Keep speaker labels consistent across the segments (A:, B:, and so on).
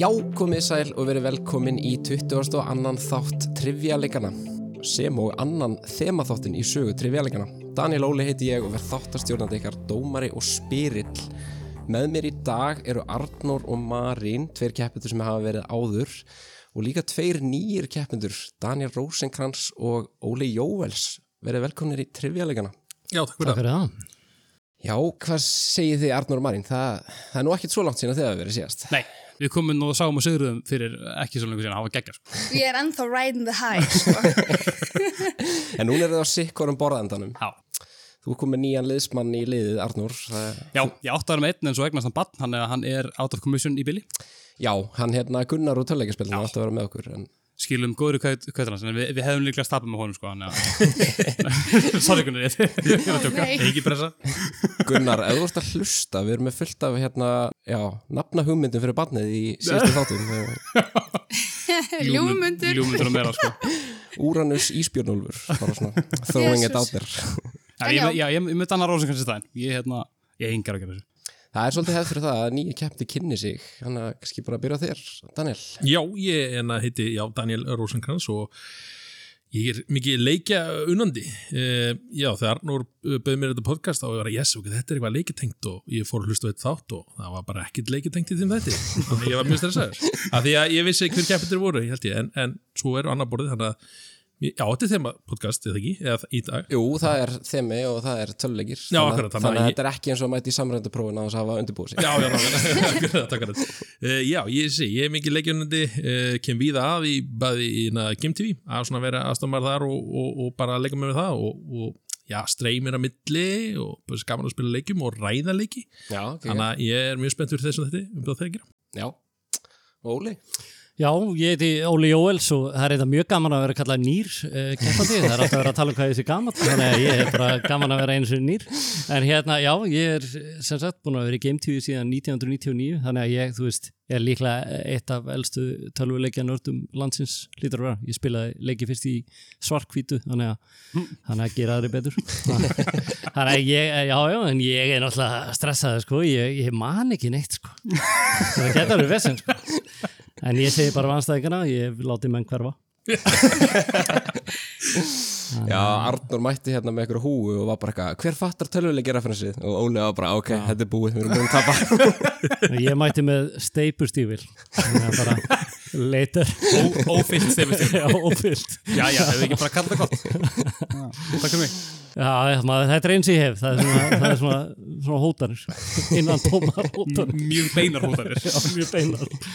A: Já, komið sæl og verið velkomin í 20. og annan þátt Trivialegana sem og annan þemaþáttin í sögu Trivialegana. Daniel Óli heiti ég og verð þáttarstjórnandi ykkar dómari og spyrill. Með mér í dag eru Arnór og Marín, tveir keppendur sem hafa verið áður og líka tveir nýjir keppendur, Daniel Rosenkrantz og Óli Jóels. Verið velkominir í Trivialegana.
B: Já, takk fyrir
C: Takk
B: það.
C: fyrir það.
A: Já, hvað segir þið Arnór og Marín? Það, það er nú ekkert svo langt sína þegar við verið síðast.
B: Nei, við komum nú og sáum og sigruðum fyrir ekki svo lengur síðan, það var geggar. Sko.
D: Ég er ennþá riding the high sko.
A: En núna eru það sikkorum borðendanum.
B: Já.
A: Þú kom með nýjan liðsmann í liðið, Arnur.
B: Já, ég átti að vera með einn en svo eignast hann bann, hann, hann er out of commission í bili.
A: Já, hann hérna Gunnar úr töluleikaspilinu átti að vera með okkur. En...
B: Skilum góður kvötan hans, en við, við hefum líklega stapað með honum sko, hann er... Sorry Gunnar, ég ég er að tjóka.
D: nei.
B: Ekki pressa.
A: Gunnar, ef þú ert að hlusta, við erum með fullt af hérna, já, nafna hugmyndum fyrir barnið í síðustu þáttum.
D: Ljúfmyndir.
B: Ljúmundur og meira sko.
A: Úranus Ísbjörnulfur, bara svona, throwing it out
D: Jesus.
A: there.
B: Já,
D: En
B: ég,
D: já.
B: já, ég, ég myndi annar rósin kannski stæðin. Ég, hérna, ég engar að gera þessu.
A: Það er svolítið hefð fyrir það að nýju keppti kynni sig, hann að kannski bara byrja á þér, Daniel.
C: Já,
E: ég en að heiti já, Daniel Rosenkrantz og ég er mikið leikja unandi e, já, þegar Arnór eh, bauð mér þetta podcast þá var ég bara, yes, ok, þetta er eitthvað leikitengt og ég fór að hlusta á eitt þátt og það var bara ekkit leikitengt í þeim þetta þannig að ég var mjög stressaður af því að ég vissi hver keppendur voru, ég held ég en, en svo eru annar borðið þannig að já, þetta er þeim podcast, eða ekki, eða í dag
A: Jú, það er þemi og það er töluleikir.
E: Já,
A: þannig að-
E: akkurat, þannig að
A: Þannig að
E: ég-
A: þetta er ekki eins og að mæta í samrænduprófin að þess að hafa undirbúið sig.
E: Já, já, já, akkurat, akkurat. Uh, já, ég sé, ég er mikið leikjunandi, uh, kem víða að í bæði í na, Game TV, að svona vera aðstofnmar þar og, og, og bara leika með mér það og, og já, streymir að milli og bara gaman að spila leikjum og ræða leiki,
A: Já, ok,
E: þannig að ég er mjög spennt fyrir þessum þetta, um það þegar.
A: já. Óli?
C: já, ég heiti Óli Jóels og það er eitthvað mjög gaman að vera kallað nýr uh, keppandi, það er alltaf að vera að tala um hvað ég sé gaman, þannig að ég er bara gaman að vera eins og nýr. En hérna, já, ég er sem sagt búin að vera í GameTV síðan 1999, þannig að ég, þú veist, ég er líklega eitt af elstu tölvuleikja nördum landsins lítur að vera. Ég spilaði leiki fyrst í svarkvítu, þannig að, þannig að gera aðri betur. þannig að ég, já, já, en ég er náttúrulega stressaði, sko, ég, ég man ekki neitt, sko. Það getur alveg vesinn, sko. En ég segi bara vannstæðingana, ég láti menn hverfa.
A: Já, Arnur mætti hérna með einhverju húu og var bara eitthvað, hver fattar tölvuleikir referensið? Og Óli var bara, ok, þetta er búið, við erum búin að tapa.
C: Og Ég mæti með steipustífil. Þannig að bara leitar
B: Ófyllt stefnist.
C: ófyllt.
B: Já, já, hefur ekki bara kallað það gott. Takk fyrir mig.
C: Já, já, maður, þetta er eins og ég hef. Það er svona, það er svona, svona hótanir. sko. Innan tómar
A: Mm.
C: hótanir.
B: Mjög beinar hótanir.
C: Já, mjög beinar.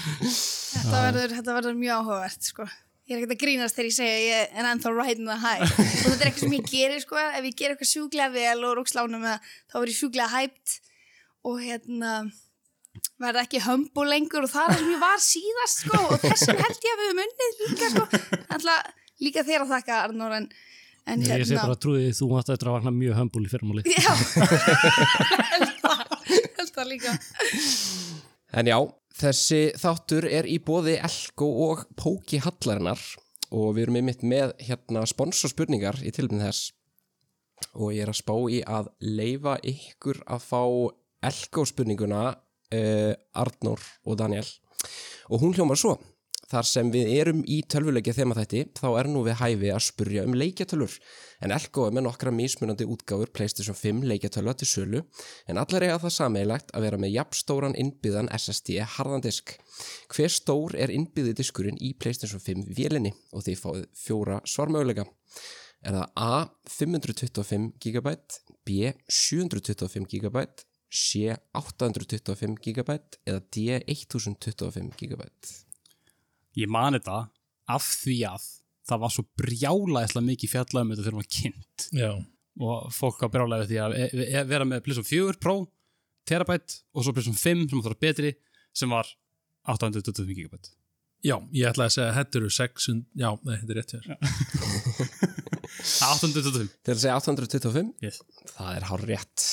D: þetta, verður, þetta verður mjög áhugavert sko. Ég er ekkert að grínast þegar ég segja að ég er ennþá riding the high og þetta er eitthvað sem ég gerir sko. ef ég ger eitthvað sjúklega vel og rókslána með það, þá verður ég sjúklega hæpt og hérna verður ekki hömbu lengur og það er það sem ég var síðast sko. og þessum held ég að við höfum unnið líka sko. Alltaf, líka þér að þakka Arnór en, en
A: Hérna.
D: hérna.
C: Ég segi bara trúið þú mátt eftir að vakna mjög hömbul í fyrrmáli.
D: Já, held það- held það líka
A: En já, þessi þáttur er í bóði Elko og Póki Hallarinnar og við erum einmitt með hérna sponsorspurningar í tilbyn þess og ég er að spá í að leifa ykkur að fá Elko spurninguna uh, Arnur og Daniel og hún hljómar svo Þar sem við erum í tölvuleikja þema þætti, þá er nú við hæfi að spurja um leikjatölur. En Elko er með nokkra mismunandi útgáfur PlayStation 5 leikjatölva til sölu, en allar eiga það sameigilegt að vera með jafnstóran innbyðan SSD harðandisk. Hver stór er innbyðið diskurinn í PlayStation 5 vélinni og þið fáið fjóra svarmöguleika. Er það A 525 GB, B 725 GB, C 825 GB eða D 1025 GB?
B: Ég man þetta af því að það var svo brjálaðislega mikið fjallað um þetta þegar maður kynnt
E: Já,
B: og fólk var brjálaðið því að e- e- vera með Plisom 4 Pro, Terabyte og svo Plisom 5 sem var betri sem var 825 gigabæt
E: já, ég ætla að segja að þetta eru 600, já, nei, þetta er rétt hér.
B: 825,
A: Til að segja 825?
B: Yes.
A: Það er hár rétt.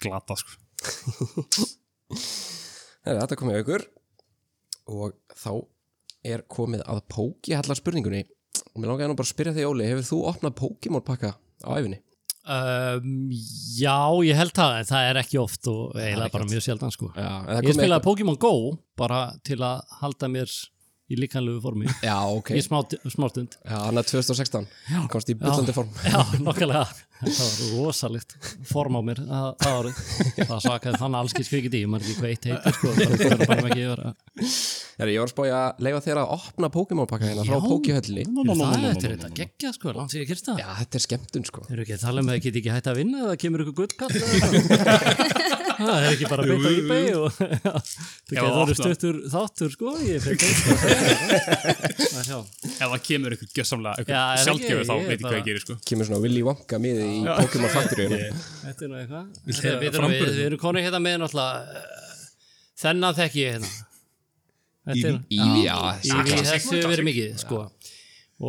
B: glata sko
A: Heru, þetta komið aukur og þá er komið að póki allar spurningunni. Og mér langaði nú bara að spyrja þig, Óli, hefur þú opnað Pokémon pakka á æfinni?
C: Um, já, ég held það, en það er ekki oft og eiginlega bara
A: ekki
C: mjög sjaldan sko.
A: Já, en það
C: Ég
A: komið
C: spilaði Pokémon Go bara til að halda mér í líkanlegu formi
A: eitthvað- Já, ok,
C: í smá, smá stund.
A: já, hann er 2016 komst í
C: Já.
A: byllandi form
C: Já, nokkulega. Það var rosalegt form á mér að það árið. Það sakaði þannig alls ekki skvikið í, maður ekki hvað eitt heitir sko, bara það er bara ekki yfir að...
A: Herri, Ég var að spája að leifa þér að opna Pokémon pakka hérna frá
C: Já.
A: Pokéhöllinni
C: Nú, nú, nú, Það er þetta geggjað sko, langt sér ég kyrst það.
A: Já, þetta er skemmtun sko
C: Þeir eru ekki að tala um að það geti ekki hægt að vinna eða kemur ykkur gullkall eða eitthvað? Það er ekki bara að beita í beig og það
B: Já,
C: getur orðið
B: opna.
C: stuttur þáttur sko ég fyrir beig
B: ef það kemur ykkur gjössamlega,
C: Já, er
B: ykkur
C: það ekki?
B: sjálfgjöfu þá
C: Ég
B: veit ég hvað
C: bara-
B: ég gerir sko
A: Kemur svona Willy Wonka miði í Pokémon Factory hérna.
C: Þetta er nú eitthvað
E: Viltu
C: Þetta er-
E: heyra
C: við erum- Við
E: framburðinn?
C: við erum konið hérna með náttúrulega eh, þennan þekki ég hérna Þetta er
A: Í, já,
C: í
A: já,
C: þessu verið mikið sko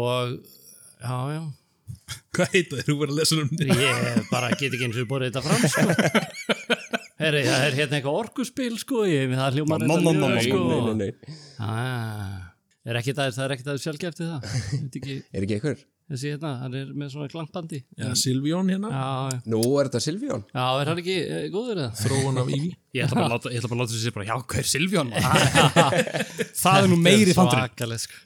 C: og já já
E: Hvað heita þeir? Þú verður að lesa um þetta
C: Ég bara get ekki eins og borðið þetta fram sko. Herri, það er hérna eitthvað orkuspil sko, ég með það hljómar
B: Mamma,
C: þetta
B: mamma,
C: mjög,
B: mamma,
C: sko.
A: nei, nei, nei
C: Ah, er ekki það, það er ekki það sjálfgeft í það Ég veit ekki,
A: Er ekki ykkur?
C: þessi hérna, hann er með svona klampandi já,
E: Já, Silvjón hérna,
C: já,
A: Nú er þetta Silvíón
C: já, er hann ekki eh, góður eða?
E: þróun af Ívi
B: Ég ætla bara að láta, ég ætla bara að láta þessi bara, já, hver er Silvjón? það er nú meiri fandurinn.
C: Svakaleg, sko.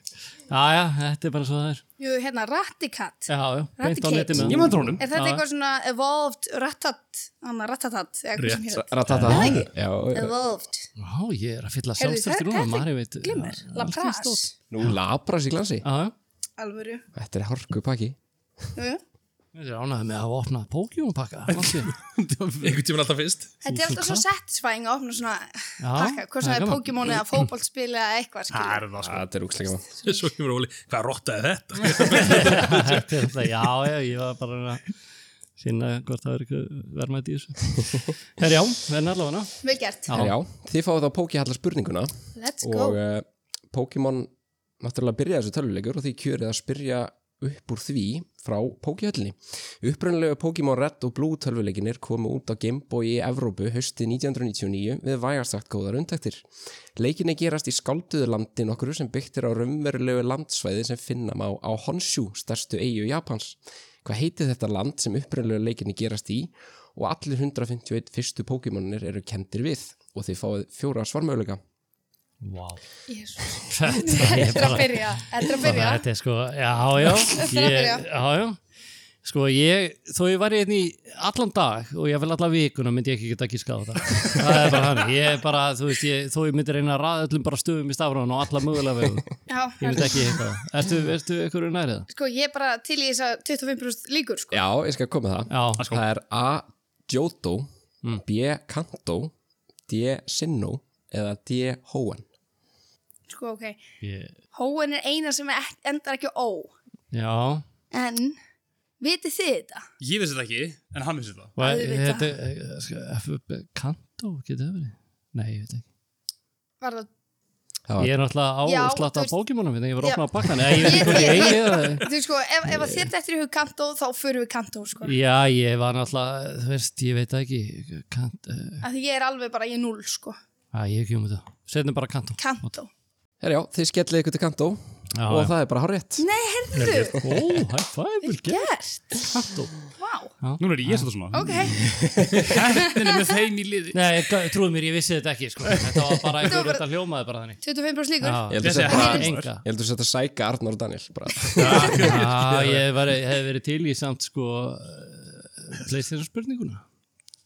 C: Já, já, þetta er bara svo það er
D: Jú, hérna, Rattikat.
C: Já, já, beint á
D: Raticate.
C: netinu
B: Ég maður trónum.
D: Er þetta eitthvað svona evolved rattat, hann rattatat, eða hvað sem hér?
A: Ratata Já, já.
D: Evolved.
C: Já, ég er að fylla
D: Heyrðu,
C: sjálfstöldur
D: það-
C: núna,
D: þetta
C: maður veit
D: Glimmer,
C: alls kyns
D: Lapras,
C: dót.
A: Nú labras í glansi
C: Já, já,
D: alvöru.
A: Þetta er harku pakki
D: Jú, jú.
C: ég er ánægð með að hafa opnað Pokémon pakka
E: Einhvern tímann alltaf fyrst
D: Þetta er alltaf svo satisfying að opna svona pakka, hvort sem
C: það er
D: það er
C: gaman.
D: Pokémon eða fótbollspil eða
B: Það
D: eitthvað, skilur.
B: er það sko.
A: Þetta er úkslega gaman
E: Svo kemur Óli, hvað rottaði þetta?
C: Þetta er alltaf- Já, já, ég var bara að reyna að sinna hvort það er eitthvað verðmætt í þessu Herjá, verðin allavega ná
D: Vel gert.
C: Já.
A: Herra, Já, þið fáið þá Pokéhallar spurninguna
D: Let's go.
A: og uh, Pokémon náttúrulega byrja þessu töluleikur og því kjörið að spyrja upp úr því frá Pokéhöllinni. Upprunalegu Pokémon Red og Blue tölvuleikinir komu út á Gameboy í Evrópu hausti 1999 við vægastakt góðar undtektir. Leikinni gerast í skálduðu landi nokkru sem byggtir á raunverulegu landsvæði sem finna má á Honshu, stærstu eigu Japans. Hvað heitir þetta land sem upprunalegu leikinni gerast í og allir 151 fyrstu Pokémonir eru kendir við og þið fáið fjóra svarmöguleika.
C: Wow.
D: Jesus.
C: Þetta
D: Þetta
C: er
D: er
C: bara,
D: að byrja, þetta er að
C: bara
D: byrja.
C: þetta er sko, já, já,
D: er að
C: ég,
D: byrja.
C: já, já. Sko ég, þó ég væri hérna í allan dag og ég vel allan vikuna myndi ég ekki geta gíska á þetta. Það er bara hann, ég er bara, þú veist, ég, þó ég myndi reyna að ræða öllum bara stöfum í stafrán og alla mögulega vegu.
D: Já,
C: Ég myndi ekki hitta það. Ertu, ertu ykkur nærið?
D: sko, ég er bara til í þess að 25% líkur, sko.
A: Já, Sko. ég skal koma með það.
C: Já,
A: Það er A. Johto,
C: Mm.
A: B. Kanto, D. Sinno eða D. Hoenn.
D: Sko, ok.
C: ég,
D: Hóin er eina sem ek- endar ekki á ó.
C: já.
D: En, vitið þið þetta?
B: Ég vissi þetta ekki, en hann vissi það.
C: Hvað,
D: Auðvitað.
C: þetta, eh, sko, F- Kanto, getur það verið? Nei, ég veit ekki.
D: Var það,
A: Það var
C: Ég er náttúrulega á
D: Já,
C: og
D: þú
C: slatta á
D: veist-
C: bókimunum, ég var
D: Já.
C: opnað að pakka hann. Ég veit
D: Ég-
C: ekki hvort
D: ég-
C: ég eigi
D: ég-
C: það.
D: þú veist sko, ef, ef að þér dettur í hug kantó, þá förum við kantó, sko.
C: Já, ég var náttúrulega, þú veist, ég veit það ekki kant, uh,
D: Af því ég er alveg bara, ég er null, sko.
C: að ég hef ekki um þetta setnum bara kantó
D: Kantó.
A: Herra, já, þið skellið ykkur til Kanto
C: Já,
A: og
C: já.
A: það er bara hár rétt.
D: Nei, heyrðu,
C: Ó, high five, vel gert
D: gert.
C: kantó
D: Vá,
B: Nú er ég svolítið svona.
D: ok.
B: Hættin er með þeim í liði.
C: Nei, ég- trúðu mér, ég vissi þetta ekki, sko Þetta var bara
D: Þetta var
C: einhver,
D: bara-
C: þetta hljómaði bara þannig
D: 25% líkur.
C: Já,
A: Ég held að
B: Þessi
A: þetta bara-
B: hættin-
C: enga
A: ég held að þetta sæka Arnór og Daniel. Bara.
C: Já, ég var, hef verið til í samt, sko leist þér spurninguna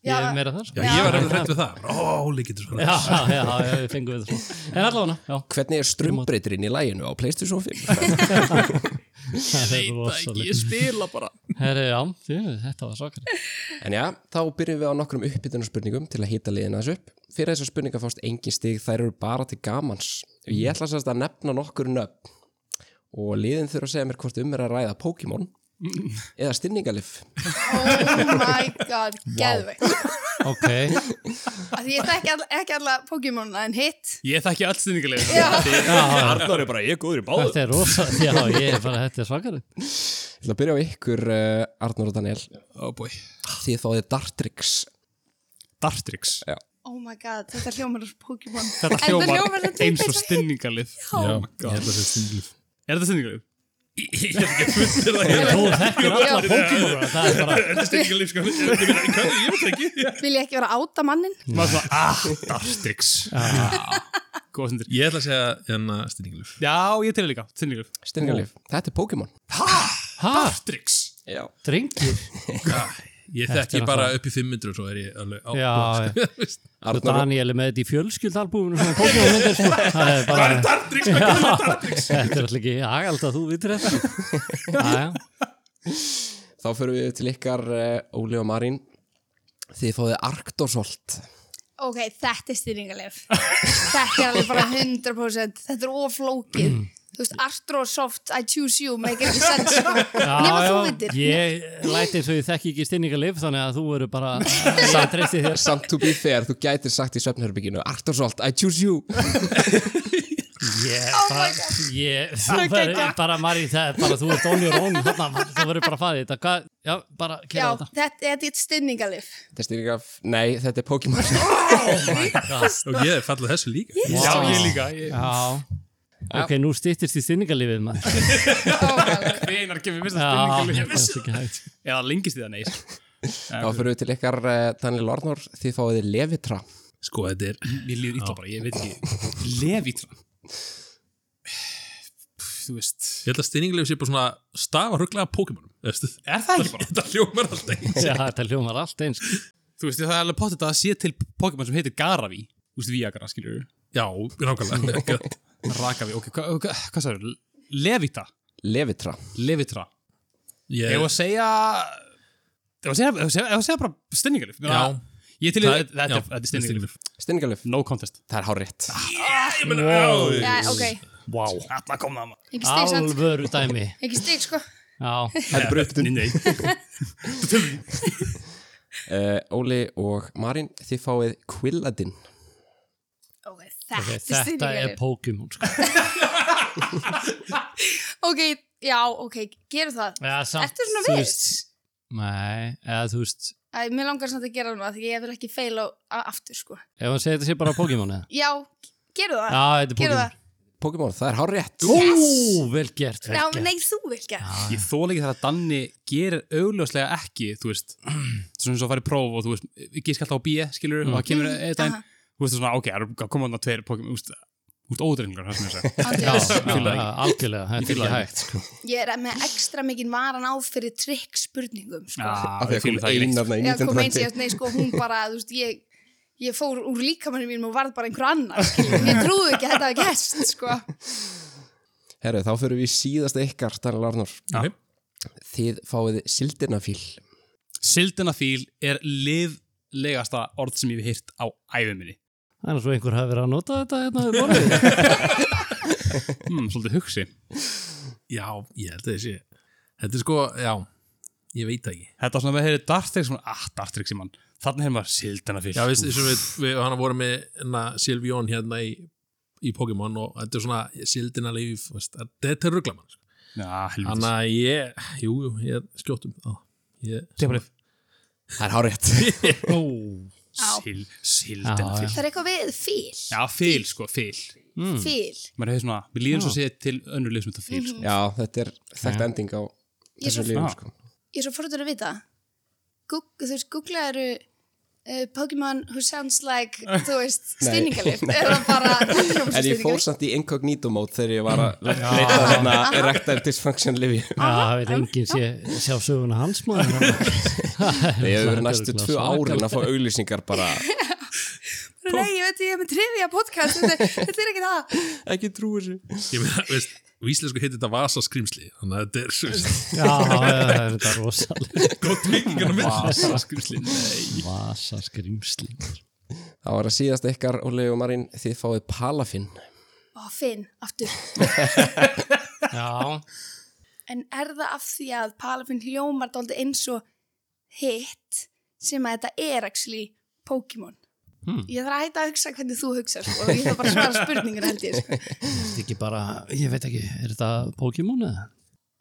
C: Ég
D: Já.
C: hef meira þar, sko
E: Já, ég var eftir hægt við það Ó, Óli getur svona
C: Já, já, já, við fengum við það svona En allavega, já
A: Hvernig er strömbreytirinn í læginu á PlayStation 5?
C: Ég
B: Ég spila bara.
C: Herri, já, þjú, þetta var svakar
A: En já, þá byrjum við á nokkrum uppbytunarspurningum til að hýta liðina þessu upp. Fyrir þessar spurningar fást engin stig, þær eru bara til gamans.
C: Mm.
A: Ég ætla sérst að nefna nokkur nöfn og liðin þurfa að segja mér hvort um er að ræða Pokémon eða stinningalif.
D: Oh my god, geðveik.
C: Ok,
D: Af því ég þekki all, ekki alla Pokémon en hitt.
B: Ég þekki alls stinningarlega.
A: Arnór er bara ég góður í
C: þetta er rosa Já, ég er bara, þetta er svakar
A: Ég ætla að byrja á ykkur, uh, Arnór og Daniel.
B: Oh boy.
A: Þið þáðið Dartrix.
B: Dartrix.
D: Oh my god, þetta hljómar eins og Pokémon.
B: Þetta
D: En það hljómar
B: hljómar
D: samt
B: eins og
D: eins og-
B: stinningarlið.
E: Já, ég held að þetta er stinglif
B: Er þetta stinningarlið?
E: Ég er ekki að fullur það
C: Þú þekkir alla
D: Já.
C: Pokémon það er bara,
E: Endist ekki lífskóli sko. Ég meina, í hverju? Ég veit ekki
D: Vil ég ekki vera að áta mannin?
B: maður svona, ah, Darstix góða stundir
E: Ég ætla að segja hérna styrningilöf
B: já, ég til líka, tilningur
A: Styrningalif, þetta er Pokémon
C: ha,
E: Dartrix
A: Já,
C: drengir
E: Ég
C: Þetta
E: þekki
C: er
E: bara upp í 500 og svo er ég alveg á
C: Já, já. sko. og
A: Arnar,
C: Daniel er með þetta í fjölskyldalbúinu svona Pokémon myndir sko. það er bara,
E: Bara Dartrix, hvað gerir maður Dartrix?
C: þetta er alltaf ekki agald að þú vitur þetta já, já
A: þá förum við til ykkar uh, Óli og Marín Þið fáið Arktorsolt
D: Ok, þetta er styrningalef. þetta er alveg bara 100%. Þetta er oflókið. Þú veist, Artrosoft, I choose you, make it sense. sko. Nema þú vitir.
C: Ég læti eins og ég þekki ekki stinningalif þannig að þú eru bara ég treysti þér
A: Samt to be fair, þú gætir sagt í svefnherbygginu Arktorsolt, I choose you
C: ég,
D: Oh my
C: það, ég, þú verður bara Mari, það er bara, þú ert only your own þarna, þú verður bara að fara í þetta Hvað- já, bara
D: Já,
C: gera þetta
D: þetta, þetta er styrningalef.
A: Þetta er styrningalif, nei, þetta er Pokémon
E: Og ég er fallið þessu líka
B: já, ég líka, ég
C: já. ok, nú stýttist í stinningalifið maður
B: einar gefið mér þetta
C: já,
B: tilningur
C: það er ekki hægt
B: eða lengist þið það neis
A: Þá förum við til ykkar uh, Daniel Ornor Þið fáið Levitra
E: Sko, þetta er
B: Mér líður illa bara, ég veit ekki Levítran Þú veist
E: Ég held að styrningilöf sé bara svona stafa rugglega Pokémonum veistu?
B: Er það ekki bara?
E: Þetta hljómar alltaf eins.
C: já, þetta hljómar allt eins
B: Þú veist, það er alveg pottet að það sé til Pokémon sem heitir Garaví Þú veist, Viagra, skiljur
E: Já, nákvæmlega
B: Rakaví, ok, hva- hva- hvað sagður? Levita,
A: Levitra
B: Levitra Ef
E: Ég
B: að segja Ef að segja, ef að segja, ef að segja bara stinningalif
E: Já.
B: Ég til í
E: Það-
B: þetta,
E: já,
B: er- þetta er stinningalif
A: Styrningalif,
B: No contest
A: það er hárétt
E: Ég meina, já
D: Já, ok.
B: Vá Alla kom það maður
D: Ekki stig, sant?
C: alvöru dæmi
D: Ekki stig, sko.
C: já,
A: Það er brutun
B: Nei, nei
A: uh, Óli og Marín, þið fáið Quilladin
D: Ok, þetta
C: ok,
D: er
C: þetta er
D: styrningalef.
C: Pokémon sko.
D: Ok, já, ok, gerum það.
C: já, samt,
D: Ertu svona
C: þú
D: viss?
C: veist- nei, eða þú veist
D: Æ, mér langar samt að gera það núna, því ég vil ekki feila á- aftur, sko.
C: ef hann segir þetta sé bara Pokémon eða
D: Já, gerum það.
C: já, þetta er
D: Gerum
C: Pokémon
D: það.
A: Pokémon, það er hárétt
C: Ó, vel gert, vel
D: Já,
C: gert.
D: nei, þú vil ekki.
B: Ég þóla ekki þegar að Danni gerir augljóslega ekki, þú veist, svona eins og að fara í próf og þú veist, gísk alltaf á B, skilur, og það kemur einn daginn,
D: Aha.
B: þú veist, svona, ok, það eru- koma hann að tveir Pokémon, þú veist, þú veist, ódrengar, það sem ég að segja.
C: Já,
D: Andrés.
C: já,
B: fíla það
C: já, algjörlega, þetta er
B: fíla
C: ekki
B: það
C: hægt sko.
D: Ég er með ekstra mikinn varan á fyrir trikk spurningum, sko.
A: Af
B: Já,
A: því að kom
B: neitt.
A: einar
D: Já, kom eins í
A: 1920
D: eftir, nei, sko, hún bara, þú veist, ég, ég fór úr líkamannu mínum og varð bara einhver annar, skilur. Ég trúði ekki að þetta hafi gæst, sko.
A: Herru, þá förum við í síðasta ykkar, Daniel Ornor
E: Ok.
A: Þið fáið Sildinafíl
B: Sildenafíl er liðlegasta orð sem ég hef hýrt á æfum minni.
C: Það er svo einhver hafi verið að nota þetta hérna við borðið.
B: Hmm, svolítið hugsi.
E: Já, ég held að þessi Þetta er sko, já, ég veit það ekki
B: Þetta er svona, við heyrið Dartrix, svona, ah, Dartrix í mann, þannig hefur maður Sildenafíl.
E: Já, við, þessum við, við hann vorum með hérna, Silvjón hérna í, í Pokémon og þetta er svona sildina líf veist, að- þetta er rugglamann sko.
B: Já,
E: Þannig
B: helvítið.
E: að ég, jú, jú, ég skjóttum á ég,
B: Tepalif.
A: Það er hárétt
B: Ó,
D: Já.
B: sil- Sildenafíl.
D: Það er eitthvað við fíl,
B: Já, fíl, sko, fíl.
D: fíl.
B: maður hefur svona, við líðum svo að segja til önnur lið sem þetta fíl, sko.
A: Já, þetta er þekkt ending á
D: Ég er svo-
A: þessu lífum sko.
D: Ég er svo fórhundur að vita. Gug, þú veist, googlaðu uh, Pokémon who sounds like, þú veist, styrningalif. Eða bara,
A: En ég fór
D: styrningalif.
A: samt í incognito mode þegar ég var að leita að hérna erectile dysfunction lifi
C: Já, það veit enginn sé, sjá söguna hans maður.
A: Ég hefur verið
C: Þetta er
A: næstu
C: örugglega
A: tvö árin að fá auglýsingar bara
D: Nei, ég veit, ég er með trivia podcast, þetta, þetta er ekki það.
A: Ekki trúi þessu
E: ég meina, veist, og íslensku heitir þetta vasaskrimsli þannig að þetta er svo veist,
C: Já, já, já, þetta er rosalega.
E: gott vikingan að mynda
B: Vasaskrimsli, nei.
C: Vasa skrimsli.
A: Það var að síðast ykkar, Óli og Marín Þið fáið Palafin
D: Ó, Finn, aftur.
C: Já,
D: En er það af því að Palafin hljómar dálítið eins og hitt sem að þetta er actually Pokémon?
C: Hmm.
D: Ég þarf að hætta að hugsa hvernig þú hugsa sko, og ég þarf bara að svara spurningur held ég sko.
C: þetta er ekki bara, ég veit ekki, er þetta Pokémon eða?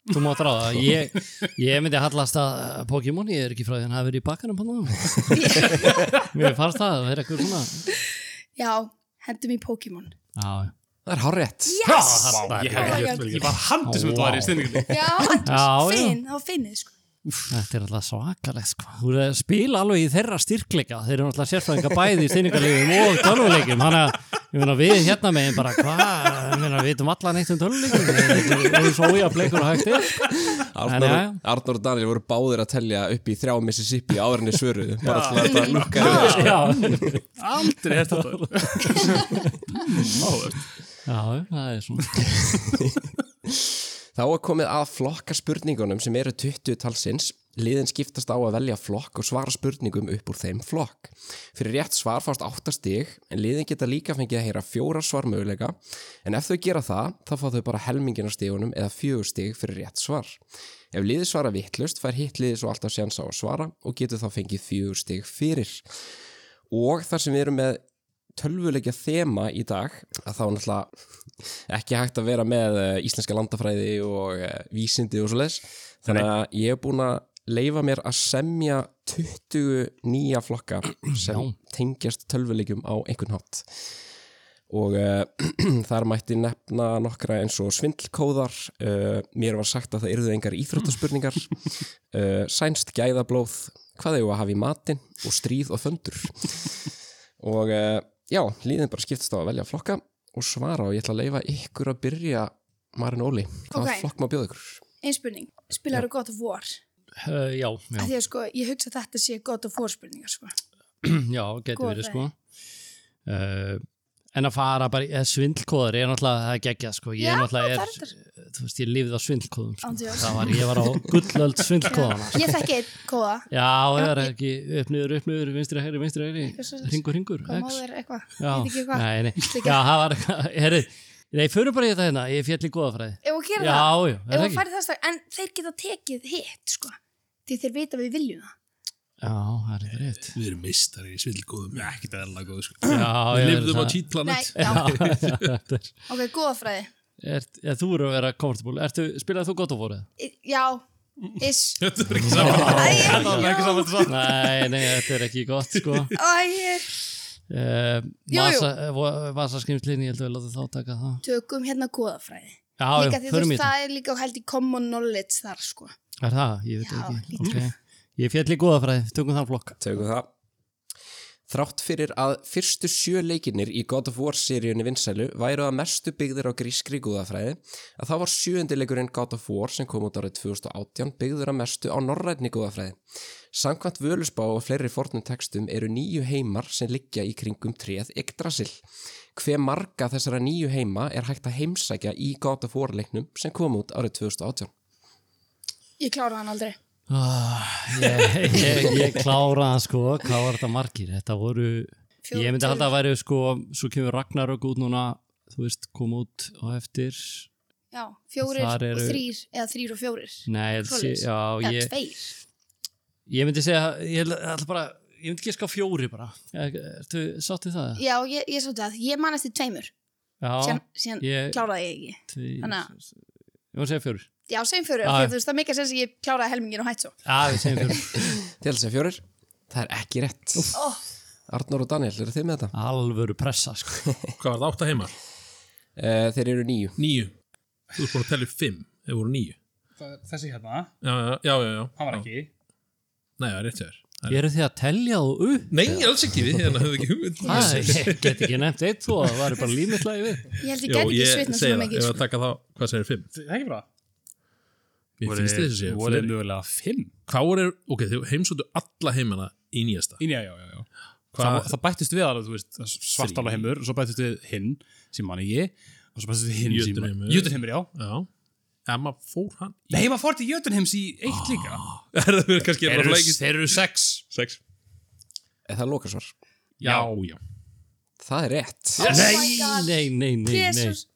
C: Þú mátt ráða, ég, ég myndi hallast að Pokémon, ég er ekki frá því að hann hafi verið í bakkanum hann. Mér fannst það, það er eitthvað svona.
D: Já, hendum í Pokémon.
C: Já,
A: Það er hárétt.
D: Yes!
B: Vá, ég
D: Oh my
B: hefði
D: God.
B: gert vel ekki. Ég var handið sem þetta var í stendingunni.
D: Já,
C: Já, já.
D: finn, þá finnið sko.
C: Þetta er alltaf svakalegt sko. Þú er að spila alveg í þeirra styrkleika. Þeir eru alltaf sérfræðinga bæði í styrningarlegum og tölvuleikjum. Þannig að ég meina, við hérna megin bara hvað, ég meina, við veitum allan eitt um tölvuleikjum. Við erum svo ójafleikur og hægt er.
A: Arnur,
C: En, já.
A: Arnur og Daniel voru báðir að telja upp í þrjá Mississippi áður en þið svöruðu. Bara til að þetta lukka yfir.
C: Já,
B: Aldrei hert þetta. Máður.
C: já, það er svona.
A: Þá er komið að flokka spurningunum sem eru 20 talsins. Liðin skiptast á að velja flokk og svara spurningum upp úr þeim flokk. Fyrir rétt svar fást 8 stig, en liðin geta líka fengið að heyra fjóra svar möguleika, en ef þau gera það, þá fá þau bara helmingin á stigunum eða fjögur stig fyrir rétt svar. Ef liðið svara vittlust, fær hitt liðið svo alltaf sjans á að svara og getur þá fengið fjögur stig fyrir. Og þar sem við erum með tölvuleikja þema í dag að þá er náttúrulega ekki hægt að vera með eh, íslenska landafræði og eh, vísindi og svo leis þannig að ég hef búin að leifa mér að semja 20 nýja flokka sem tengjast tölvuleikjum á einhvern hátt og uh, þar mætti nefna nokkra eins og svindlkóðar uh, mér var sagt að það yrðu engar íþróttaspurningar uh, sænst gæðablóð hvað þau að hafa í matinn og stríð og föndur og uh, já, líðin bara skiptast á að velja flokka og svara og ég ætla að leifa ykkur að byrja Marin Óli, hvað
D: Ok.
A: flokk má bjóða ykkur?
D: Einn spurning, spilar þú gott of war?
C: Uh, já, já,
D: Af Því að sko, ég hugsa að þetta sé gott of war spurningar sko.
C: já, getur
D: Góð
C: verið
D: þeim.
C: sko. Uh, en að fara bara, í- eh, svindlkóðar, ég er náttúrulega, það er geggjað sko. Ég
D: Já,
C: er náttúrulega,
D: það er
C: er, þú veist, ég lifði á svindlkóðum sko.
D: Án djóks.
C: Það var, ég var á gullöld svindlkóðana
D: Ég þekki einn kóða,
C: Já, það er ekki upp niður, upp niður, vinstri, hægri, vinstri,
D: Eitthvað
C: hægri,
D: svoleiðis.
C: ringur, ringur,
D: hvað
C: X.
D: máður eitthvað,
C: Já,
D: ég veit ekki hvað.
C: nei, nei,
D: Ekki.
C: já, það var eitthvað, herri, nei, fyrir bara í þetta hérna, ég fjall í góðafræði.
D: Ef hún
C: Já,
D: gerir það, ef
C: já, er það
D: hún
C: ekki?
D: færi það slag, en þeir geta tekið hitt sko. Því þeir vita að við viljum það.
C: Já, það er eitthvað rétt.
E: Við erum meistari í svillgóðum. Nei, ekkert eðla góð, sko.
C: Já, já,
E: Við
C: er
E: lifðum á
C: það-
E: Cheat
D: Nei,
E: Planet.
D: já,
C: Já, þetta er-
D: ok, góðafræði.
C: ert- já, Þú eru að vera komfortabúl, ertu, spilaði þú gott á fórið?
D: Í- Já, iss.
E: Þetta er ekki saman.
D: Æ,
B: Það var ekki saman þetta
C: Nei, nei, þetta er ekki gott, sko.
D: æ,
C: Uh,
D: Jú, jú.
C: Vasaskrimslinni, ég held að við láta þá taka það.
D: tökum hérna góðafræði.
C: Já,
D: Líka
C: já,
D: því þú
C: förum í
D: veist,
C: þetta.
D: það er líka held í common knowledge þar sko.
C: Er það? Ég veit
D: Já,
C: ekki. Okay. Ég fjall í góðafræði, tökum þann flokk.
A: Tökum það. Þrátt fyrir að fyrstu sjö leikinir í God of War-seríunni vinsælu væru að mestu byggðir á grískri gúðafræði að þá var sjöundi leikurinn God of War sem kom út árið 2018 byggður að mestu á norrænni gúðafræði. Samkvæmt völusbá og fleiri fornum textum eru nýju heimar sem liggja í kringum treð Yggdrasil. Hve marga þessara nýju heima er hægt að heimsækja í God of War-leiknum sem kom út árið 2018?
D: Ég klára hann aldrei.
C: Ah, ég, ég, ég klára það sko, hvað var þetta margir? Þetta voru,
D: Fjóra,
C: ég myndi
D: tólf.
C: halda að væri sko, svo kemur Ragnarök út núna, þú veist, kom út á eftir.
D: Já, fjórir
C: Þar
D: og
C: eru-
D: þrýr eða þrýr og fjórir.
C: Nei, ég, sé,
D: Svoleiðis.
C: já,
D: Eða
C: ég,
D: tveir.
C: ég myndi segja, ég held- ég ætla bara, ég myndi ekki ská fjóri bara. Er- Ertu sátt við það?
D: Já, ég, ég svolítið að ég man eftir tveimur.
C: Já,
D: Síðan, síðan
C: ég,
D: kláraði ég ekki.
C: tvi, ég
D: þannig að-
C: var að segja fjóri.
D: Já, segjum fjórir.
C: Já,
D: Ah,
C: já.
D: þú veist, það er mikið að segja að ég kláraði helmingin og hætt svo.
C: Já, við segjum fjóri.
A: Til þess að fjórir, það er ekki rétt.
D: Oh.
A: Arnór og Daniel, eru þið með þetta?
C: Alvöru pressa sko.
E: Hvað var það átta heima?
A: Uh, þeir eru nýju.
E: Níu. Þú ert búin að tella upp fimm, ef voru níu.
B: Þessi hérna,
E: Já, já, já, já. já.
B: hann var ekki.
E: Nei, það er rétt hjá þér. Það er-
C: Ég eru því að telja þú upp.
E: Nei, alls ekki við, hérna höfum við ekki hugmynd.
C: Það ég get ekki nefnt eitt þú, það var bara límitlaði við.
D: Ég held ég
E: Jó,
D: gæti
E: ég
D: ekki
E: segi
D: svitna
E: það,
D: svona
E: ef
D: mikið. sko.
E: að taka þá, hvað segir fimm?
B: Það er ekki bra.
E: Mér finnst þess að segja
B: Voru
E: fleiri.
B: mögulega fimm?
E: Hvað voru, ok, þau heimsóttu alla heimana í nýjasta.
B: Í nýja, já, já, já.
E: Hvað-
B: Það, það bættist við alveg, þú veist, svartála heimur, og svo bættist við hinn, sem manni ég, og svo bættist við hinn, sem
E: Jötunheimur.
B: Jötunheimur, já.
E: Já. En maður fór hann í...
B: Nei, maður fór til Jötunheims í eitt líka.
E: Er það kannski
B: Ah, Þeir
E: bara
B: eru,
E: flækist?
B: þeir eru sex.
E: Sex.
A: Er það lokasvar?
E: Já, já.
A: Það er rétt.
C: Nei, nei, nei, nei.
D: Oh Jesus.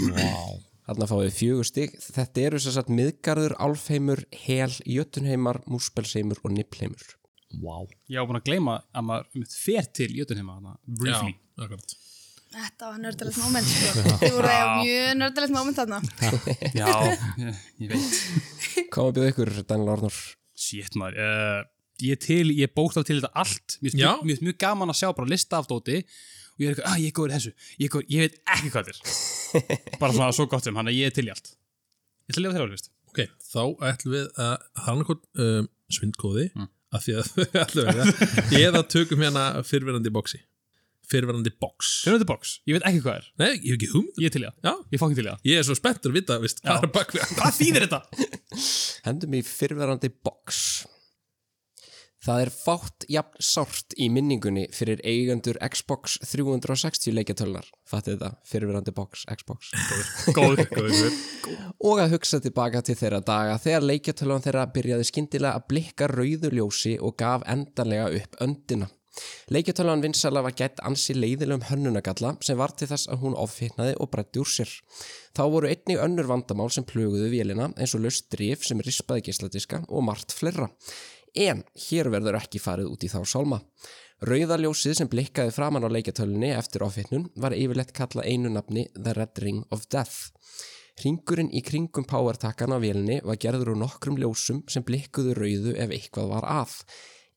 A: Þarna fáið þið fjögur stig. Þetta eru sem sagt miðgarður, álfheimur, hel, jötunheimar, múspelsheimur og nippheimur.
C: Wow.
B: Ég var búin að gleyma að maður einmitt fer til Jötunheima hana, briefly.
E: Já, akkurat.
D: Þetta var nördalegt moment, sko. Þið voru að eiga mjög nördalegt moment þarna.
B: Já, ég, ég veit.
A: Hvað að bjóða ykkur, Daniel Ornur?
B: Shit maður. eh, Uh, ég er til, ég bókt á til þetta allt. Mér finnst
E: Já.
B: mjög, mjög, mjög gaman að sjá bara lista af dóti. Og og ég er eitthvað, að ég er góður í þessu ég, er góður, ég veit ekki hvað þetta er bara svona svo gott sem hann að ég er til í allt ég ætla að lifa þeirra alveg,
E: Ok, þá ætlum við að hann eitthvað um, svindkóði
B: Mm.
E: af því að þau ætlum við það eða tökum hérna fyrverandi boxi fyrverandi box
B: þeir eru þetta box, ég veit ekki hvað er
E: Nei, ég hef ekki hugmynd
B: ég er til í það,
E: Já,
B: ég er fokkin til í það
E: ég er svo spenntur að vita, veist,
B: Já.
E: hvað er bak við hann
B: hvað þýðir þetta?
A: Hendum í fyrverandi box. Það er fátt jafn sárt í minningunni fyrir eigendur Xbox 360 leikjatölunar. Fattið þetta, fyrverandi box, Xbox.
B: góður, góður, góður
A: Og að hugsa tilbaka til þeirra daga þegar leikjatölan þeirra byrjaði skyndilega að blikka rauðu ljósi og gaf endanlega upp öndina. Leikjatölan vinsala var gætt ansi leiðilegum hönnunagalla sem var til þess að hún ofhittnaði og brætti úr sér. Þá voru einnig önnur vandamál sem plöguðu vélina eins og löst drif sem rispaði geisladiska og margt fleira. En hér verður ekki farið út í þá sálma. Rauðaljósið sem blikkaði framann á leikjatölunni eftir ofhittnun var yfirleitt kallað einu nafni The Red Ring of Death. Ringurinn í kringum powertakkan á vélinni var gerður úr nokkrum ljósum sem blikkuðu rauðu ef eitthvað var að.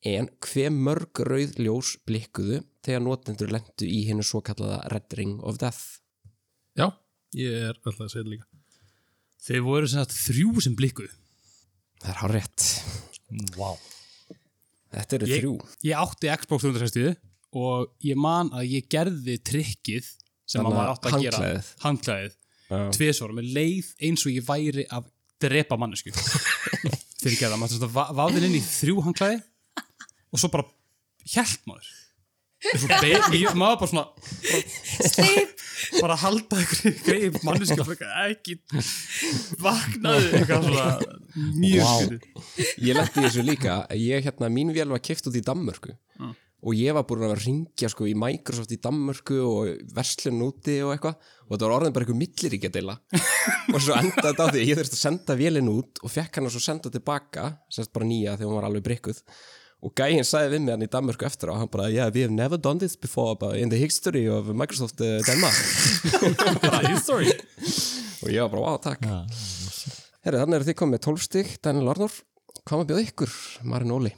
A: En hve mörg rauð ljós blikkuðu þegar notendur lendu í hennu svo kallaða Red Ring of Death?
E: Já, ég er alltaf að segja þetta líka
B: þeir voru sem sagt þrjú sem blikkuð
A: Það er hár rétt.
B: wow.
A: Þetta eru
B: Ég-
A: þrjú.
B: ég átti Xbox 360 og ég man að ég gerði trikkið sem
A: Þannig
B: maður
A: að
B: átti að gera
A: handklæðið.
B: handklæðið tvisvar með leið eins og ég væri að drepa mannesku fyrir gerða, maður svona va- vafði inn í þrjú handklæði og svo bara hjælt maður Og svo be- ég- maður bara svona
D: Sleep,
B: bara að halda ykkur greið mannesku og bara ekki vaknaði eitthvað svona mjög
A: Vá.
B: skrítið.
A: Ég lendi þessu líka. Ég hérna, mín vél var kift út í Danmörku. Og ég var búin að vera að ringja sko, í Microsoft í Danmörku og verslun úti og eitthvað. Og þetta var orðin bara eitthvað milliríkja deila. og svo endaði þetta á því að ég þurfti að senda vélinn út og fekk hann að svo senda tilbaka, semst bara nýja þegar hún var alveg brikkuð. Og gæinn sagði við mig hann í Danmörku eftir á, hann bara, yeah, we have never done this before but in the history of Microsoft uh, Denmark.
B: Sorry.
A: og ég var bara, wow, takk. Herri, þannig eru þið komið með 12 stig, Daniel Arnór. Hvað maður bjóð ykkur, Marin Óli?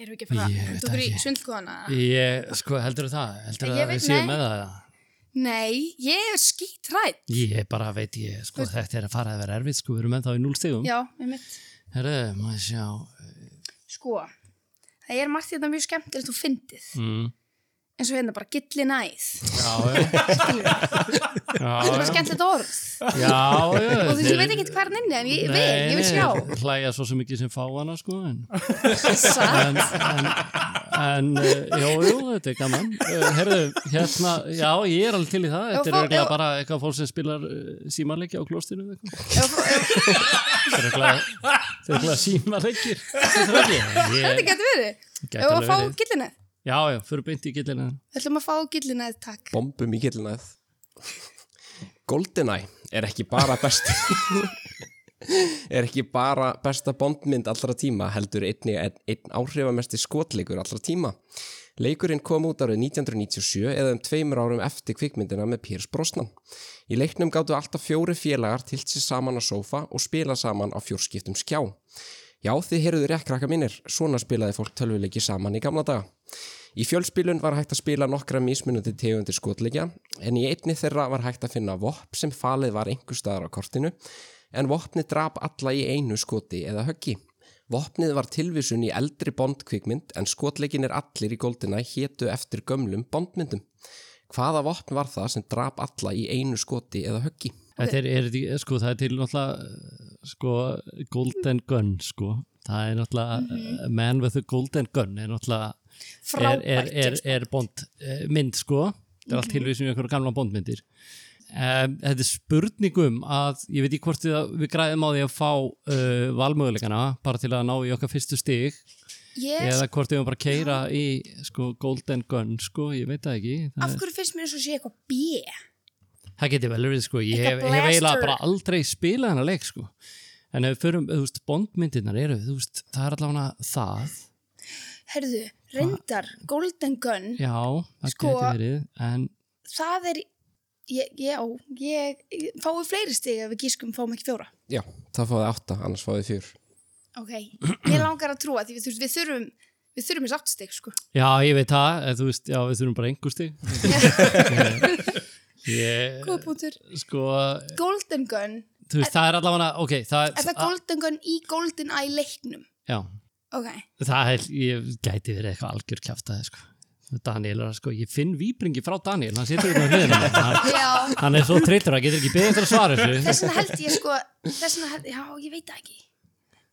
D: erum við ekki að fara
C: Ég
D: að
C: veit
D: þú fyrir
C: ekki.
D: svindkona?
C: Ég, sko, heldur það? Heldur
D: Ég
C: það að
D: veit-
C: við séum
D: nei.
C: með það?
D: Nei, ég er skítrætt.
C: Ég bara veit ég, sko, þetta er að fara að vera erfitt, sko, við erum ennþá í núlstegum.
D: Já, með mitt.
C: Herru, maður sjá.
D: Sko, það er margt þetta mjög skemmtilegt og fyndið.
C: Mm.
D: Eins og hérna bara gilli næð.
C: Já, já.
D: Þetta er
C: já,
D: bara skemmtilegt orð.
C: já, já, já.
D: Og þú veist, ég veit ekki hvað er nynni, en ég vil, ég vil sjá.
C: Hlæja svo sem ekki sem fá hana, sko, en,
D: Satt.
C: en, en, en eh, jú, jú, þetta er gaman. Eh, Herru, hérna, já, ég er alveg til í það.
D: Já,
C: Þetta er
D: fá-
C: örgulega
D: já.
C: bara eitthvað fólk sem spilar uh, símarleikja á klostinu eða eitthvað.
D: Þetta
C: Þetta er örugglega- þetta er örugglega símarleikir. Þetta er ekki. Ég
D: getur verið.
C: gæti
D: Ef að
C: alveg
D: fá
C: verið.
D: gilli næð.
C: Já, já, fyrir beint í gillinu.
D: Við ætlum að fá gilli næð, takk.
A: bombum í gillnað GoldenEye er ekki bara best er ekki bara besta bondmynd allra tíma heldur einnig einn ein áhrifamesti skotleikur allra tíma Leikurinn kom út árið 1997 eða um tveimur árum eftir kvikmyndina með Pírs Brosnan. Í leiknum gáttu alltaf fjóri félagar tilt sér saman á sófa og spila saman á fjórskiptum skjá. Já, þið heyrðuð rétt krakka mínir, svona spilaði fólk tölvuleiki saman í gamla daga. Í fjölspilun var hægt að spila nokkra mismunandi tegundir skotleikja, en í einni þeirra var hægt að finna vopn sem falið var einhver staðar á kortinu, en vopni drap alla í einu skoti eða höggi. Vopnið var tilvísun í eldri bondkvikmynd en skotleikinir allir í góldina hétu eftir gömlum bondmyndum. Hvaða vopn var það sem drap alla í einu skoti eða höggi?
C: Þetta er, er, er, sko, það er til náttúrulega, eh, sko, golden gun, sko. Það er náttúrulega,
D: Mhm.
C: eh, man with a golden gun er náttúrulega, er, er,
D: Frábært. sko.
C: er, er bond, eh, mynd, sko. Þetta er allt tilvísum í einhverju gamla bondmyndir. Um, þetta er spurningum að, ég veit ekki hvort við, við græðum á því að fá uh, valmöguleikana, bara til að ná í okkar fyrstu stig,
D: Ég,
C: eða hvort við höfum bara að keira í, sko, golden gun, sko, ég veit það ekki. Það
D: af hverju finnst mér eins og sé eitthvað B?
C: Það geti vel verið sko, ég
D: Eitthvað
C: hef, hef eiginlega
D: blaster.
C: bara aldrei spilað hennar leik sko. En ef við förum, þú veist, bondmyndirnar eru, þú veist, það er allavega það,
D: Herðu, reyndar, Golden Gun,
C: já, það
D: Sko.
C: geti verið, en
D: það er, ég, já, ég, ég fáið fleiri stig ef við gískum fáum ekki fjóra.
A: Já, það fáði átta, annars fáði fjör.
D: Ok, ég langar að trúa því við, þurfum, við þurfum Við þurfum þess aftstig, sko.
C: Já, ég veit það, en þú veist, já, við þurfum bara einhver stig. Ég,
D: Góða punktur.
C: sko,
D: Golden Gun,
C: þú veist, það er allavega, ok, það
D: er það Golden Gun í Golden Eye leiknum?
C: Já,
D: Ok,
C: það er, ég gæti verið eitthvað algjör kjaftaði, sko. Daniel er að, sko, ég finn víbringi frá Daniel, hann situr út á hliðinu. Hann,
D: já,
C: hann er svo trillur, hann getur ekki beðið eftir að svara þessu.
D: þess vegna held ég sko, þess vegna held, já, ég veit það ekki.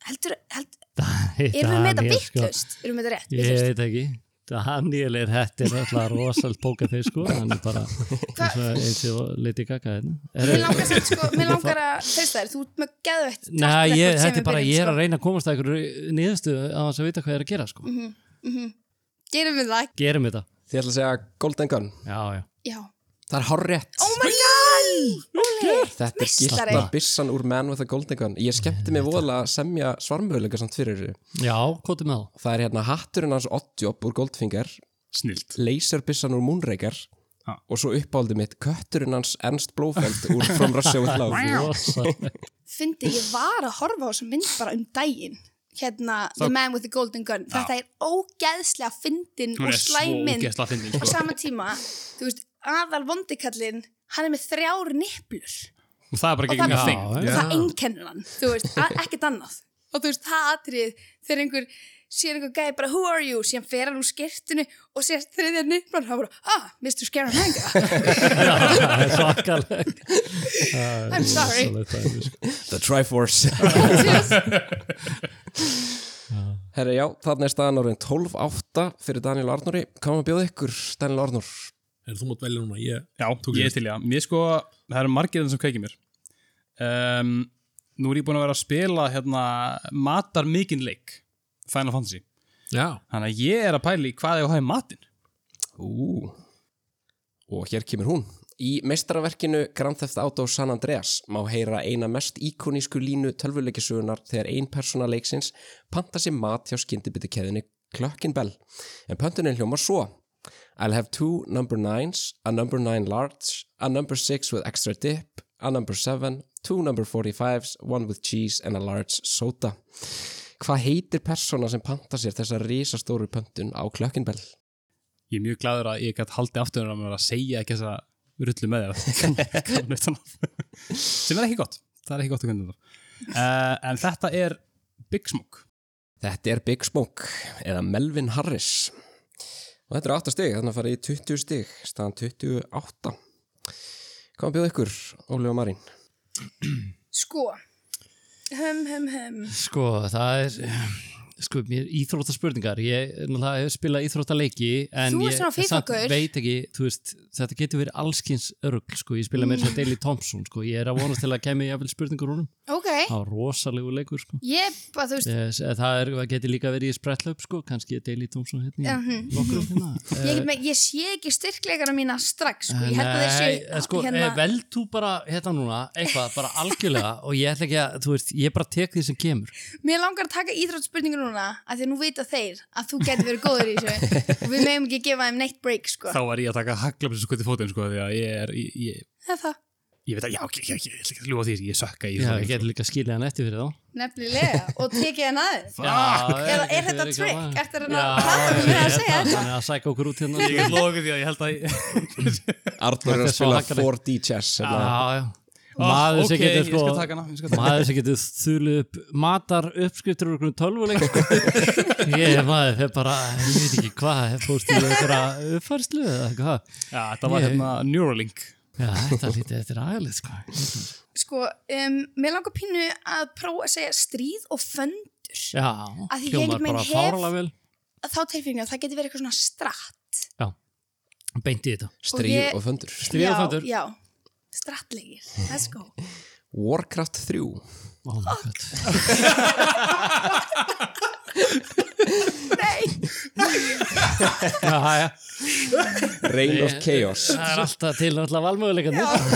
D: Heldur, held, erum við með þetta
C: Daniel, sko,
D: vittlust? Erum við þetta rétt?
C: Ég
D: vitlaust?
C: veit ekki. Daniel er þetta er alltaf rosalt pókafisk, sko, hann er bara eins og, eins og liti kaka hérna. Er-
D: Mér langar samt, sko, mér langar að, treysta þér, þú ert með geðveitt. track
C: Nei,
D: record
C: ég,
D: sem
C: þetta er
D: við
C: bara,
D: byrjum,
C: ég er
D: sko.
C: að reyna að komast að einhverju niðurstöðu á þess að vita hvað ég er að gera, sko.
D: Mhm. Gerum við það?
C: Gerum þetta.
A: Þið ætla að segja Golden Gun.
C: Já, já.
D: Já.
A: Það er horrið.
D: Oh my god! Óli!
A: Þetta er
D: Meistari.
A: gilda bissan úr Man with a Golden Gun. Ég skemmti mig voðalega að semja svarmöðulega samt fyrir þessu.
C: Já, kóti með þá.
A: Það er hérna hatturinn hans Oddjob úr Goldfinger,
B: Snilt.
A: laserbissan úr Moonraker
B: Ha.
A: og svo uppáldið mitt kötturinn hans Ernst Blófeld úr From Russia with Love.
C: Rosa.
D: Fyndi, ég var að horfa á þessa mynd bara um daginn hérna, The Man with the Golden Gun þetta er ógeðslega fyndin
B: Hún er
D: og
B: svo
D: slæminn
B: ógeðsla að fyndin,
D: á
B: sko.
D: sama tíma þú veist, aðal vondikallin hann er með þrjár niplur
B: Og það er bara
D: og
B: ekki
D: það,
B: mjög
C: Já,
B: þing.
C: já.
D: og það einkennir hann þú veist, a- ekkert annað og þú veist, það atrið þegar einhver sér einhver gæði bara who are you, síðan fer hann úr skirtinu og sér þriðja niplan og hann bara ah, Mr. Scaramanga,
C: Já, það er svakalegt.
D: I'm sorry
C: Rosalegt dæmi, sko.
A: The Triforce. Herra, já, þarna er staðan orðin 12.8 fyrir Daniel Arnóri. Hvað maður bjóð ykkur, Daniel Arnór?
E: Er þú mátt velja núna? Ég,
B: Já,
E: Tók
B: ég
E: ég.
B: er til í það. Mér sko, það eru margir enn sem kveikir mér. Um, nú er ég búin að vera að spila hérna matar mikinn leik, Final Fantasy.
E: já,
B: Þannig að ég er að pæli hvað ég hafi matinn.
A: Ú. Og hér kemur hún. Í meistaraverkinu Grand Theft Auto San Andreas má heyra eina mest íkonísku línu tölvuleikisugunar þegar ein persóna leiksins panta sér mat hjá skyndibitukeðinni Klökkin Bell. En pöntunin hljómar svo. I'll have two number nines, a number nine large, a number six with extra dip, a number seven, two number 45s, one with cheese and a large soda. Hvað heitir persóna sem panta sér þessa risastóru pöntun á Klökkin Bell?
B: Ég er mjög gladur að ég gæti haldið aftur að vera að segja ekki þessa rullu með þér. Sem er ekki gott. Það er ekki gott að kunna þetta. Uh, en þetta er Big Smoke.
A: Þetta er Big Smoke eða Melvin Harris og þetta eru 8 stig, þannig að fara í 20 stig staðan 28 Hvað bjóðu ykkur, Óli og Marín?
D: sko hum hum hum
C: Sko, það er, sko, mér íþróttaspurningar. Ég, náttúrulega, hef spilað íþróttaleiki, en
D: Þú ert
C: ég
D: svona
C: samt
D: FIFA-gaur.
C: veit ekki, þú veist, þetta getur verið allskins örugl, sko. Ég spila með
D: Mm.
C: þess að Daily Thompson, sko. Ég er að vonast til að kemja jafnvel spurningur honum.
D: ok,
C: Það var rosalegu leikur, sko.
D: ég bara þú veist
C: Yes, eh, það, er, það geti líka verið í spretlöp sko, kannski er Daily Thompson hérna í
D: Mhm.
C: nokkrum hérna.
D: ég, get með, ég sé ekki styrkleikana mína strax sko.
C: Eh,
D: ég held að þeir
C: nei, eh,
D: séu
C: sko, hérna...
D: hérna,
C: vel þú bara hérna núna, eitthvað, bara algjörlega og ég ætla ekki að, þú veist, ég bara tek því sem kemur
D: mér langar að taka íþrótspurningu núna að því að nú vita þeir að þú getur verið góður í þessu og við meðum ekki gefa þeim neitt break sko.
B: Þá var ég að taka haglabins og kvöti fótinn, sko, því að ég er, ég, ég,
D: það er það,
B: ég veit að, já, ok, ok, ok, ég ætla ekki að ljúa því, ég sökka í
C: Já,
B: það.
C: ég geti líka skilja hann eftir fyrir þá
D: nefnilega og tekið hann aðeins
C: Já,
D: Eða er
C: ekki
D: þetta
C: verið
D: trick?
C: gaman.
D: Ertu að reyna
C: Já,
D: að prata um það að
C: ég-
D: segja
C: hann
D: þetta?
C: er að sæka okkur út hérna
B: Ég
C: sko.
B: get lokuð því að ég held að ég...
A: Arnur er að
C: Þetta er svo
A: spila
C: hakkalegt.
A: 4D chess
C: Já,
A: hérna.
C: já Maður
B: Ah, ok,
C: sem getur
B: ég
C: sko
B: skal taka hana, ég skal taka
C: Maður sem getur þulið upp matar uppskriftur úr einhverjum tölvuleik sko. Ég maður hef bara, ég veit ekki hvað hef fórst í einhverja uppfærslu eða hvað
B: Já, þetta var
C: Ég-
B: hérna Neuralink.
C: Já, þetta lítið eftir aðalið sko
D: sko, um, mér langar pínu að prófa að segja stríð og föndur
C: Já,
D: Að því ég
C: hljómar
D: einhvern veginn
C: bara
D: hef-
C: fáralega vel
D: þá tilfengjum að það getur verið eitthvað svona stratt
C: Beint í þetta
A: stríð og,
D: ég-
A: föndur
C: Stríð og föndur.
D: já, já, strattleikir, let's go
A: Warcraft 3
C: Oh my god
D: nei,
C: Já, já,
A: Reign of Chaos
C: það er alltaf til alltaf valmöguleikarnir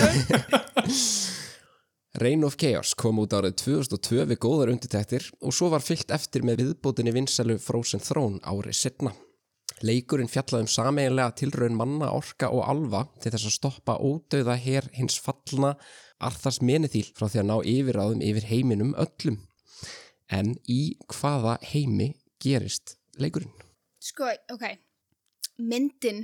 A: Reign of Chaos kom út árið 2002 við góðar undirtæktir og svo var fyllt eftir með viðbótinni vinsælu Frozen Throne árið setna. Leikurinn fjallaði um sameiginlega tilraun manna, orka og alva til þess að stoppa ódauða her hins fallna Arthas Menethil frá því að ná yfirráðum yfir heiminum öllum. En í hvaða heimi gerist leikurinn?
D: Sko, ok, myndin,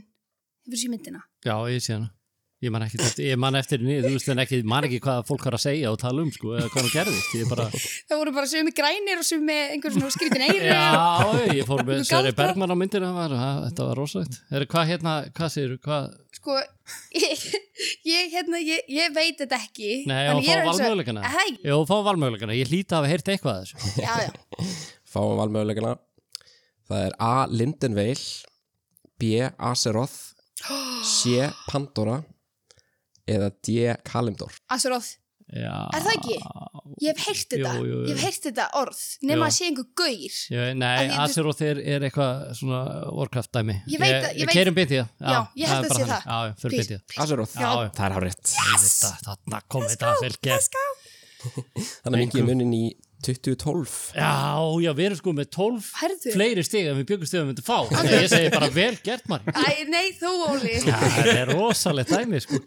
D: hefur sér myndina?
C: Já, ég sé hana. Ég man ekki eftir, ég man eftir henni, þú veist en ekki, man ekki hvað fólk har að segja og tala um, sko, eða hvað hann gerðist. Ég bara,
D: Það voru bara sumi grænir og sumi einhver svona skrítin eiri.
C: já, ég fór með
D: Þú
C: Sverri
D: galdrar.
C: Bergman á myndir, það var, að, þetta var rosalegt. Er, hvað hérna, hvað segir þú, hvað,
D: Sko, ég, ég, hérna, ég, ég veit þetta ekki.
C: nei,
D: Þannig
C: og
D: ég er
C: fá
D: eins og-
C: valmöguleikana.
D: Er Það ekki,
C: Jó, fá valmöguleikana, ég hlýta að hafa heyrt eitthvað að þessu.
D: já, já.
A: Fáum valmöguleikana. Það er A. Lindenveil, B. Aseroth, C. Pandora eða D. Kalimdor.
D: Aseroth,
C: Já.
D: er það ekki? Ég hef heyrt þetta,
C: Jú, jú, jú.
D: ég hef heyrt þetta orð, nema
C: Jú.
D: að sé einhver gaur.
C: Ég,
D: Að
C: nei,
D: ég-
C: Azeroth er, er eitthvað svona Warcraft dæmi.
D: Ég veit það, ég veit-
C: Keirum byttið,
D: Já, ég held að sé það.
C: Já, já, fyrir
D: Please.
C: byttið.
A: Aseroth,
D: Já.
A: það er hárétt.
C: Þetta, þarna kom þetta vel gert.
A: Þannig mikið munin í 2012.
C: Já, já, við erum sko með 12
D: Herðu.
C: fleiri stig en við byggum stig að við myndum fá. Þannig að ég segi bara vel gert, Mari.
D: Æ, nei, þú Óli.
C: Já, þetta er rosalegt dæmi, sko.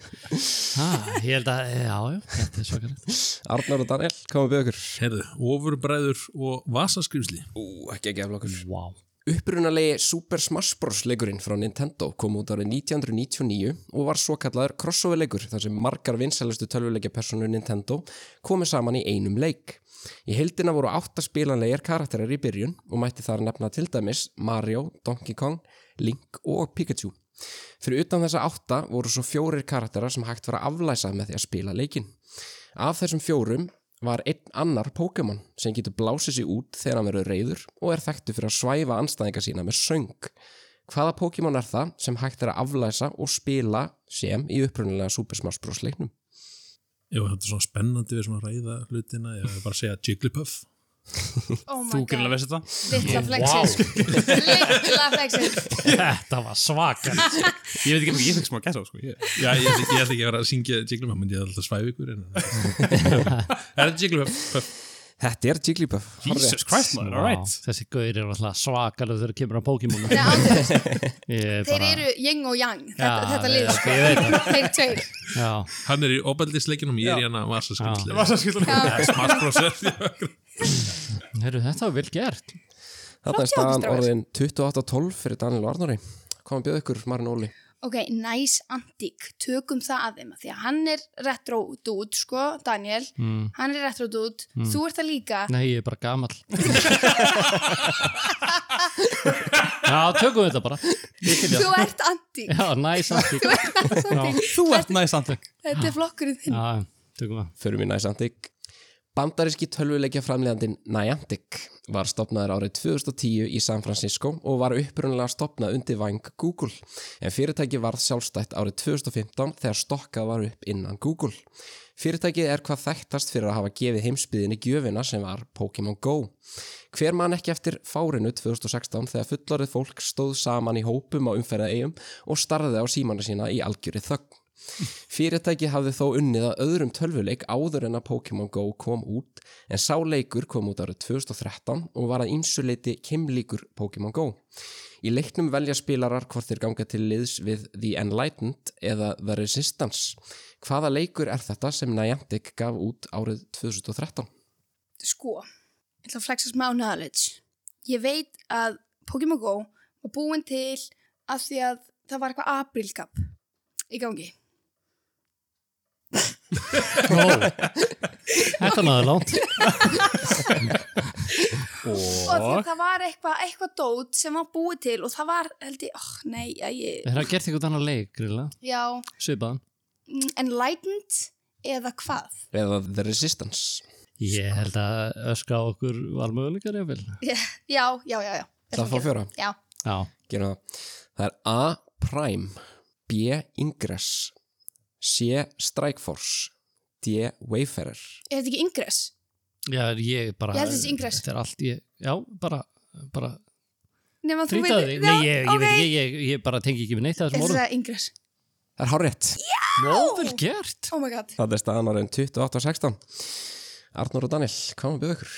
C: Ha, ég held að, já, já, þetta er svakalegt.
A: Arnar og Daniel, komum við okkur.
E: Herðu, ofurbræður og vasaskrýmsli.
A: Ú, ekki ekki aflokkur.
C: Vá.
A: Upprunalegi Super Smash Bros. leikurinn frá Nintendo kom út árið 1999 og var svo kallaður crossover leikur þar sem margar vinsælustu tölvuleikjapersonu Nintendo komi saman í einum leik. Í heildina voru átta spilanlegar karakterar í byrjun og mætti þar nefna til dæmis Mario, Donkey Kong, Link og Pikachu. Fyrir utan þessa átta voru svo fjórir karakterar sem hægt var að aflæsa með því að spila leikinn. Af þessum fjórum var einn annar Pokémon sem getur blásið sér út þegar hann verður reyður og er þekktu fyrir að svæfa anstæðinga sína með söng. Hvaða Pokémon er það sem hægt er að aflæsa og spila sem í upprunalega Super Smash Bros. leiknum?
E: Jú, þetta er svona spennandi við svona ræða hlutina, ég vil bara segja Jigglypuff.
D: Oh my
B: Þú
D: god.
B: greinlega veist þetta.
D: Littla flexið. Littla flexið.
C: Þetta var svakalegt.
B: Ég veit ekki hvað ég fekk smá gæsa á, sko. Ég,
E: Já, ég, ég ætla ekki að vera að syngja Jigglypuff, menn ég ætla alltaf að svæfa ykkur. En... er þetta Jigglypuff?
A: Þetta er Jigglypuff.
B: Jesus
A: hárrétt.
B: Christ, maður, all right.
C: Vá, Þessi gaur er alltaf svakalega þegar kemur á Pokémon.
D: Nei, alveg, þeir
C: Þeir
D: eru yin og yang, þetta,
C: Já,
D: þetta lið,
C: já,
D: sko.
C: ég veit
D: Þeir tveir.
C: Já,
E: Hann er í opeldisleikinum, ég er í hérna hana vasaskrýmsli.
B: Vasaskýtlunum.
E: Smarsbrósir.
C: heyrðu, þetta var vel gert.
A: Þarna er
D: Flott hjá okkur,
A: staðan
D: strákar.
A: orðin 28.12 fyrir Daniel og Arnóri. Komum bjóð ykkur, Marin Óli.
D: Ok, nice antík, tökum það að þeim, af því að hann er retro dude, sko, Daniel,
C: Mm.
D: hann er retro dude,
C: Hmm.
D: þú ert það líka.
C: Nei, ég er bara gamall. Já, tökum þetta bara. Ég til í það.
D: Þú ert antík,
C: Já, næs aftík.
D: þú ert antík,
B: Þú ert næst andleg.
D: þetta er flokkurinn þinn.
C: Já, tökum það.
A: Förum í Niantic. Bandaríski tölvuleikja framlegandin Niantic var stopnaður árið 2010 í San Francisco og var upprunalega stopnað undir vang Google en fyrirtæki varð sjálfstætt árið 2015 þegar stokkað var upp innan Google. Fyrirtækið er hvað þekktast fyrir að hafa gefið heimsbyðinni gjöfina sem var Pokémon Go. Hver man ekki eftir fárinu 2016 þegar fullorðið fólk stóð saman í hópum á umferða eigum og starðið á símana sína í algjöri þögn. Fyrirtæki hafði þó unnið að öðrum tölvuleik áður en að Pokémon Go kom út en sá leikur kom út árið 2013 og var að insuleiti kemlíkur Pokémon Go. Í leiknum velja spilarar hvort þeir ganga til liðs við The Enlightened eða The Resistance. Hvaða leikur er þetta sem Niantic gaf út árið 2013?
D: Sko, ég ætla að flexa smá knowledge. Ég veit að Pokémon Go var búin til af því að það var eitthvað aprilgap í gangi.
C: Ó, Þetta náður langt.
D: og af því að það var eitthvað eitthva dót sem var búið til og það var, held ég, oh, nei, að ég,
C: Þeir hafa gert eitthvað annað leik, gríðlega.
D: já,
C: Svipaðan.
D: mm, enlightened eða hvað?
A: Eða The Resistance?
C: Ég held að öskra á okkur valmöguleikar jáfnvel.
D: Já, já, já, já.
A: Það fór fjóra.
D: Já,
C: Já,
A: Gerum það. Það er A. Prime, B. Ingress, C. Strikeforce, D. Wayfarer.
D: er þetta ekki ingress?
C: já ég bara...
D: Ég held þessi Ingress.
C: Þetta er allt ég... Já, bara... bara
D: Nefn að þú
C: Þrýtaði þig?
D: veitir-
C: Nei, ég, ég
D: ok.
C: veit ekki, ég, ég bara tengi ekki við neitt að
D: Ég
C: þessum
D: ætla að
C: orðum.
D: segja ingress.
A: Það er hárétt.
C: Nó, vel gert.
D: Oh my god.
A: Það er staðan orðin 28.16. Arnur og Daniel, komum við ykkur.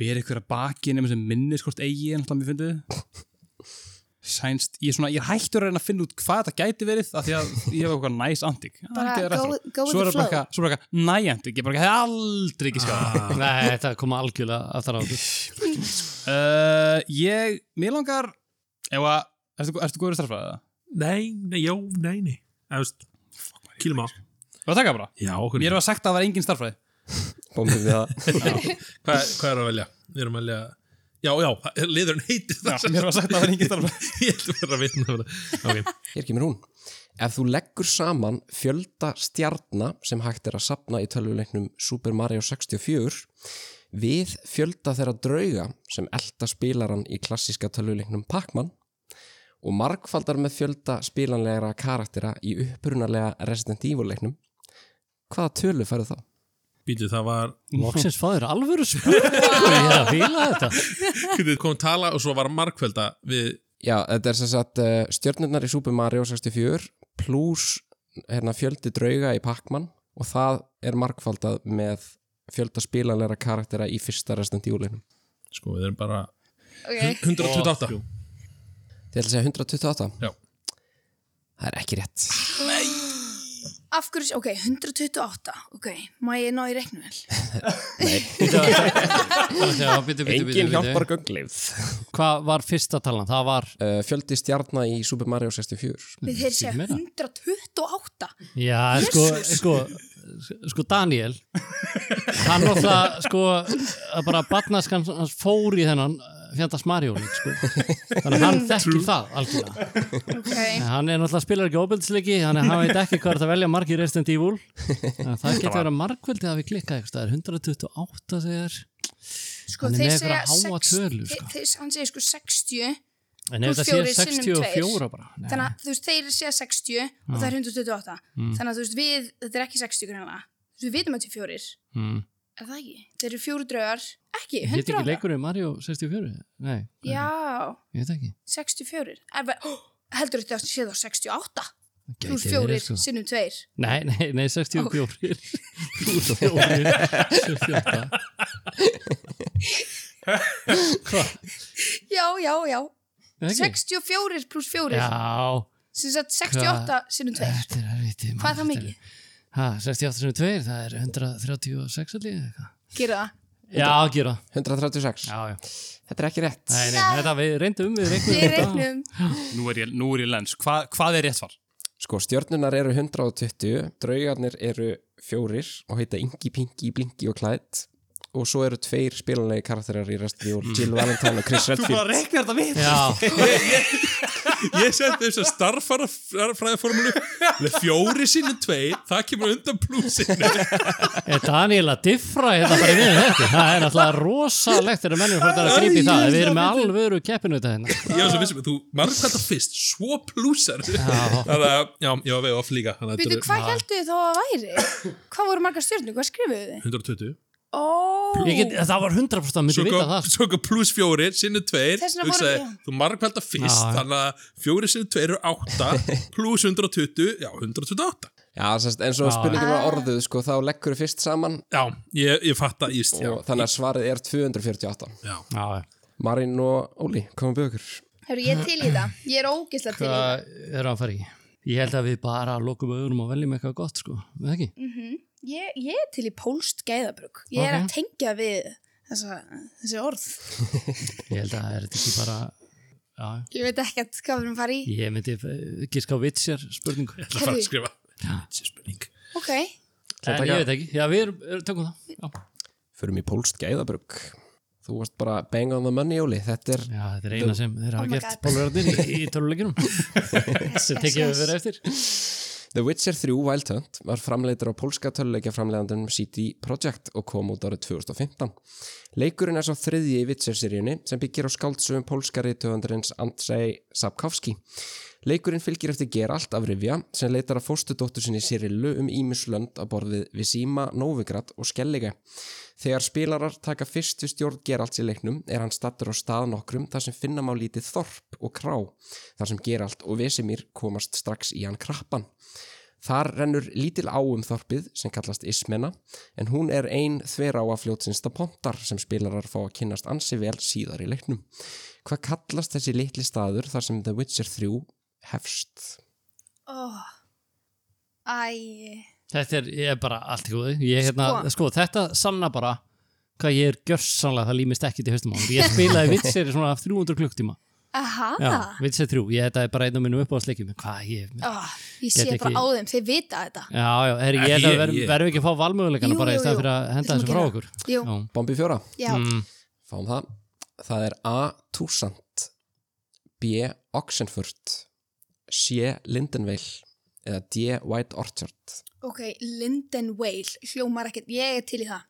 B: Ber ykkur að baki nema sem minnir hvort eigi en alltaf mér fundið. Sænst, ég er svona, ég er hættur að reyna að finna út hvað þetta gæti verið af því að ég hef eitthvað næs antík. Já,
D: Bara
B: þetta er
D: go-
B: retro.
D: go with
B: Svo
D: the
B: er bara
D: flow.
B: eitthvað- svo er bara eitthvað næjantík, ég bara hef aldrei ekki skjáð.
C: Nei, þetta kom algjörlega aftur á okkur.
B: Uh, ég, mér langar Ef að, ertu, ertu góður starffræðið það?
E: Nei, nei, já, nei, nei Það veist, kýlum á
B: Var það taka bara?
E: Já, hvernig
B: Mér var sagt að það var engin starffræði
A: Bóndum við það.
E: Hvað, hvað er að velja? Við erum að velja Já, já, það- liðurinn heitir það
B: Mér var sagt að það var engin starffræði
E: Ég ætlum að vera að vitna það Ok,
A: Hér kemur hún. Ef þú leggur saman fjölda stjarna sem hægt er að sapna í tölvuleiknum Super Mario 64 við fjölda þeirra drauga sem elda spilaran í klassíska tölvuleiknum Pac-Man og margfaldar með fjölda spilanlegra karaktera í upprunalega Resident Evil-leiknum, hvaða tölu færðu þá?
E: býtu, það var
C: Loksins fáður alvöru spurning Ég er að fíla þetta
E: Við komum að tala og svo var markvelda við
A: Já, þetta er sem sagt eh, stjörnurnar í Super Mario 64 pluss hérna, fjöldi drauga í Pac-Man og það er markfaldað með fjölda spilanleira karaktera í fyrsta restant júlinum.
E: Sko, við erum bara
D: ok,
E: 128
A: Þið ætla að segja 128?
E: Já.
A: Það er ekki rétt.
D: af hverju, ok, 128 ok, má ég ná í reiknuvel
C: Já, bíddu, bíddu, bíddu,
A: Engin
C: bíddu.
A: hjálpar göngleif.
C: Hvað var fyrsta talan? Það var,
A: Uh, fjöldi stjarnar í Super Mario 64.
D: við þeir segja
C: meira.
D: 128
C: já, sko, sko, sko Daniel hann náttúrulega, sko að bara barnaskan hans fór í þennan fjandast Mario leik, sko. þannig að hann þekkir það algjörlega
D: ok,
C: En hann er náttúrulega spilar ekki óbjöldsleiki þannig að hann veit ekki hvað er það að velja margir Resident Evil Þannig að það getur verið margveldið að við klikka eitthvað, það er 128 þegar
D: sko
C: Hann er
D: þeir
C: með
D: segja
C: einhverja háa
D: sex-
C: tölu,
D: þeir-
C: sko.
D: þeir- hann segir sko 60
C: en
D: Þú
C: ef þetta sé
D: fjórir sinnum
C: 64
D: tveir.
C: bara nei. Mm.
D: þannig að þú veist, þeir séu 60 og það er 128 þannig að þú veist, við, þetta er ekki 60 greinlega við vitum að þetta er fjórir,
C: mm.
D: er það ekki? þeir eru fjóru draugar, ekki,
C: Ég get
D: 100
C: ekki leikurinn Mario 64? Nei, hvað er-
D: já,
C: ég veit ekki.
D: 64 er, ver- oh, heldur þetta að sé þá 68 þú
C: Gæti
D: eru
C: verið,
D: fjórir,
C: sko.
D: sinnum tveir
C: Nei, nei, nei, 64. Þú ert að fjórir, 64.
D: já, já, já,
C: Nei, ekki?
D: 64 pluss fjórir
C: Já,
D: sem sagt 68 sinnum tveir
C: þetta er erfitt.
D: hvað er það mikið?
C: Ha, 68 sem 2, það er 136 allir eða eitthvað.
D: gera það
C: Já, gera.
A: 136.
C: Já, já.
A: Þetta er ekki rétt.
C: Nei, nei, þetta við reyndum, við reyndum.
D: við reiknum,
B: Nú er ég, nú er ég lens Hva, Hvað er rétt svar?
A: Sko, stjörnunar eru 120, draugarnir eru fjórir og heita Ingi, Pingi, Blingi og Klætt og svo eru tveir spilanlegi karakterar í restu jól, Jill Valentine og Chris Redfield.
B: reikna þetta við
C: Já,
E: Ég seti þess að starffræðaformulu með fjóri sinnum tveir það kemur undan plussinu
C: er Daniel að diffra þetta bara í miðum þetta? Það er náttúrulega rosalegt þegar mennum fórt að grípa í það. Við erum með alvöru keppinu þetta hérna.
E: Ég var svo vissum að þú margkvæmta fyrst svo plussar Þannig að, já, ég var veið off líka þannig að
D: byrju,
E: þetta
D: hvað heldur þið þá að væri? hvað voru margar stjórnum, hvað skrifuðu þið?
E: er 120
D: ó,
C: Ég Get, það var 100% að myndi
E: Svo
C: vita
E: kom-
C: það.
E: Svo kom pluss fjóri sinnum tveir
D: Þess vegna voru
E: hugsaði,
D: við-
E: Þú margkvæmta fyrst
C: Já.
E: þannig að fjóri sinnum tveir eru átta pluss 120, já, 128
A: Já, semst, eins og spurningin var orðuð, sko, þá leggur við fyrst saman
E: Já, ég, ég fatta, ég, já,
A: og þannig að svarið er 248.
E: já
C: Já, já.
A: Marín og Óli, komum við ykkur.
D: Hörru, ég er til í það. Ég er ógislega til í það.
C: sko, Hvað er að fara í? Ég held að við bara lokum auðunum og veljum eitthvað gott sko, við ekki?
D: Ég, ég er til í pólst gæðabrug. Ég er að tengja við þessa, þessi orð.
C: Ég held að það er þetta ekki bara, já,
D: Ég veit ekki hvað við erum að fara í.
C: ég myndi eh, giska á vitsjar spurningu.
E: Það fara að
D: Herri.
E: skrifa Þessi spurning
D: Ok,
C: En ég veit ekki, já við erum, er- tökum það. Já,
A: Förum í pólst gæðabrug. Þú varst bara bang on the money, Óli. Þetta er,
C: já þetta er eina sem þeir
D: Oh
C: hafa
D: my
C: gert
D: God.
C: pólverðin í, í töluleikinum,
D: yes,
C: sem tekið við verið eftir.
A: The Witcher 3 Wild Hunt var framleitur á pólska töluleikja framleiðandunum CD Projekt og kom út árið 2015. Leikurinn er svo þriðji í Witcher-seríunni sem byggir á skáldsöfum pólska reytöfundarins Andrzej Sapkowski. Leikurinn fylgir eftir Geralt af Rivja sem leitar að fóstudóttur sinni Cyrillu um Ímislönd að borðið Visima, Novigrad og Skellige. Þegar spilarar taka fyrstu stjórn Geralts í leiknum er hann stattur á stað nokkrum þar sem finna má lítið þorp og krá, þar sem Geralt og Vesemir komast strax í hann krappan. Þar rennur lítil á um þorpið sem kallast Ismena en hún er ein þver á að fljótsinsta pontar sem spilarar fá að kynnast ansi vel síðar í leiknum. Hvað kallast þessi litli staður þar sem The Witcher 3 hefst?
D: Oh. Æ,
C: Þetta er, ég er bara allt í góði, ég hérna,
D: Sko.
C: sko. þetta sanna bara hvað ég er gjörsanlega, það límist ekki til höstum á. Ég spilaði vitsjari svona 300 klukktíma.
D: Aha.
C: Já, Witcher 3, ég þetta er bara einn af mínum uppáðsleikjum Hvað, ég Já,
D: Ó, ég
C: Get
D: sé bara
C: ekki-
D: á þeim, þeir vita þetta
C: já, er, ég held
E: Ég-
C: að verðum
E: ég-
C: verðum ekki að fá valmöguleikana
D: Jú,
C: bara í
D: jú,
C: stað
D: jú.
C: fyrir að
D: Við
C: henda þessu
D: skulum gera
C: frá okkur
D: Jú,
C: Já.
A: Bombi fjóra,
D: já,
C: Mm,
A: fáum það Það er A. Túsant B. Oxenfurt C. Lindenvale eða D. White Orchard
D: ok, Linden Whale hljómar ekkert, ég er til í það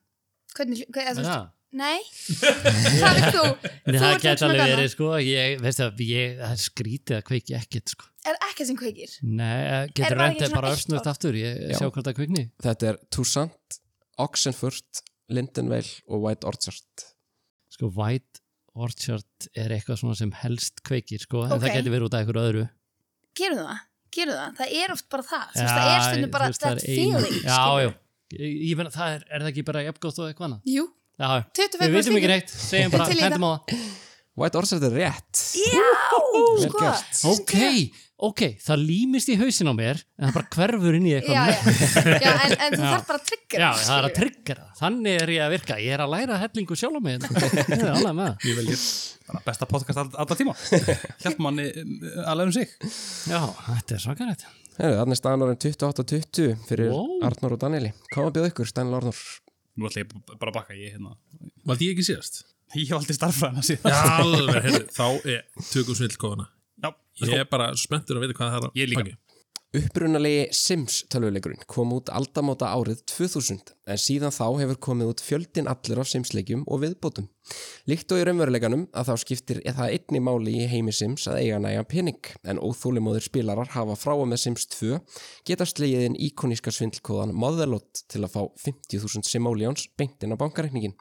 D: hvernig, hljó- hvað, eða þú
C: já.
D: veist, nei það er þú
C: Nei,
D: þú
C: það
D: ert
C: geta
D: svona
C: alveg
D: gana.
C: verið sko, ég, veistu að ég, það er skrítið að kveiki ekkert sko.
D: er ekkert sem kveikir
C: Nei, eh,
D: Er
C: getur
D: bara
C: reyndið
D: ekki
C: bara
D: svona
C: öfsnögt
D: eitt
C: aftur, ég
A: Já.
C: sjá hvað það kveikni.
A: Þetta er Túsant Oxenfurt, Lindenvale og White Orchard
C: Sko, White Orchard er eitthvað svona sem helst kveikir sko, en það
D: Ok.
C: getur verið út af einhverju öðru.
D: gerðu það, gerðu það, það er oft bara það þú veist, það er
C: þú
D: stundum bara
C: veist, það
D: that
C: er einu-
D: feeling
C: Já,
D: skilur.
C: já, ég, ég meina, það er, er það ekki bara jafngótt og eitthvað annað?
D: jú,
C: Já, já. við
D: 25
C: veitum ekki neitt, segjum bara,
D: Til í það.
C: hendum á það.
A: White Orchard er rétt
D: já,
A: Vel
D: sko
A: gert.
C: Ok, ok, það límist í hausin á mér, en það bara hverfur inn í eitthvað
D: já, já, já, en, en þú
C: Já.
D: þarf bara að tryggja
C: Já, það er að tryggja það. Þannig er ég að virka. Ég er að læra hellingu sjálf á mig. Ég er alveg með það.
B: Ég vel ég bara besta podcast all, alla tíma Hjálp manni eh, alveg um sig
C: Já, þetta er svakarlegt.
A: Herru, þannig er staðan orðin 28-20 fyrir
C: Wow.
A: Arnór og Danieli. Hvað að bjóða ykkur, Daniel Arnór?
B: Nú ætla ég bara að bakka ég hérna
E: Valdi ég ekki síðast?
B: Ég hef aldrei starfræðina síðan
E: Já, alveg, heyrðu, þá er tökum snillkóðana.
B: Já,
E: Ég er bara svo spenntur að vita hvað það er að
B: Ég líka.
E: baki.
A: Upprunalegi Sims tölvuleikurinn kom út aldamóta árið 2000 en síðan þá hefur komið út fjöldin allur af Sims-leikjum og viðbótum. Líkt og í raunveruleikanum að þá skiptir það einni máli í heimi Sims að eiga nægan pening en óþúlimóðir spilarar hafa frá og með Sims 2 geta slegið inn íkoníska svindlkóðan Motherlot til að fá 50.000 Simoleons beint inn á bankareikningin.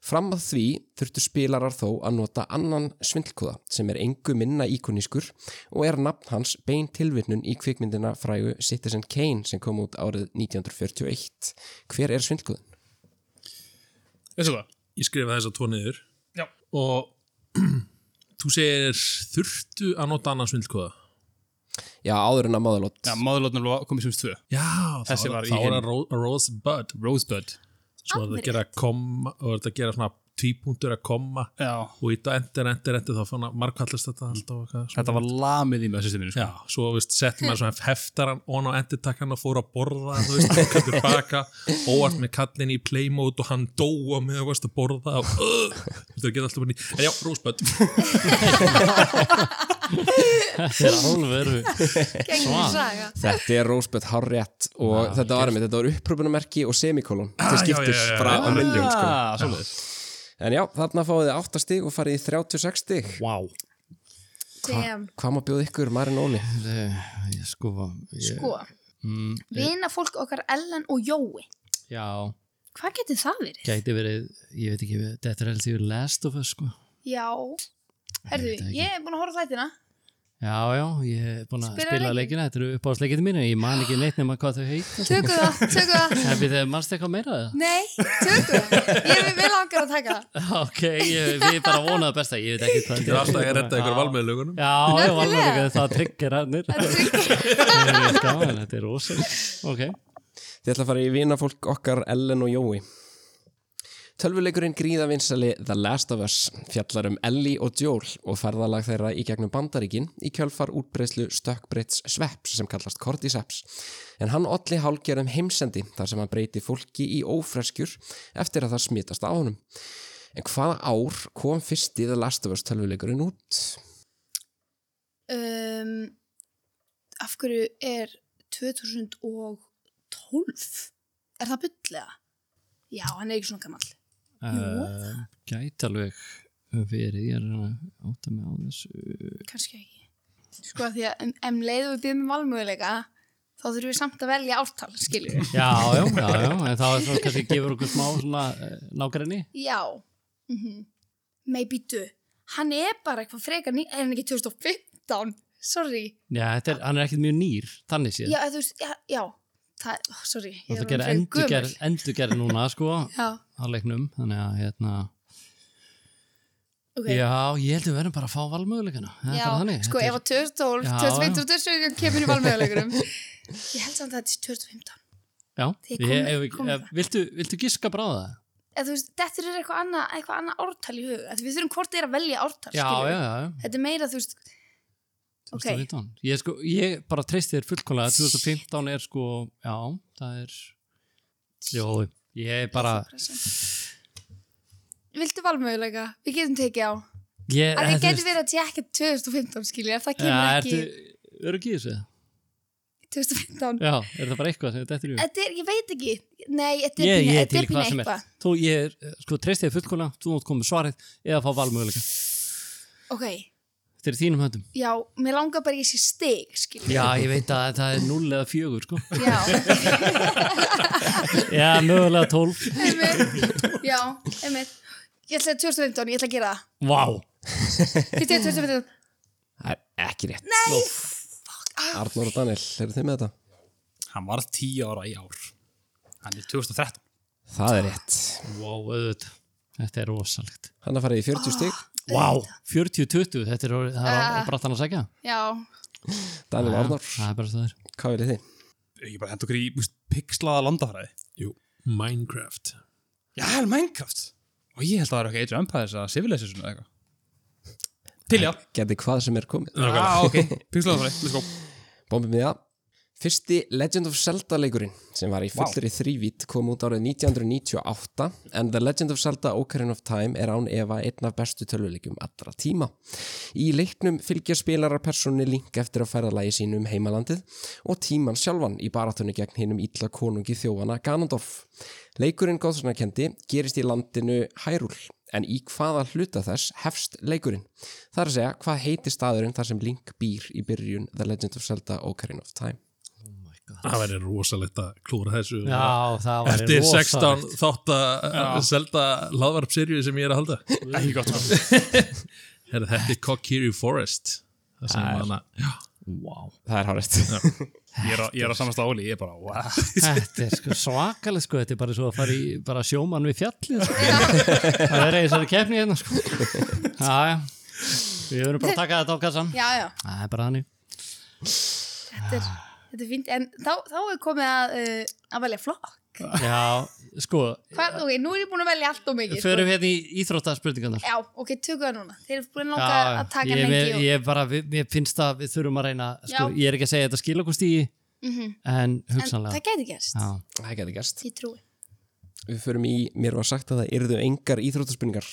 A: Fram að því þurftu spilarar þó að nota annan svindlkóða sem er engu minna íkonískur og er nafn hans bein tilvinnun í kvikmyndina frægu Citizen Kane sem kom út árið 1941. Hver er svindlkóðin?
B: veistu það?
E: Ég skrifa þess að tvo niður
B: Já.
E: og þú segir þurftu að nota annan snillkóða.
A: Já, áður en að maðurlót.
B: Já, maðurlótnum komið sem stöð
E: Já, þá
B: Þessi
E: er-
B: var í
E: þá er
B: hinum.
E: það ro- Rosebud.
B: Rosebud
E: Svo er það að gera komma og er það að gera svona tvípunktur að komma
B: Já,
E: og í dag endur, endur, endur þá fann að margkallast þetta alltaf og eitthvað. svona.
B: þetta var lamið í með systeminu sko.
E: Já, svo veist, settum maður svona heftaran on á endirtakkan og fór að borða þú veist, og kom tilbaka, óvart með kallin í playmode og hann dóa með að veist að borða og uh, þú veist, það geta alltaf bara ný en já, rúspöld,
C: Þetta er alveg. Svan.
D: saga
A: Þetta er Rósbjörn Harriett og þetta var einmitt, þetta var uppröpunumerki og semikólum
E: já,
A: til skiptis
E: já, já, já.
A: frá
E: Ah.
A: að miljón sko.
B: Ah, svoleiðis.
A: En já, þarna fáið þið 8 stig og farið í 36 stig.
C: Vá.
D: Damn.
A: Hvað má bjóða ykkur, Marin Óli?
C: Ég sko, ég,
D: sko,
C: Mm,
D: vina fólk okkar Ellen og Jói
C: já,
D: hvað getur það verið?
C: gæti verið, ég veit ekki, þetta er heldur last of us, sko.
D: já, herðu,
C: veit það ekki.
D: ég er búin að horfa á þættina
C: Já, já, ég er búin að
D: Spilaðu
C: spila
D: leikinn?
C: leikina, þetta eru uppáðsleikinu mínu, ég man ekki neitt nema hvað þau heit.
D: tökum það, tökum það
C: En við þeim mannst eitthvað meira það?
D: nei, tökum það, ég er vel langar að taka það
C: Ok, ég, við bara vonaðu besta, ég veit ekki hvað
E: það er alltaf að redda ykkur
C: Já.
E: valmiðlugunum
C: Já, já, valmöguleika, það tryggir hannir.
D: Þetta er ekki-
C: Þetta er rosa. Ok.
A: Þið ætla að fara í vinafólk okkar Ellen og Jói. Tölvuleikurinn gríða vinsali The Last of Us fjallar um Ellie og Joel og ferðalag þeirra í gegnum bandaríkin í kjölfar útbreyslu stökkbreyts svepps sem kallast Cordyceps. En hann olli hálgerðum heimsendi þar sem hann breyti fólki í ófreskjur eftir að það smítast á honum. En hvaða ár kom fyrst í The Last of Us tölvuleikurinn út?
D: um, af hverju er 2012 er það bullega? já, hann er ekki svona gammal
C: Uh, gæti alveg verið, ég er að átta mig á þessu
D: kannski ekki sko af því að em, em leiðu við býðum valmöguleika þá þurfum við samt að velja ártal skilur við
C: Já, já, já, já, en það er svona kannski gefur okkur smá svona uh, nágræni
D: Já mm -hmm. Nei, býtu Hann er bara eitthvað frekar ný Er hann ekki 2015? Sorry
C: Já, þetta er, hann er ekkert mjög nýr, þannig séð
D: Já, eða þú veist, já, já það, oh, Sorry, ég
C: Það er
D: er
C: að gera
D: orðin frekar
C: endurgerð, endurgerð núna, sko,
D: Já,
C: á leiknum Þannig að, hérna,
D: ok
C: já, ég held við verðum bara að fá valmöguleikana Þetta
D: Já,
C: er þannig
D: sko,
C: þetta
D: ef
C: er-
D: að 2012,
C: Já,
D: 2020 og 2017 kemur í valmöðuleikurum Ég held samt að þetta er 2015
C: Já,
D: Þið
C: ég,
D: komið-
C: ef,
D: komið
C: ef, viltu, viltu giska bráða?
D: eða þú veist, þetta er eitthvað annað eitthvað annað ártal í hug, Að við þurfum hvort er að velja ártal,
C: já,
D: skilurðu.
C: já, já.
D: þetta er meira, þú veist,
C: 2015. Ég, sko, ég bara treysti þér fullkomlega 2015 er sko, já, það er Jó, ég er bara
D: viltu valmöguleika við getum tekið á,
C: ég,
D: að
C: Eh, þú
D: það getur
C: veist-
D: verið að sé ekki 2015 skilur, ef það
C: Já,
D: kemur
C: ertu
D: ekki
C: örugg í þessu?
D: 2015
C: Já, er það bara eitthvað sem þetta er í hug?
D: þetta er, ég veit ekki, nei, þetta er
C: Ég,
D: pínu-
C: ég er
D: þetta
C: til
D: er
C: hvað
D: pínu
C: sem er
D: eitthvað
C: Þú, ég er, eh, sko, treysti þér fullkomlega Þú mátt koma með svarið eða fá valmöguleika
D: ok,
C: Þetta er í þínum höndum
D: já, mér langar bara í þessi stig skilur,
C: Já, ég veit að það er 0 eða 4, sko
D: já
C: Já, mögulega 12
D: einmitt, já, einmitt ég ætla að 2015, ég ætla að gera það
C: Vá wow.
D: Fyrstu er 2015,
A: Það er ekki rétt. Nei! Arnór og Daniel, eru þið með þetta?
B: Hann var 10 ára í ár. Hann er 2013.
A: Það er rétt.
C: wow, auðvitað Þetta er rosalegt
A: Hann er að fara í 40 stig.
C: Vá, 40-20, þetta er, orðið- það
D: Ah.
C: er uh. brattan að segja
D: já,
A: Daniel og Arnór,
C: Það er bara það er
A: hvað viljið þið?
B: Ég bara hend okkur í víst, pixlaða landafræði.
E: Jú, Minecraft
B: Já, það er Minecraft. Og ég held að það er eitthvað Age of Empires eða Civilization eða eitthvað. Til já.
A: Geti hvað sem er komið.
B: Já, ah, ok. Pixlaðafræði, let's go.
A: Bombið mig það. Fyrsti Legend of Zelda leikurinn sem var í fullri wow. þrývít kom út árið 1998 en The Legend of Zelda Ocarina of Time er án efa einn af bestu tölvuleikum allra tíma. Í leiknum fylgja spilarar persóni link eftir að færa lægi sínu um heimalandið og tíman sjálfan í baratunni gegn hinnum ítla konungi þjófana Ganondorf. Leikurinn góðsanakendi gerist í landinu Hyrule en í hvaða hluta þess hefst leikurinn. Það er að segja hvað heiti staðurinn þar sem Link býr í byrjun The Legend of Zelda Ocarina of Time.
E: Það væri rosalegt að klúra þessu
C: Já, það var
E: Eftir 16 þátt að selda laðvarp-serju sem ég er að halda
B: Ekki gott. sko.
E: Herra, Þetta er Kokiri Forest Það sem hana Já,
C: wow.
A: Það er hárætt.
B: Ég er, á- ég er að samast áli, ég er bara, wow.
C: Þetta er sko svakalega sko Þetta er bara svo að fara í bara sjómann við fjallið sko. Það er eins og keppni hérna sko Já, já Við verðum bara að taka þetta á kassan
D: já, já
C: Það er bara þannig
D: þetta er, þetta er fínt, en þá, þá er komið að, uh, að velja flokk
C: Já, sko
D: Hvað, ok, nú er ég búin að velja allt og mikið sko.
C: Förum hérna í íþróttaspurningarnar
D: Já, ok, tökum það núna Þeir eru búin að langa
C: Já,
D: að taka
C: ég,
D: hann
C: ég,
D: lengi og...
C: ég bara, við- mér finnst að við þurfum að reyna sko,
D: Já.
C: Ég er ekki að segja þetta skil okkur stíði
D: Mhm.
C: En
D: En það
C: hugsanlega
D: gæti gerst,
C: Já,
A: Það geti gerst.
D: ég trúi
A: Við förum í, mér var sagt að það yrðu engar íþróttaspurningar.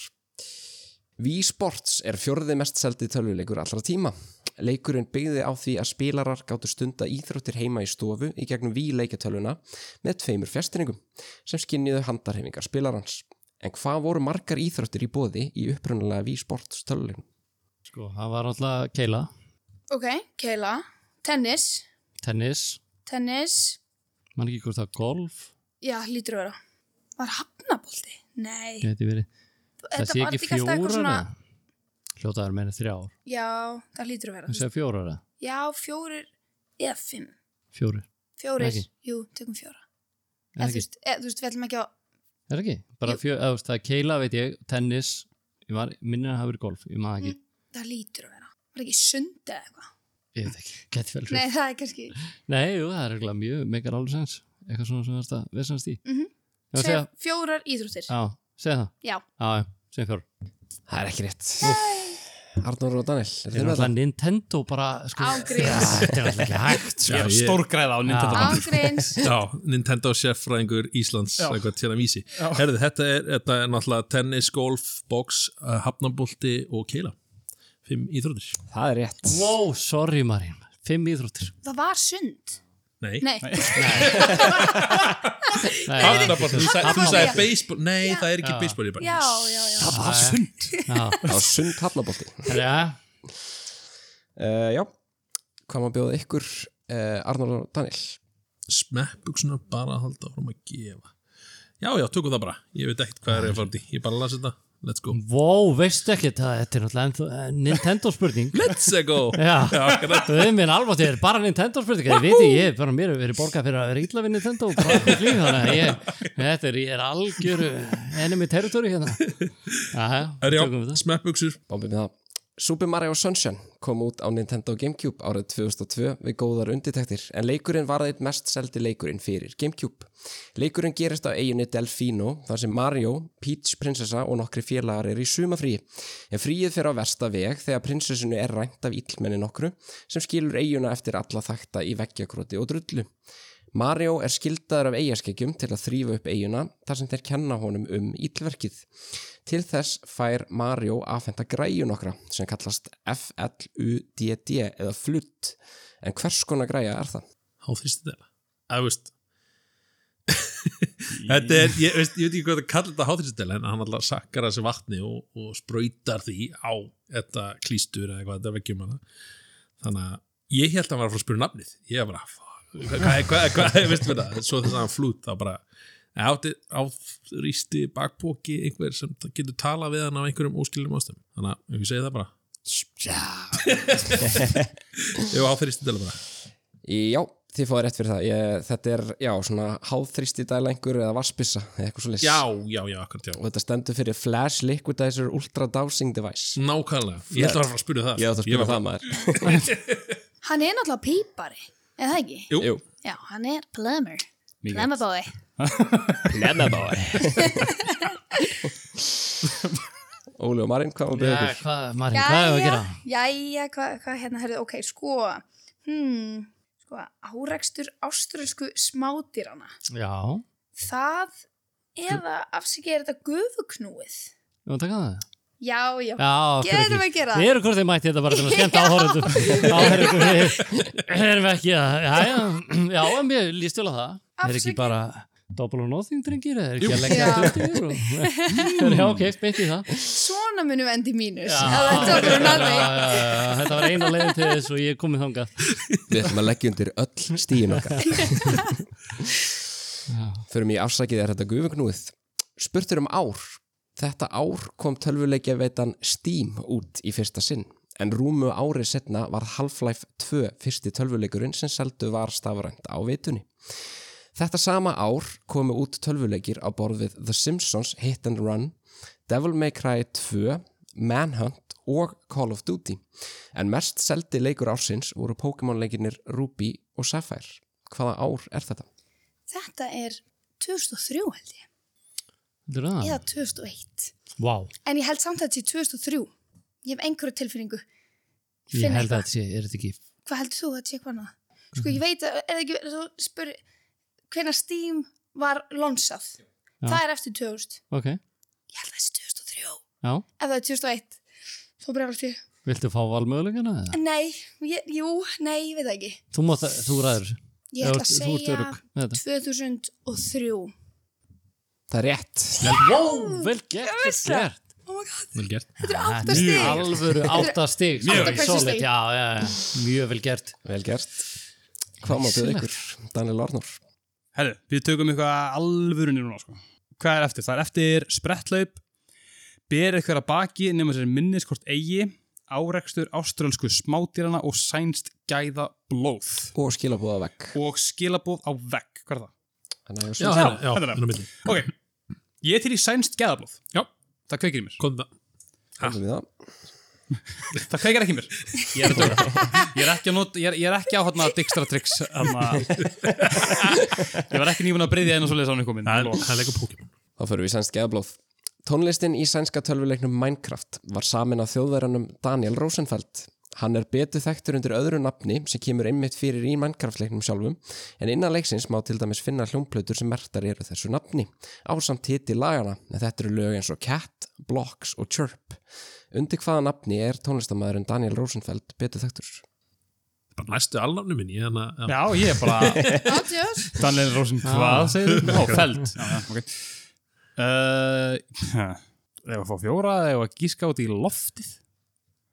A: Wii Sports er fjörði mest seldið tölvuleikur allra tíma. Leikurinn byggði á því að spilarar gáttu stunda íþróttir heima í stofu í gegnum Wii leikatölvuna með tveimur fjastringum sem skinniðu handarhefingar spilarans. En hvað voru margar íþróttir í bóði í upprunalega Wii Sports tölvuleikum?
C: sko, það var alltaf keila
D: Ok, keila, tennis,
C: Tennis,
D: tennis
C: mann ekki hvort það var golf
D: Já, lítur að vera Var hafnabolti? Nei
C: Gæti verið Það sé ekki fjórar eða? Hljóta að vera meina þrjár.
D: Já, það lítur að vera
C: Það sé fjórar eða?
D: Já, fjórir eða fimm
C: Fjórir.
D: Fjórir,
C: Ekki.
D: jú, tökum fjóra eða,
C: Er það
D: þú,
C: ekki?
D: veist, eða, þú veist, við ætlum ekki að
C: Er það ekki? Bara
D: Jú.
C: fjórar, eða þú veist, það er keila veit ég, tennis, ég var, minnir að hafa verið golf, ég maður ekki.
D: Mm. Það lítur að vera Var ekki sund eða eitthvað
C: Ég veit ekki, gett vel fyrir.
D: Nei, það er kannski
C: Nei, jú, það er eiginlega mjög, megar alveg sens. Eitthvað svona sem þetta vesast í.
D: Mhm.
C: Já, segja,
D: Segja fjórar íþróttir
C: já, segja það.
D: Já.
C: Já, já, segja fjórar.
A: Það er ekki rétt. Arnór og Daniel, er
C: Það
A: þið
C: er
A: með
C: alltaf
A: það?
C: Nintendo bara, sko.
D: Ángríns.
C: Þetta er alltaf ekki hægt, sko.
B: Ég er
E: ég-
B: stórgræða á Nintendo.
C: Já.
D: Ángreins
E: já Nintendo sérfræðingur Íslands
B: Já.
E: eitthvað til að vísi Herðu, þetta er, þetta er náttúrulega tennis, golf, box, uh, hafnabolti og keila Fimm íþróttir
A: Það er rétt.
C: Wow, sorry Marín. Fimm íþróttir.
D: Það var sund
E: Nei,
D: Nei,
C: Nei,
E: Hafnabolti, þú sagði- þú sagði
D: Hafnabolti.
E: baseball Nei, það er ekki
C: Já.
E: baseball ég bara-
D: já, já, já
B: Það var sund.
C: Já,
A: Það var sund hafnabolti.
C: já.
A: Uh, já, hvað maður bjóða ykkur uh, Arnór og Daniel
E: Smekkbuxuna bara að halda fram að gefa Já, já, tökum það bara Ég veit ekkert hvað er ég að fara út í Ég bara las þetta Let's go
C: Vó, veistu ekki, það, þetta er náttúrulega ennþá- eh, Nintendo spurning
E: Let's go
C: Já,
E: akkurat.
C: þau er minn alveg þetta er bara Nintendo spurning Ég veit, ég er bara mér hefur verið borgað fyrir að vera illa við Nintendo og bara okkur flýð Þannig að ég, þetta er, ég er algjör enemy territory hérna Já, já,
E: Herjá,
C: tökum við það
E: smekkbuxur
A: Bámbið með það Super Mario Sunshine kom út á Nintendo Gamecube árið 2002 við góðar undirtektir en leikurinn var þeitt mest seldi leikurinn fyrir Gamecube. Leikurinn gerist á eiginu Delfino þar sem Mario, Peach prinsessa og nokkri félagar eru í sumafríi en fríið fer á versta veg þegar prinsessinu er rænt af illmenni nokkru sem skilur eiguna eftir alla þakta í veggjakróti og drullu. Mario er skildaður af eigaskeggjum til að þrýfa upp eiguna þar sem þeir kenna honum um ítlverkið. Til þess fær Mario afhenda græju nokkra sem kallast FLUDD eða flutt. En hvers konar græja er það?
E: Há þrýstu þetta? Að, þú veist Þetta er, ég, veist, ég veit ekki hvað það kallar þetta háþrýstidel en hann alltaf sakkar að þessi vatni og, og sprautar því á þetta klístur eða hvað þetta veggjum hana þannig að ég held að hann var að fara að spyrja um nafnið ég var bara, fuck, hvað, hvað, hvað, hvað, hvað veistu þetta, svo þess að hann flút þá bara, átti áþrýsti bakpóki einhver sem getur talað við hann af einhverjum óskiljum ástum þannig að ef ég segi það bara ég var háþrýstidel bara
A: Já, þið fáið rétt fyrir það. Ég, þetta er, já, svona háþrýsti dælengur eða vassbissa eða eitthvað svo leys.
E: já, já, já, akkurat, já
A: Og þetta stendur fyrir Flash Liquidizer Ultra Dowsing Device.
E: Nákvæmlega, ég held að hann var að fara að spyrja um það
A: Ég átt að
E: Mm.
A: um
E: Ég var
A: spila það maður.
D: Hann er náttúrulega pípari, er það ekki?
E: Jú.
A: Jú.
D: Já, hann er plumber. Plumberbói.
A: Lemmabái. Óli og Marín, hvað var
C: Já,
A: beður?
C: hvað, Marín, hvað er að gera?
D: jæja, hvað, hvað hérna, herrðu, ok, sko, hmm, sko, árekstur ástralsku smádýrana.
C: Já,
D: Það, eða afsikið er þetta gufuknúið.
C: við varum að taka það.
D: Já, já,
C: Já, af hverju
D: Getum við
C: ekki?
D: gera það?
C: Við erum hvort þið mætti þetta bara til að skemmta áhörðum. Áhörðum við erum ekki að, já, já, já, en mér líst vel á það. Er ekki
D: Afsakið.
C: bara double or nothing, drengir, er ekki að leggja
D: Já.
C: þetta yfir og, já, ok, beint í það.
D: svona munum við enda í mínus.
C: Já,
D: Já, þetta var
C: já,
D: náttúrulega.
C: já, já, Þetta var eina leiðin til þess og ég er komið þangað.
A: Við ætlum að leggja undir öll stíin okkar. Förum í afsakið er þetta gufungnúið. Spurtur um ár. Þetta ár kom tölvuleikja veitan Steam út í fyrsta sinn. En rúmu ári setna var Half-Life 2 fyrsti tölvuleikurinn sem seldu var stafrænt á veitunni. Þetta sama ár komu út tölvuleikir á borð við The Simpsons Hit and Run, Devil May Cry 2, Manhunt og Call of Duty. En mest seldi leikur ársins voru Pokémon-leikinir Ruby og Sapphire. Hvaða ár er þetta?
D: Þetta er 2003 held ég,
C: Þetta er það.
D: eða 2001.
C: Vá,
D: En ég held samt að þetta sé 2003. Ég hef einhverju tilfinningu.
C: ég
D: Finn
C: held Mhm. að
D: eitthvað.
C: þetta sé, er þetta ekki,
D: Hvað heldur þú að þetta sé hvað annað? Sko, ég veit að, er það ekki, þú spur, hvenær Steam var lonsað?
C: Já.
D: Það er eftir 2000.
C: ok,
D: Ég held að það sé 2003.
C: já,
D: Ef það er 2001, þá brefald ég.
C: viltu fá valmögulegana eða?
D: Nei, ég, jú, nei, ég veit það ekki.
C: Þú, mátt, þú ræður þessu.
D: Ég ætla að
C: Þú ert
D: segja
C: örugg með þetta.
D: 2003.
A: Það er rétt.
C: Vel gert, vel
D: vissi það.
C: gert.
D: Oh my god,
E: Vel gert
D: þetta er
C: Þetta
D: 8
C: er
D: stig.
C: Alvöru átta stig
D: Mjög
C: Solid,
D: vel.
C: solid, já, já, já, Mjög vel gert
A: Vel gert. Hvað má byrja ykkur? Daniel Arnór.
B: Herru, við tökum eitthvað alvörunni núna sko. Hvað er eftir? Það er eftir spretthlaup, ber eitthvað að baki nema sér minniskort eigi, árekstur ástralsku smádýrana og sænst gæða blóð
A: Og skilabóða vekk.
B: og skilabóð á vegg. Hvað er það?
A: Þannig að
E: Já,
A: ég
E: hérna, já,
B: hérna.
E: hérna á milli.
B: Ok, ég er til í sænst gæða blóð. Já. Það kveikir í mér.
E: Komdu með-
A: skoðum við það.
B: Það kveikir ekki í mér. Ég er, að djóka. ég er ekki, að not, ég er, ég er ekki á hérna dikstra triks. Hana. Ég var ekki nýfun að breyðja einu svo leiðis á hann komin.
E: Það er- það er leika Pokémon
A: Þá fyrir við í sænst geðablóð. Tónlistin í sænska tölvuleiknum Minecraft var samin af þjóðverjanum Daniel Rosenfeld. Hann er betur þekktur undir öðru nafni sem kemur einmitt fyrir í Minecraft-leiknum sjálfum en innan leiksins má til dæmis finna hljómplötur sem mertar eru þessu nafni ásamt hiti lagana en þetta eru lög eins og Cat, Blocks og Chirp. Undir hvaða nafni er tónlistamæðurinn Daniel Rosenfeld betur þekktur?
E: Bara næstu alnafnu minni ég, þannig að-
B: Já, ég er bara...
D: Átjós.
B: Daniel Rosen, hvað segir þú? Ó, feld. Já, já, ok. Uh, Ef að fá fjóra, ef að gíska út í loftið.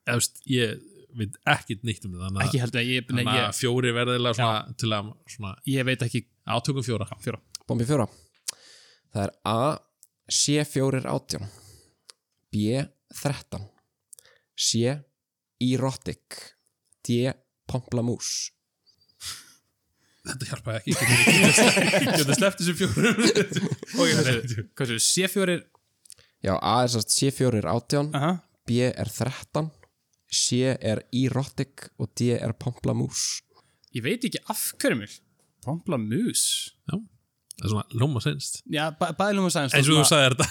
E: Eða, veist, ég veit ekkit neitt um það þannig að-
B: Ekki heldur, ég, nei,
E: þannig að
B: ég,
E: fjóri verðilega svona, til að svona,
B: ég veit ekki
E: átökum fjóra
B: fjóra.
A: Bombi fjóra. Það er A. C4 átján. B. 13. C. Erotic. D. Pomplamús.
E: þetta hjálpaði ekki ég geti sleppt þessu fjórum
B: Ok, hversu, hversu, C4 er...
A: Já, A er sérst C4 átján,
B: Aha,
A: B er 13, C er erotic og D er pamplamús
B: Ég veit ekki af hverju mér Pompla mus
E: Já, það er svona lóma senst
B: Já, bæ- bæði lúma sæðins
E: eins og þú sagði þetta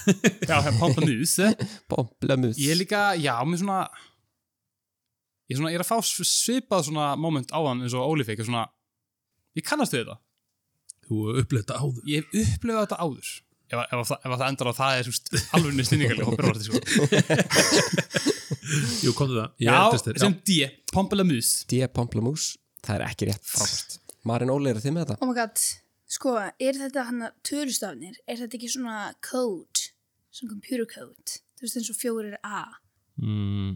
B: Já, pompla mus Ég
A: Pamplamús
B: er líka, já, mér svona Ég, er svona, ég er að fá sv- svipað svona moment á hann eins og Óli fekk svona, Ég kannast við þetta
E: Þú upplega þetta áður
B: Ég hef upplifað þetta áður Ef, ef, ef, ef það endar á það er svist, alveg niður stinningarlega hópirvarti sko.
E: Jú, komdu það
B: Já,
E: Ég eldist þér.
B: sem D, Pompla mus
A: D er pamplamús, það er ekki rétt frábært Marin Óli eru þið með þetta?
D: Oh my god, sko, er þetta hann að tölustafnir, er þetta ekki svona code, svona computer code, þú veist eins og fjórir A?
C: Mm,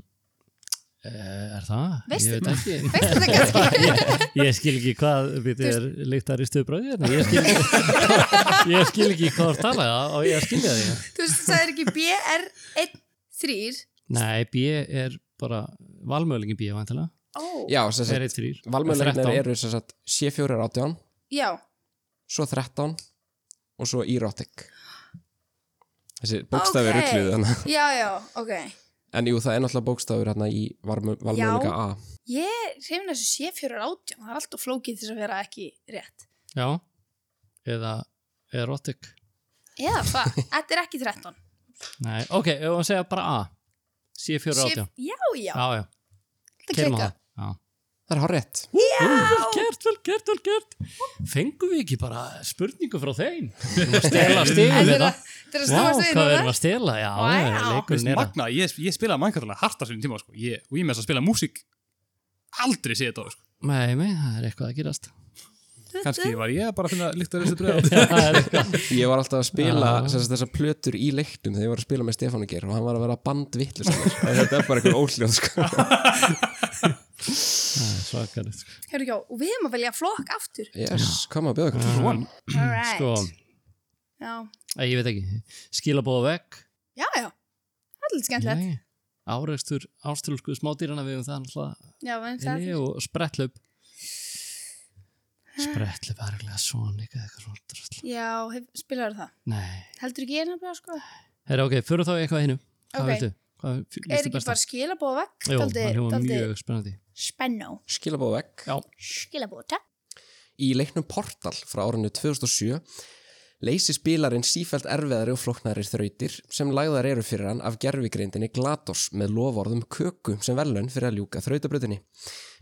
C: eh, er það?
D: Veistu-
C: Ég veit ekki.
D: Veist þetta kannski?
C: Ég skil ekki hvað við er líktar í stöðbröði hérna. Ég skil ekki, ég skil ekki hvað það talaði og ég skilja því.
D: þú veist, það er ekki E BR13?
C: Nei, B er bara valmöðlingin B, vantilega.
D: Ó,
A: Já, sem
C: Er
A: sagt,
C: eitt þrýr.
A: valmöðleginar eru sem sagt C4 er 18,
D: já,
A: svo 13 og svo erotic Þessi bókstafi okay.
D: Ókei.
A: ruggluð þannig
D: já, já, ok.
A: En jú, það er náttúrulega bókstafur hérna í valmöðlega A
D: Ég reyfin þessu séfjórar átján, það er alltaf flókið til þess að vera ekki rétt.
C: Já, eða erotic.
D: Eða hvað, þetta er ekki 13.
C: Nei, ok, ef við segja bara A. C4
D: Séf-
C: átján.
D: Já, já,
C: Já, já,
D: þetta
C: kemur
D: kekka.
C: það. Já.
A: Það er hár rétt
C: Vel gert, vel gert, vel gert Fengum við ekki bara spurningu frá þeim Við erum að stela stegum
D: Þetta er
C: hérna
D: að- þetta er að
C: Vá,
D: stóra
C: hvað við erum
D: steginu
C: að stela Já,
D: Vá.
C: já, leikurinn er að
B: Magna, ég, ég spilaði Minecraft harta sinni tíma sko. ég, og ég með þess að spila músík aldrei séð þetta áður, sko.
C: Nei, nei, það er eitthvað að gerast
B: kannski var ég bara að finna líkt að reysa bregð
C: Það er eitthvað
A: Ég var alltaf að spila
C: Já.
A: sem sagt, þessar plötur í leiktum þegar ég var að spila með Stefánu Geir og hann var að vera bandvittlus Þetta er bara eitthvað óhljóð sko.
C: Það er svakalegt sko.
D: Hörru ekki á, og við erum að velja flokk aftur.
A: Yes, koma að bjóða okkur
D: All right.
C: Sko,
D: Já,
C: æ, ég veit ekki Skilabóða vekk
D: já, já. Það er lítið skemmtilegt.
C: Áreikstur áströlsku smádýrana við um það náttúrulega
D: Já, við höfum það.
C: inni og sprettlöp Sprettlöp er eiginlega svona eitthvað svona drasl.
D: Já, hef, spilaðu það.
C: Nei,
D: Heldur ekki ég nefnilega, sko?
C: herra ok, fyrir þá í eitthvað hinu Hvað
D: Ok.
C: veitu? Hvað
D: Er
C: lístu
D: ekki
C: besta?
D: bara skilabóða vekk?
C: Jó,
D: Dálítið-
C: það hljóma
D: dálítið
C: mjög spennandi
D: Spennó.
A: Skilabóð vekk
C: Já.
D: Skilabóta.
A: Í leiknum Portal frá árinu 2007 leysi spilarinn sífælt erfiðari og flóknarir þrautir sem lagðar eru fyrir hann af gerfigreindinni GLaDOS með loforðum köku sem verðlaun fyrir að ljúka þrautabröðinni.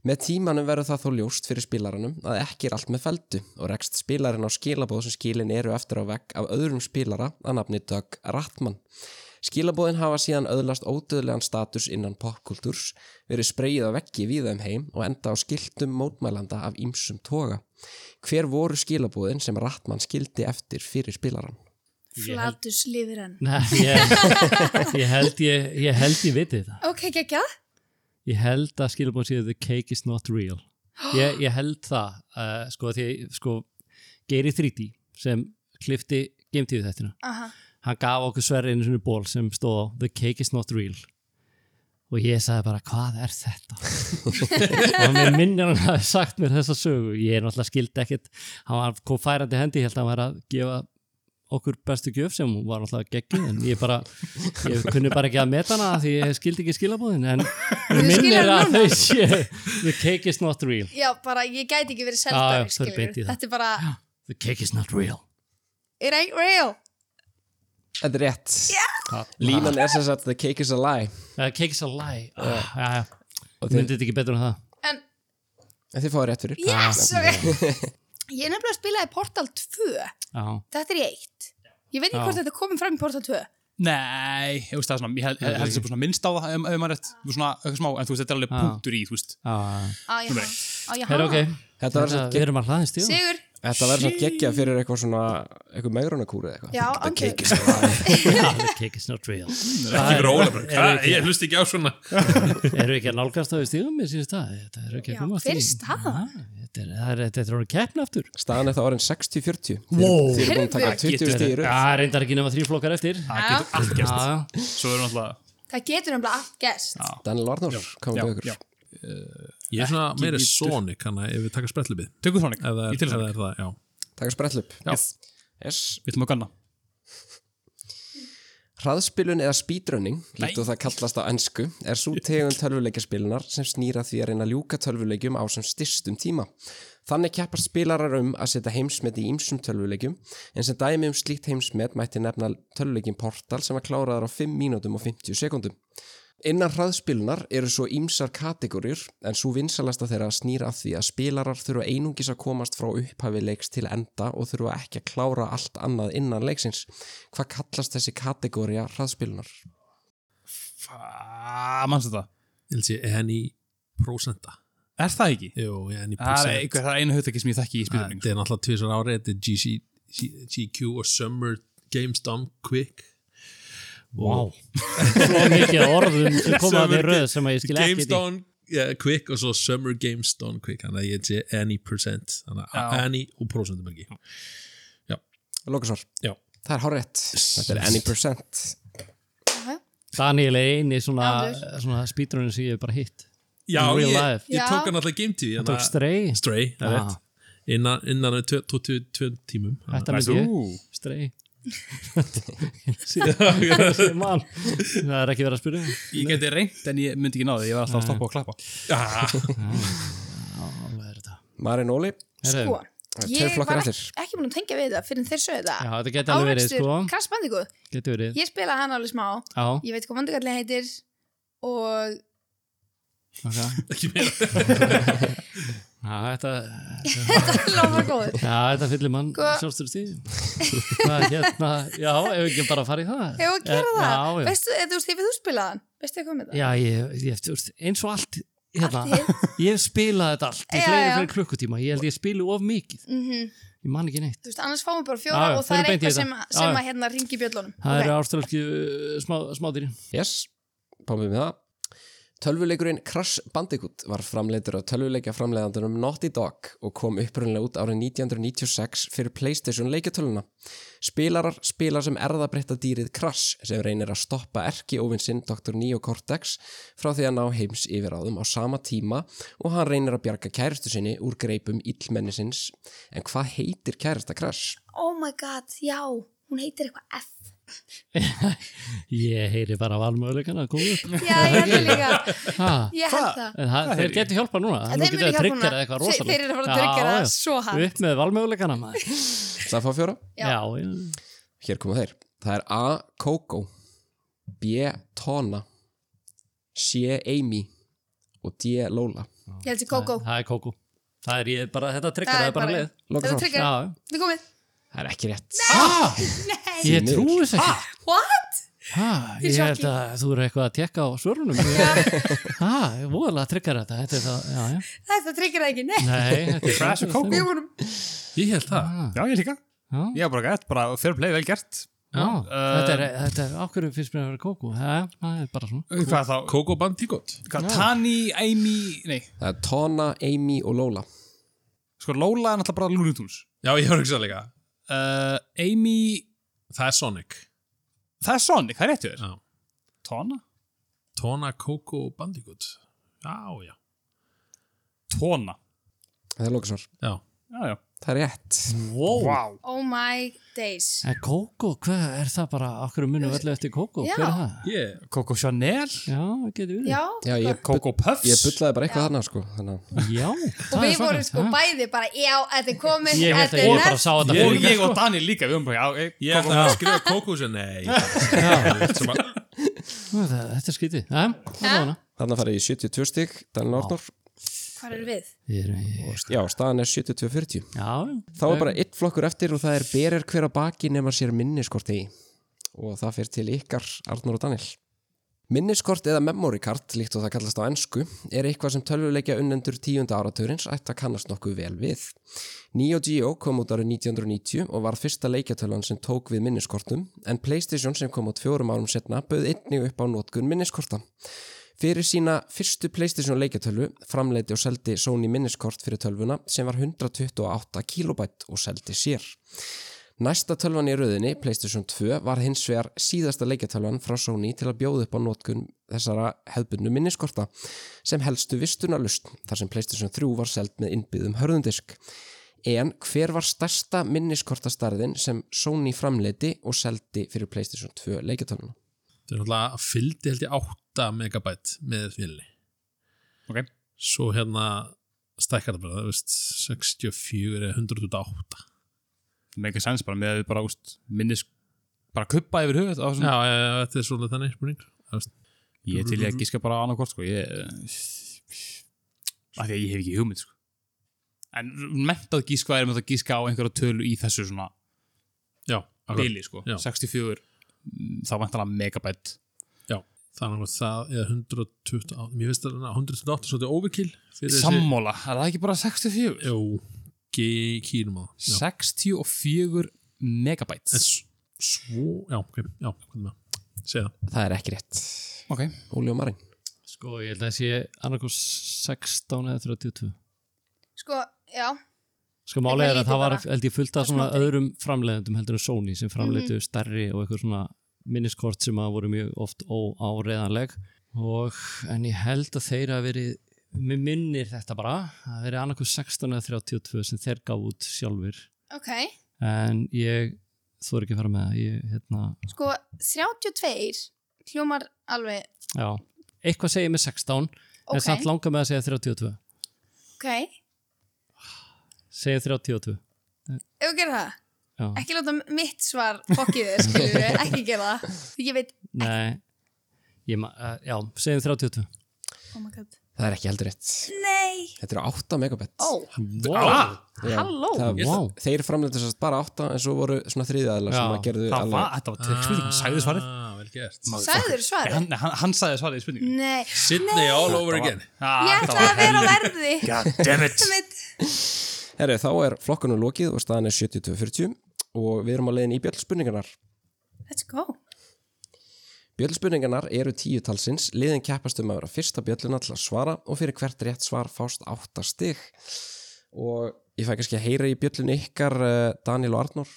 A: Með tímanum verður það þó ljóst fyrir spilaranum að ekki er allt með feldu og rekst spilarinn á skilabóð sem skilin eru eftir á vegg af öðrum spilara að nafni Doug Rattmann. Skilabóðin hafa síðan öðlast ódöðlegan status innan popkultúrs, verið spreyið á veggi víða um heim og enda á skiltum mótmælanda af ýmsum toga. Hver voru skilabóðin sem Rattmann skildi eftir fyrir spilaran?
C: Ég held-
D: Flatus lifir enn.
C: Nei, ég, ég held ég, ég held ég viti það.
D: Ok, gekkja.
C: Ég held að skilabóðin séu the cake is not real. Ég, ég held það, uh, sko, því, sko, Geiri 3D sem klifti geimtíðu þettina,
D: Aha.
C: hann gaf okkur sverri einu svona ból sem stóð á the cake is not real. Og ég sagði bara, hvað er þetta? og mér minnir hann hafi sagt mér þessa sögu. Ég er náttúrulega skildi ekkit, hann var kom færandi hendi, ég held að hann var að gefa okkur bestu gjöf sem hún var náttúrulega geggin en ég bara, ég kunni bara ekki að meta hana af því ég skildi ekki skilabóðin en mér minnir
D: skilur
C: að þau sé the cake is not real
D: Já, bara, ég gæti ekki verið
C: Já, já,
D: seldari,
C: það er beint í
D: skilur.
C: það.
D: Þetta er bara,
C: the cake is not real
D: it ain't real.
A: Þetta er rétt. Línan er sem sagt the cake is a lie.
C: uh, cake is a lie uh, ja, ja.
A: Og
C: þið
A: þið,
C: myndið ekki betur en það
D: En,
A: en þið fáið rétt fyrir.
D: yes,
C: Ah,
D: ok. Ég nefnilega spilaði Portal 2.
C: Já.
D: Þetta er í eitt. Ég veit ekki
C: Já.
D: hvort þetta komið fram í Portal 2.
B: Nei, ég veist það er svona ég held held þetta er svona minnst á það ef, ef maður er rétt Þú veist, svona, eitthvað smá, en þú veist þetta er alveg
C: Já.
B: punktur í þú veist
C: Já, já.
D: Á, já.
B: Nei.
D: Á, já.
C: Herra, Ah. ok,
A: Þetta verður
C: Þetta,
A: samt
C: við
A: gegg-
C: erum að hlaðist í það
D: Sigur.
A: þetta verður samt geggja fyrir eitthvað svona, eitthvað megrunarkúri eða eitthvað.
D: Já,
A: The
D: andri.
A: cake is a lie.
C: the cake is not real
E: Ekki fyrir Óla bara,
C: Eru
E: "Hvað? Ég hlust ekki á svona
C: eru ekki að nálgast það í stíðum mér sínist það, þetta er ekki
D: Já,
C: að komast
D: hver er
C: í
D: staðan?
C: Já, Þetta er- það er- þetta er orðin keppn aftur
A: Staðan er það orðin 60-40. Þið
C: Wow.
A: eru búin að taka
D: Heyrðu.
A: 20
B: Getur-
A: stíður.
C: Já, reyndar ekki nema þrjú flokkar eftir Já,
B: það getur allt gerst
C: já,
B: svo erum alltaf
D: Það getur nefnilega allt gerst.
A: Daniel Arnór, komum við
B: já,
A: okkur.
B: já.
E: Ég er svona meira
B: vítur.
E: Sonic, hann að ef við taka spretlubið
B: tökum þannig í
E: Ef það er- ef það
B: tilfæðan
E: er það, já
A: Takk að sprell upp.
B: Já.
A: Yes.
B: við ætlum að ganna
A: Hraðspilun eða speedrunning, líkt og það kallast á ennsku, er svo tegund tölvuleikjaspilunar sem snýra því að reyna að ljúka tölvuleikjum á sem styrstum tíma. Þannig keppar spilarar um að setja heimsmet í ýmsum tölvuleikjum, en sem dæmi um slíkt heimsmet mætti nefna tölvuleikin Portal sem var kláraðar á 5 mínútum og 50 sekundum. Innan hraðspilunar eru svo ímsar kategóriur en svo vinsalasta þeirra snýr að því að spilarar þurfa einungis að komast frá upphafi leiks til enda og þurfa ekki að klára allt annað innan leiksins. Hvað kallast þessi kategória hraðspilunar?
B: Fá, mannstu þetta?
E: Ég held sé enni prósenta.
B: Er það ekki?
E: Jú, enni
B: Það er,
E: prósent.
B: einhver, það er einu hugtæki sem ég þekki í spilning.
E: Þetta er náttúrulega tvisar árið, þetta er GC, G- GQ og Summer Games Dumb Quick. Wow.
C: svo mikið af orðum sem koma að
E: Summer
C: því röð sem að ég skil ekki því
E: GameStone yeah, Quick og svo Summer GameStone Quick þannig að ég sé any percent þannig að
B: Já.
E: any og prosentum ekki
A: Lókasvar.
E: Já.
A: Það er hárétt. Þetta er any percent.
D: Já,
C: Daniel er eini svona,
D: Áður.
C: svona speedrunin sem ég hef bara hitt
E: Já,
C: In real
E: ég,
C: life.
E: ég
D: Já.
E: tók hann alltaf Game TV
C: hann tók strei
E: Stray, það er
C: Ah.
E: rétt innan, innan 22 tímum
C: Þetta myndi ég,
E: ég
C: strei Ég man. það er ekki verið að spyrja um.
B: Ég geti reynt en ég myndi ekki náði, ég var alltaf að stoppa og klappa.
C: Alveg er þetta.
A: Marin Óli.
C: Heyrðu,
D: sko,
A: það eru tveir
D: ég
A: flokkar
D: var
A: eftir.
D: ekki, ekki búin að tengja við það fyrir en þeir sögðu
C: Já,
D: það
C: þetta geti alveg verið sko
D: Crash Bandicoot,
C: Geti verið,
D: ég spila hann alveg smá
C: já,
D: ég veit hvað vandagallin heitir og
C: ok
E: ekki meira
C: Já, þetta,
D: lófar góður
C: já, þetta fyllir mann
D: Sko-
C: sjálfstur stíð Það hérna, já, ef við ekki bara að fara í það
D: Hefur að gera
C: Eh,
D: það?
C: Já, já,
D: Veistu, eða þú veist, hefur þú spilað hann? Veistu eitthvað með það?
C: já ég, ég, þú veist, eins og allt hérna,
D: Allt hitt.
C: Ég hef spilað þetta allt í
D: Já,
C: fleiri,
D: já.
C: fleiri klukkutíma Ég held ég spilu of mikið,
D: Mhm.
C: ég man ekki neitt
D: Þú veist, annars fáum við bara fjóra
C: Já, já,
D: og það
C: förum
D: er
C: beint í
D: eitthvað sem,
C: þetta. Já,
D: sem
C: já.
D: að hérna ringi bjöllunum.
C: Það
D: Ok.
C: eru ástralski uh, smá, smádýri
A: Yes, pámið með það. Tölvuleikurinn Crash Bandicoot var framleitur á tölvuleikja framleiðandunum Naughty Dog og kom upprunnilega út árið 1996 fyrir Playstation leikjatöluna. Spilarar spila sem erðabreytta dýrið Crash sem reynir að stoppa erki óvinsinn Dr. Neo Cortex frá því að ná heims yfiráðum á sama tíma og hann reynir að bjarga kæristu sinni úr greipum illmennisins. En hvað heitir kærista Crash?
D: Oh my god, já, hún heitir eitthvað F.
C: Ég heyri bara valmöðuleikana að koma upp
D: Já, ég held það líka.
C: ha,
D: Ég held það.
C: en það, Þeir getur hjálpa núna
D: En
C: Nú
D: þeir
C: getur
D: munu hjálpa
C: það tryggjara
D: núna.
C: eitthvað
D: Þeir-
C: rosalega
D: þeir eru að fara að tryggera það svo hart.
C: Upp með valmöðuleikana maður
A: Það fá fjóra?
D: Já.
C: Já, já.
A: Hér koma þeir. Það er A. Coco B. Tona C. Amy og D. Lola
D: Ég held því Coco.
C: Það er kókó. Það er ég bara, þetta tryggar
D: Það
C: það
D: er
C: er bara leið.
A: Loka
D: Þetta
A: svar.
D: tryggir,
C: Já,
D: þetta er komið.
A: Það er ekki rétt
C: ég
A: Því miður.
C: trúi þess ekki.
D: What?
C: Ha,
D: Í
C: ég held
D: sjokki.
C: að þú eru eitthvað að tekka á svörunum. Ha, ég voðalega tryggar þetta. Þetta er það, já, já.
D: Þetta tryggir það ekki, nei.
C: Nei, þetta er
B: Crash og Coco.
D: Við vorum,
E: ég held það
C: Ah.
B: Já, ég líka.
C: Já,
B: Ég var bara gætt, bara fair play, vel gert.
C: já.
B: Uh,
C: Þetta er, þetta er, ákveður finnst mér að vera kókó. Ha, það er bara svona.
B: Hvað þá?
E: Coco Bandicoot
B: Hvað, Tani, Amy, nei,
A: Það er Tona, Amy og Lola
B: sko Lola er náttúrulega bara Looney Tunes.
E: já, ég var ekki sannleika
B: Uh, Amy,
E: það er Sonic
B: það er Sonic, það er réttu þér.
E: já.
B: Tona?
E: Tona Coco Bandicoot já, já,
B: Tona.
A: Það er lókasvar
E: já
B: Já, já.
A: Það er rétt
C: Wow.
B: Wow.
D: oh my days.
C: En kókó, hvað er það bara, ákveður munum við allir eftir kókó?
D: Já.
C: Hver er það?
E: yeah.
B: Coco Chanel.
C: Já, getur við.
D: Já,
A: Já, ég, bu
B: Coco Puffs.
A: ég bullaði bara eitthvað þarna sko Þannig að
C: Já,
D: og
C: það er
D: við
C: svona.
D: vorum sko
C: Ha.
D: bæði bara, já, þetta er komið,
C: Ég held
D: þetta
C: að
D: er
C: ég bara
D: næst.
C: sá þetta
B: Og
C: fyrir mér,
B: ég
C: sko.
B: og Daniel líka, við vorum bara, já, ey,
E: ég ætlaði að skrifa Coco sem nei Sem að-
C: Það- Þetta er skítið. Já, það er
D: Ha?
C: hana.
A: Þannig að fara í 72 stig Daniel Ornor
D: Hvað eru við?
C: Ég er-
A: Já, staðan er 72-40
C: Já,
A: Þá er bara eitt flokkur eftir og það er berir hver á baki nema sér minniskort í og það fyrir til ykkar Arnur og Daniel. Minniskort eða memory card, líkt og það kallast á ennsku, er eitthvað sem tölvuleikja unnendur tíunda áraturins ætti að kannast nokkuð vel við. Neo Geo kom út árið 1990 og var fyrsta leikjatölvan sem tók við minniskortum, en PlayStation sem kom út fjórum árum setna bauð einnig upp á notkun minniskorta. Fyrir sína fyrstu PlayStation leikjatölu framleiti og seldi Sony minniskort fyrir tölvuna sem var 128 kilobætt og seldi sér. Næsta tölvan í rauðinni, PlayStation 2, var hins vegar síðasta leikjatölvan frá Sony til að bjóða upp á notkun þessara hefbunnu minniskorta sem helstu vistunarlust þar sem PlayStation 3 var seld með innbyðum hörðundisk. En hver var stærsta minniskortastarðin sem Sony framleiti og seldi fyrir PlayStation 2 leikjartöluna?
E: Það er náttúrulega að fylgdi held ég 8 megabæt með fylgni.
B: Ok.
E: Svo hérna stækkar það bara, það veist, 64 eða 128.
B: það með eitthvað sens bara með að við bara úst, minnis bara kuppa yfir höfuð á
E: Já,
B: þessum
E: já, já, þetta er svolítið þannig spurning. Það veist,
B: ég er til ég að gíska bara annarkort sko ég af því að ég hef ekki hugmynd sko en mentað gísk hvað er með að gíska á einhverja tölu í þessu svona
E: Já, akkurat.
B: bili sko,
E: Já.
B: 64 mm, þá vantar hann megabætt
E: Það er náttúrulega það, eða 128, mér finnst það 128 svolítið overkill. fyrir þessi-
B: sammóla, er það ekki bara 64?
E: Jú, ge- kýrum á það. Já.
B: 64 megabætt
E: En s- svo, já, ok, já, hvað með það? Segð það.
A: Það er ekki rétt.
B: ok,
A: Óli og Marín.
C: Sko, ég held að sé annarkoð 16 eða 32.
D: Sko, já,
C: Sko málið er
D: lítið
C: að það var
D: bara.
C: held ég fullt af
D: Það Mhm.
C: svona
D: smáttar í.
C: öðrum framleiðendum heldur en Sony sem framleitu stærri og eitthvað svona minniskort sem að voru mjög oft óáreðanleg og en ég held að þeir að verið mér minnir þetta bara að verið annarkur 16 eða 32 sem þeir gaf út sjálfur
D: ok.
C: en ég þú er ekki að fara með það ég, hérna,
D: Sko, 32 hljómar alveg,
C: já, eitthvað segir með 16 en
D: ok,
C: samt langar með að segja 32
D: ok.
C: segja 32
D: Ef við gerum það,
C: já,
D: ekki láta mitt svar fokkið þér, skilur við, ekki gera það. Ég veit,
C: nei ég, ma- eh, já, segjum 32
D: oh my god.
A: Það er ekki heldur rétt.
D: Nei,
A: Þetta eru 8 megabætt.
D: ó,
E: Wow.
A: Já,
D: halló.
A: það,
C: Ég- Vá.
A: Þeir framleitu sérst bara 8 en svo voru svona þriðaðilega sem
C: Já,
A: að gerðu
B: það
A: alveg-
B: var, þetta var trickspurning, hann sagði svarið
E: Ah, vel gert.
D: Sagður svarið?
B: hann, hann, hann sagði svarið í spurningu
D: Nei,
E: Sydney all over again.
D: ég ætlaði að vera á verði.
B: God damn it
D: Einmitt.
A: Herri, þá er flokkunum lokið og staðan er 72-40 og við erum á leiðin í bjöllspurningarnar.
D: Let's go.
A: Bjöllspurningarnar eru tíu talsins, liðin keppast um að vera fyrsta bjölluna til að svara og fyrir hvert rétt svar fást átta stig. Og ég fæ kannski að heyra í bjöllunni ykkar eh, Daniel og Arnór.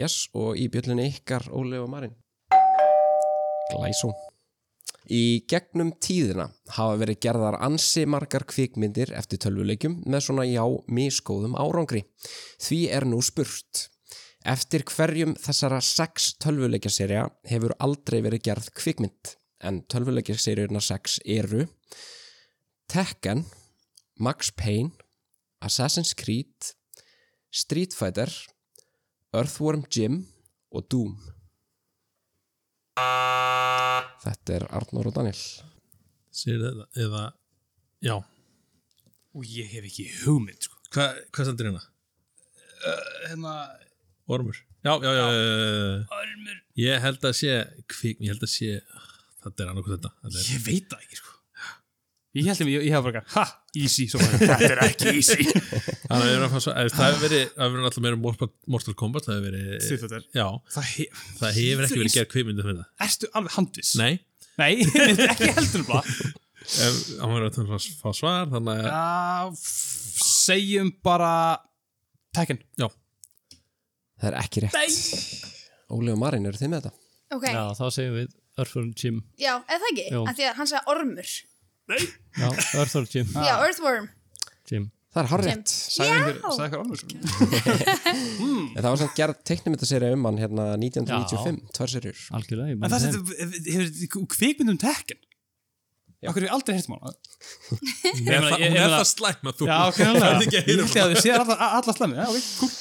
A: Yes, og í bjöllunni ykkar Óli og Marin. Glæsó. Í gegnum tíðina hafa verið gerðar ansi margar kvikmyndir eftir tölvuleikjum með svona já misgóðum árangri. Því er nú spurt. Eftir hverjum þessara sex tölvuleikjaserja hefur aldrei verið gerð kvikmynd en tölvuleikjaserjurna sex eru Tekken, Max Payne, Assassin's Creed, Street Fighter, Earthworm Jim og Doom. Þetta er Arnór og Daniel.
E: Segir það, eða, já.
B: og ég hef ekki hugmynd sko.
E: Hva, hvað sendir hérna?
B: hérna,
E: Ormur? Já, já, já. já.
B: örmur
E: Ég held að sé, kvik, ég held að sé, þetta er annað hvað þetta. þetta er,
B: ég veit það ekki sko. ég held að ég, ég hef bara eitthvað, ha, easy svo bara, þetta er ekki easy
E: það er að fá svo, ef það hefur verið, það hefur verið alltaf meira um Mortal- Mortal Kombat, það hefur verið,
B: Street Fighter.
E: já,
B: það hef,
E: það hefur ekki verið gerð kvikmyndið fyrir það.
B: ertu alveg handvis?
E: Nei,
B: Nei, ekki heldur bara
E: ef hann verið að fá- fá svar, þannig að,
B: uh, segjum bara Tekken
E: já,
A: Það er ekki rétt. Óli og Marin eru þið með þetta.
D: Ok,
C: já,
D: já,
C: þá segjum við Örfurn Jim
D: eða það ekki?
C: Jú.
D: Af því að hann sagði ormur.
C: Já, Örþór Jim,
D: Já, earthworm.
C: Jim.
A: Það er harrétt.
B: sagði einhver, sagði einhver ormur
A: En það var samt gerð teiknumyndaserja um hann hérna 1995, tvær serjur.
C: algjörlega ég man
B: en það
C: þeim.
B: sem, hefur kvikmynd um Tekken okkur hefur aldrei hértum á hana
E: hún er
B: meina, ég-
E: það- hún
B: ég
E: er
B: meina-
E: það slæm að þú,
B: já, ok,
E: það er
B: nálega
E: ekki
B: ég
E: að heyra um
B: held að þið séð alla, alla slæmi já, ok, cool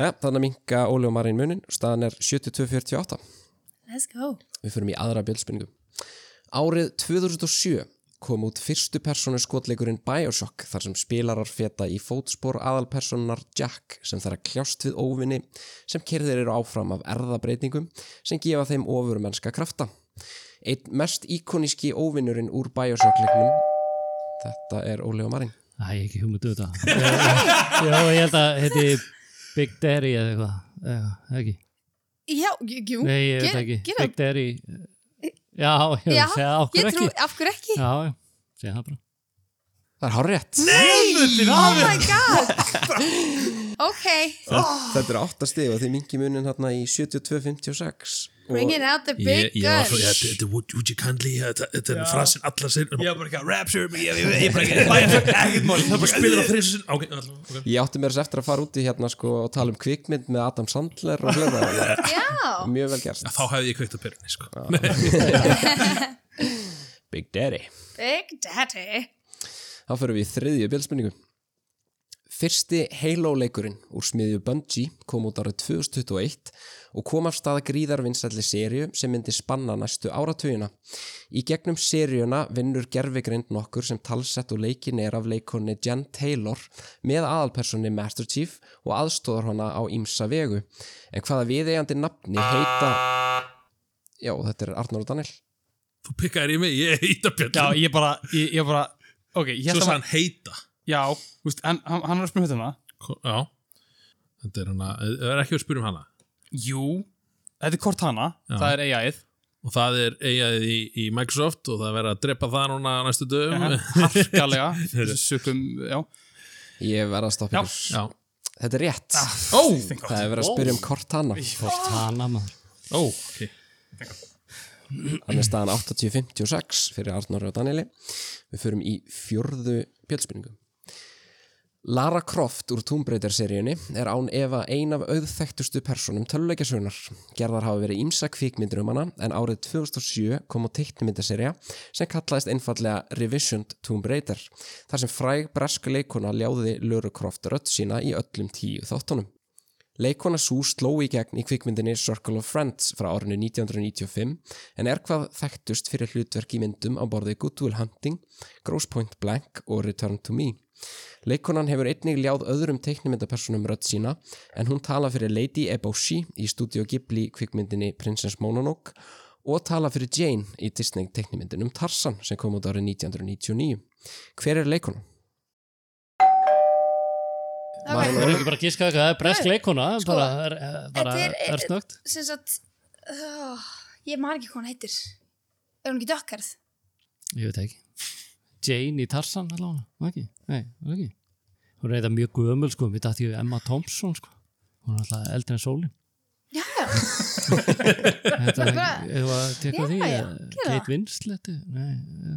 A: Ja, þannig að minka Óli og Marín munin og staðan er 72-48.
D: Let's go.
A: Við förum í aðra bjöldspurningu. Árið 2007 kom út fyrstu personu skotleikurinn Bioshock þar sem spilarar feta í fótspor aðalpersonunar Jack sem þarf að kljást við óvinni sem kerðir eru áfram af erðabreitingum sem gefa þeim ofurmennska krafta. Einn mest íkoníski óvinnurinn úr Bioshock-leiknum Þetta er Óli og Marín.
C: Æ, ég hef ekki hugmyndu þetta já, ég held að heiti Big Daddy eða eitthvað já, eða ekki,
D: Já, j- jú.
C: nei, ég veit
D: Gera-
C: ekki
D: gera-
C: Big Daddy eh, já,
D: Já,
C: ég vil segja
D: Ég
C: okkur
D: trú,
C: ekki
D: af hverju ekki?
C: já, já, segja það bara
A: Það er hárétt.
D: Oh my god. ok,
A: Þetta er áttasti og þið mingi munin hérna í 72-56
D: Bringing out the big
E: Ég, ég var
D: guns
E: svo, ja, þetta þetta er would, would you kindly, þetta þetta er frasin allar sér
B: Ég var bara ekki að rapture mig, ég ég- ég bara ekki að bæja það ekkert mál. Það er bara
E: Spilur á þreysin Ok, allar, ok
A: Ég átti mér þess eftir að fara út í hérna sko og tala um kvikmynd með Adam Sandler og hlera
D: Já,
A: Mjög vel gerst
E: Þá hefði ég kveikt að perunni, sko
A: Big Daddy
D: Big Daddy
A: Þá fyrir við í þriðju bilspenningu Fyrsti Halo-leikurinn úr smiðju Bungie kom út árið 2021 og kom af staða gríðar vinsælli sériu sem myndi spanna næstu áratugina. Í gegnum sériuna vinnur gerfigrind nokkur sem talsett og leikin er af leikonni Jen Taylor með aðalpersonni Master Chief og aðstóðar hana á ímsa vegu. En hvaða viðeigandi nafni heita... Já, þetta er Arnór og Daniel.
E: Þú pikkaðir í mig, ég heita
B: Já,
E: Björn
B: ég bara, ég, ég bara, ok, ég
E: Svo
B: held að
E: sagði
B: hann,
E: hann heita
B: já, þú veist, hann, hann hann er að spyrja um þetta.
E: Ko- Já Þetta er hana, það er ekki að spyrja um hana
B: Jú, þetta er Cortana,
E: Já.
B: það er AI-ið.
E: Og það er eigaðið í, í Microsoft og það er verið að drepa það núna á næstu dögum
B: harkalega sökum, já
A: Ég verða að stoppa
B: Já.
A: ykkur.
E: Já
A: Þetta er rétt.
E: Ó,
A: Það er verið að spyrja um Cortana.
C: Cortana maður
E: ó, ok
A: Hann er staðan 80-56 fyrir Arnóri og Danieli. Við förum í fjörðu bjöldspurningu. Lara Croft úr Tomb Raider-seríunni er án efa ein af auðþektustu personum töluleikjasunar. Gerðar hafa verið ímsa kvikmyndir um hana en árið 2007 kom á teiknmyndaserja sem kallaðist einfallega Revisioned Tomb Raider þar sem fræg bresk leikona ljáði Lara Croft rödd sína í öllum tíu þáttunum. Leikona Sú sló í gegn í kvikmyndinni Circle of Friends frá árinu 1995 en er hvað þekktust fyrir hlutverk í myndum á borði Good Will Hunting, Gross Point Blank og Return to Me. Leikonan hefur einnig ljáð öðrum teiknimyndapersonum rödd sína en hún tala fyrir Lady Eboshi í Studio Ghibli kvikmyndinni Princess Mononoke og tala fyrir Jane í Disney teiknimyndinum Tarzan sem kom út árið 1999. Hver er leikonan?
D: Ok.
C: Það er ekki bara að gíska eitthvað, það er bresk leikona
D: Sko,
C: bara, er, bara
D: þetta
C: er,
D: er-
C: snögt
D: sem sagt oh, ég man ekki hvað hann heitir er hún ekki dökkarð
C: Ég veit það ekki Jane í Tarsan allavega, var ekki? Nei, var ekki Hún er eitthvað mjög gömul sko, við dætti Emma Thompson sko Hún er alltaf eldri en sólin
D: já,
C: Þetta er
D: Bara-
C: ekki, ef að tekka
D: Já,
C: því
D: já,
C: eða
D: gera það.
C: Kate Winslet eða- Nei,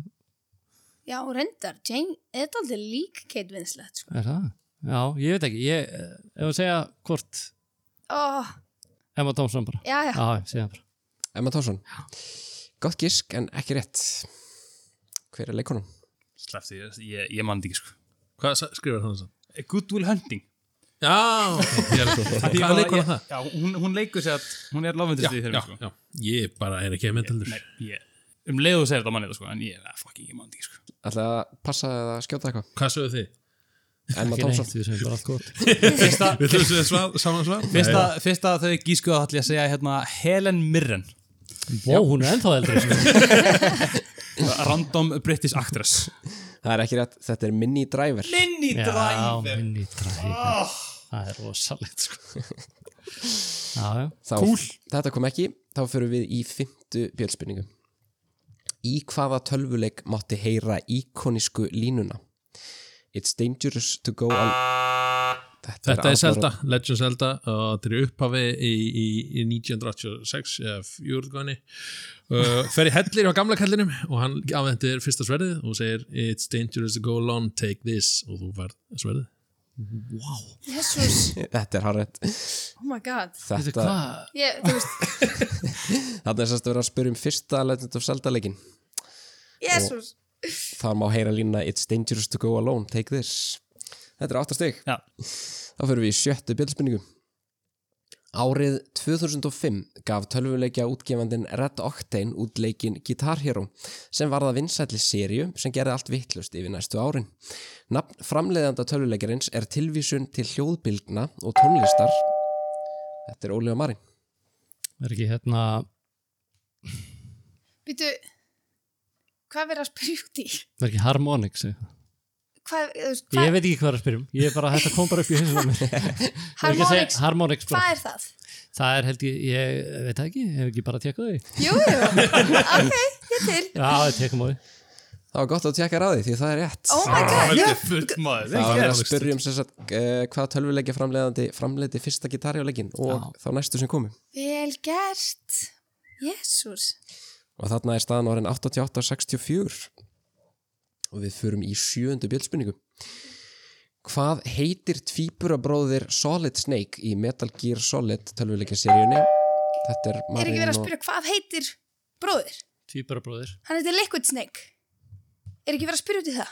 D: já, hún reyndar Jane, þetta er aldrei lík Kate Winslet sko.
C: er það? Já, ég veit ekki ég, eh, Ef að segja hvort
D: oh,
C: Emma Thompson bara
D: já, já,
C: Já, ég segja bara
A: Emma Thompson. Gott gísk en ekki rétt. Hver er leikonan?
B: Slefti, ég, ég, ég mann ekki sko
E: Hvað sa- skrifar hann þess að?
B: Good Will Eh, Hunting
E: Já, ok, ég er svo Hvað leikur hann það?
B: Já, hún, hún leikur sér að hún er
E: Já,
B: lofvindist í
E: já,
B: þeirra sko
E: já, ég bara er ekki að mynda heldur
B: Nei, ég, um leiðu segir þetta manni þetta sko en ég, að, fucking, ég mann ekki sko
A: Ætlaði að passa eða skjóta eitthvað?
E: Hvað sögðu þið?
A: Emma
C: Ekki
A: Thompson.
C: neitt, við segjum bara allt gott
E: Við þurfum við svar, saman svar?
B: Fyrsta, fyrsta þau gískuða ætla ég að segja hérna Helen Mirren
C: Vó, hún er ennþá eldri sko.
B: Random British Actress
A: Það er ekki rétt, þetta er Minnie Driver
B: Minnie
C: Já, minni dræfir Það er rosalegt sko. Já, já
A: Þá, Cool Þetta kom ekki, þá fyrir við í fymtu bjölspinningu Í hvaða tölvuleik mátti heyra íkonisku línuna? It's dangerous to go on
E: Þetta er
A: Arnar-
E: Zelda, Legend Zelda og þetta er í upphafi í, í, í 1986 eða júrgóðinni uh, fer í hellir á gamla kallinum og hann afhendir fyrsta sverðið og hún segir It's dangerous to go alone, take this og þú fær sverðið
D: Jesus,
A: Þetta er hárrið
D: oh my god
C: Þetta
A: Þetta,
C: hvað?
D: ég, þú veist,
A: þarna er sérst að vera að spyrja um fyrsta Legend of Zelda leikin
D: Jesus
A: Þar má heyra línuna It's dangerous to go alone, take this Þetta er áttastig
B: Já,
A: Þá fyrir við í sjöttu bjöldspurningu. Árið 2005 gaf tölvuleikja útgefandin Red Octane út leikinn Guitar Hero sem varða vinsælli sériu sem gerði allt vittlust yfir næstu árin. Nafn framleiðanda tölvuleikjarins er tilvísun til hljóðbylgna og tónlistar. Þetta er Óli og Marin.
C: Er ekki hérna
D: Býtu, hvað verður að spyrja út í?
C: Er ekki harmonix? eða?
D: Hvað, þú veist,
C: Ég
D: hvað,
C: veit ekki hvað er að spyrjum Ég er bara, þetta kom bara upp í hinsum
D: harmonix,
C: Harmonix bara
D: hvað er það?
C: Það er held ég, ég veit það ekki Hef ekki bara tekað því Já,
D: Jú, jú, ok, ég til
C: ég tekum á því
A: Það var gott að tjekka ráði því það er rétt.
D: Oh my god, já,
B: full maður
A: Það var verið að spyrja um sem sagt, uh, hvað tölvuleikja framleiðandi framleiði fyrsta Guitar Hero leikinn og þá næstu sem komu.
D: vel gert Jésús.
A: og þarna er staðan orðin 88-64 og við förum í sjöundu bjöldspurningu Hvað heitir tvíburabróðir Solid Snake í Metal Gear Solid tölvuleikja seríunni? Þetta er
D: Er ekki
A: Marin
D: verið að
A: og-
D: spyrja hvað heitir bróðir?
C: Tvíbarabróðir.
D: Hann heitir Liquid Snake. Er ekki verið að spyrja út í það?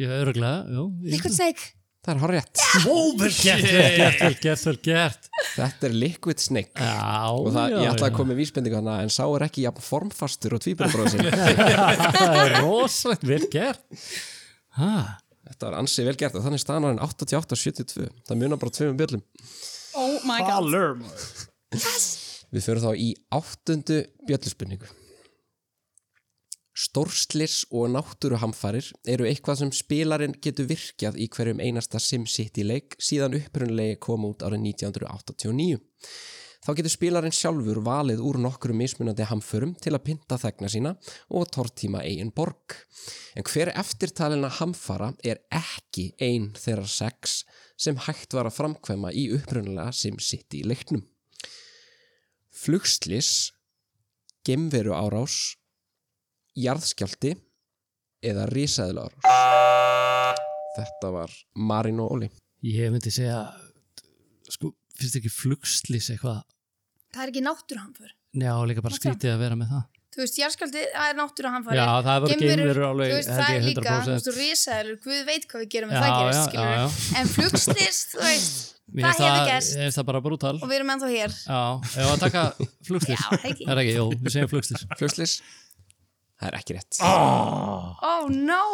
C: Ég er öruglega, jú.
D: Liquid Snake.
A: Það er horrið
C: Gert, vel gert, vel gert, vel gert.
A: Þetta er Liquid Snake
C: Já,
A: og það,
C: já,
A: ég ætla að
C: já.
A: koma með vísbendingu hana en sá er ekki jafn formfastur og tvíburabróður sinni
C: Það er rosalegt vel gert. Hæ,
A: Þetta var ansið vel gert og þannig staðan orðin 88-72 Það munar bara tveimum bjöldum
D: Oh my god.
A: Við förum þá í áttundu bjöllspurningu. Stórslis og náttúruhamfarir eru eitthvað sem spilarinn getur virkjað í hverjum einasta SimCity-leik síðan upprunulegi kom út árið 1989. Þá getur spilarinn sjálfur valið úr nokkrum mismunandi hamförum til að pynta þegna sína og tortíma eigin borg. En hver eftirtalina hamfara er ekki ein þeirra sex sem hægt var að framkvæma í upprunulega SimCity-leiknum flugslis, gemveru árás, jarðskjálti eða risaðilega árás. Þetta var Marin og Óli.
C: ég myndi segja, sko, finnst ekki flugslis eitthvað?
D: Það er ekki náttúruhamför.
C: Já, líka bara skrítið að vera með það.
D: Þú veist, jarðskjaldið, það er náttúruhamfari.
C: Já, það er bara
D: Geimverur,
C: geimverur alveg,
D: Þú veist,
C: held
D: það
C: ég,
D: er líka, þú
C: 100%.
D: veist, þú risaður, Guð veit hvað við gerum
C: Já,
D: ef það
C: já,
D: gerist,
C: já, já.
D: skilur. En flugstyrst, þú veist,
C: Mér finnst
D: Það hefði
C: það-
D: gerst.
C: Mér finnst það bara brútal.
D: og við erum ennþá hér.
C: Já, ef að taka flugslis.
D: Já, það ekki.
C: Það er ekki, jú, við segjum flugslis.
A: Flugslis? Það er ekki rétt.
D: Oh no!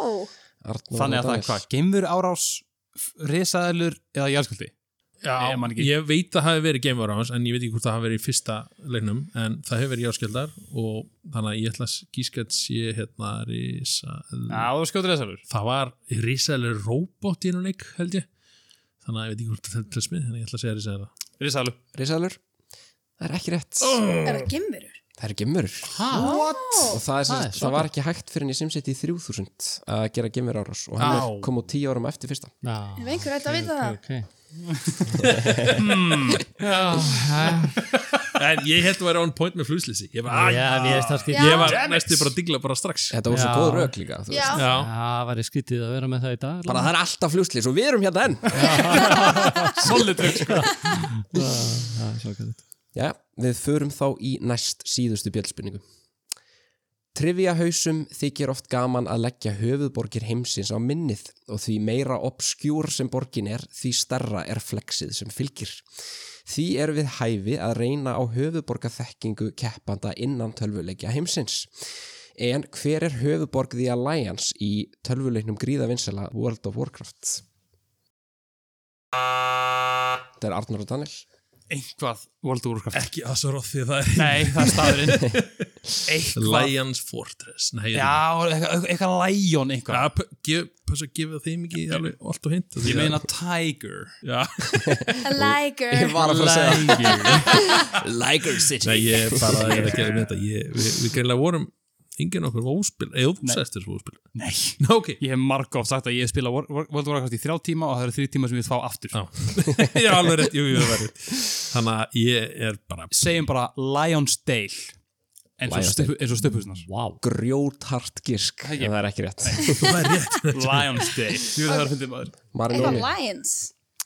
A: Arnór
B: Ah, Þannig að
A: og
B: það er
A: Daniel.
B: hvað, geimur árás, risaðalur eða jarðskuldi?
E: Já,
B: Ég man ekki.
E: ég veit að það hefur verið geimvara hans en ég veit ekki hvort það hafi verið í fyrsta leiknum en það hefur verið jáskjöldar og þannig að ég ætla að gíska að sé hérna risa...
B: Já, þú skjóður risaðalur.
E: það var risaðilega róbót í einu leik held ég þannig að ég veit ekki hvort það telst með þannig að ég ætla að segja risaðilega
B: Risaðalur.
A: Risaðilegur? Það er ekki rétt.
D: Er það gemurur?
A: Það er gemurur.
C: Hæ?
A: Og það, er, það,
C: Það er
A: það var
C: svaka.
A: ekki hægt fyrir henni SimCity 3000 að gera gemur árás og hann er
E: Á.
A: kom út tíu árum eftir fyrsta.
C: Já.
D: Ef einhver ætti að vita það.
C: Okay.
E: en ég held að vera on point með flugslýsi ég var,
C: Já,
E: yeah,
C: mér finnst það skrítið.
E: ég var
D: Damn it.
E: næstu bara að digla bara strax
A: Þetta var svo
C: Já.
A: góð rauk líka. þú
D: Já.
A: veist.
E: já,
C: Það væri skrítið að vera með það í dag.
A: Bara það er alltaf flugslis og við erum hérna enn.
B: Solid trygg, sko.
A: Já, við förum þá í næst síðustu bjöldspurningu. Triviahausum þykir oft gaman að leggja höfuðborgir heimsins á minnið og því meira obskjúr sem borgin er, því starra er flexið sem fylgir. Því er við hæfi að reyna á höfuðborgathekkingu keppanda innan tölvuleikja heimsins. En hver er höfuðborg The Alliance í tölvuleiknum gríðavinsala World of Warcraft? Þetta er Arnur og Daniel.
B: Einhvað World of Warcraft.
E: ekki að svo rótt því að það
B: Nei, það er staðurinn.
E: er
B: Eitthvað.
E: Lions Fortress nei,
B: Já, eitthvað, eitthvað Lion eitthvað.
E: Já, p- gef- passa að gefa þeim ekki alveg allt og hint
B: Ég meina Tiger.
E: Já.
D: A liger.
A: var að fara að
B: Tiger.
A: segja Liger City
E: Nei, ég er bara ég er ekki að gera með þetta ég, við, við greinlega vorum enginn okkur óspil eða þú
B: Nei.
E: sæst þessu óspil
B: Nei.
E: Ná, ok
B: Ég hef marg sagt að ég spila War- War- World of Warcraft í þrjá tíma og það eru þrjú tíma sem ég vil fá aftur.
E: Já. Ég er alveg rétt, jú, jú, það var rétt Þannig að ég er bara
B: Segjum bara Lionsdale. Eins og
A: Lionsdale.
B: stöpu- eins og stöpuhusnar.
C: Wow.
A: grjóthart gísk
B: Það er ekki-
A: en það er ekki rétt
E: Það er rétt
B: Lionsdale. Ég veit að það er að fyndið maður.
A: Marin
D: Eitthvað
A: Óli,
D: lions.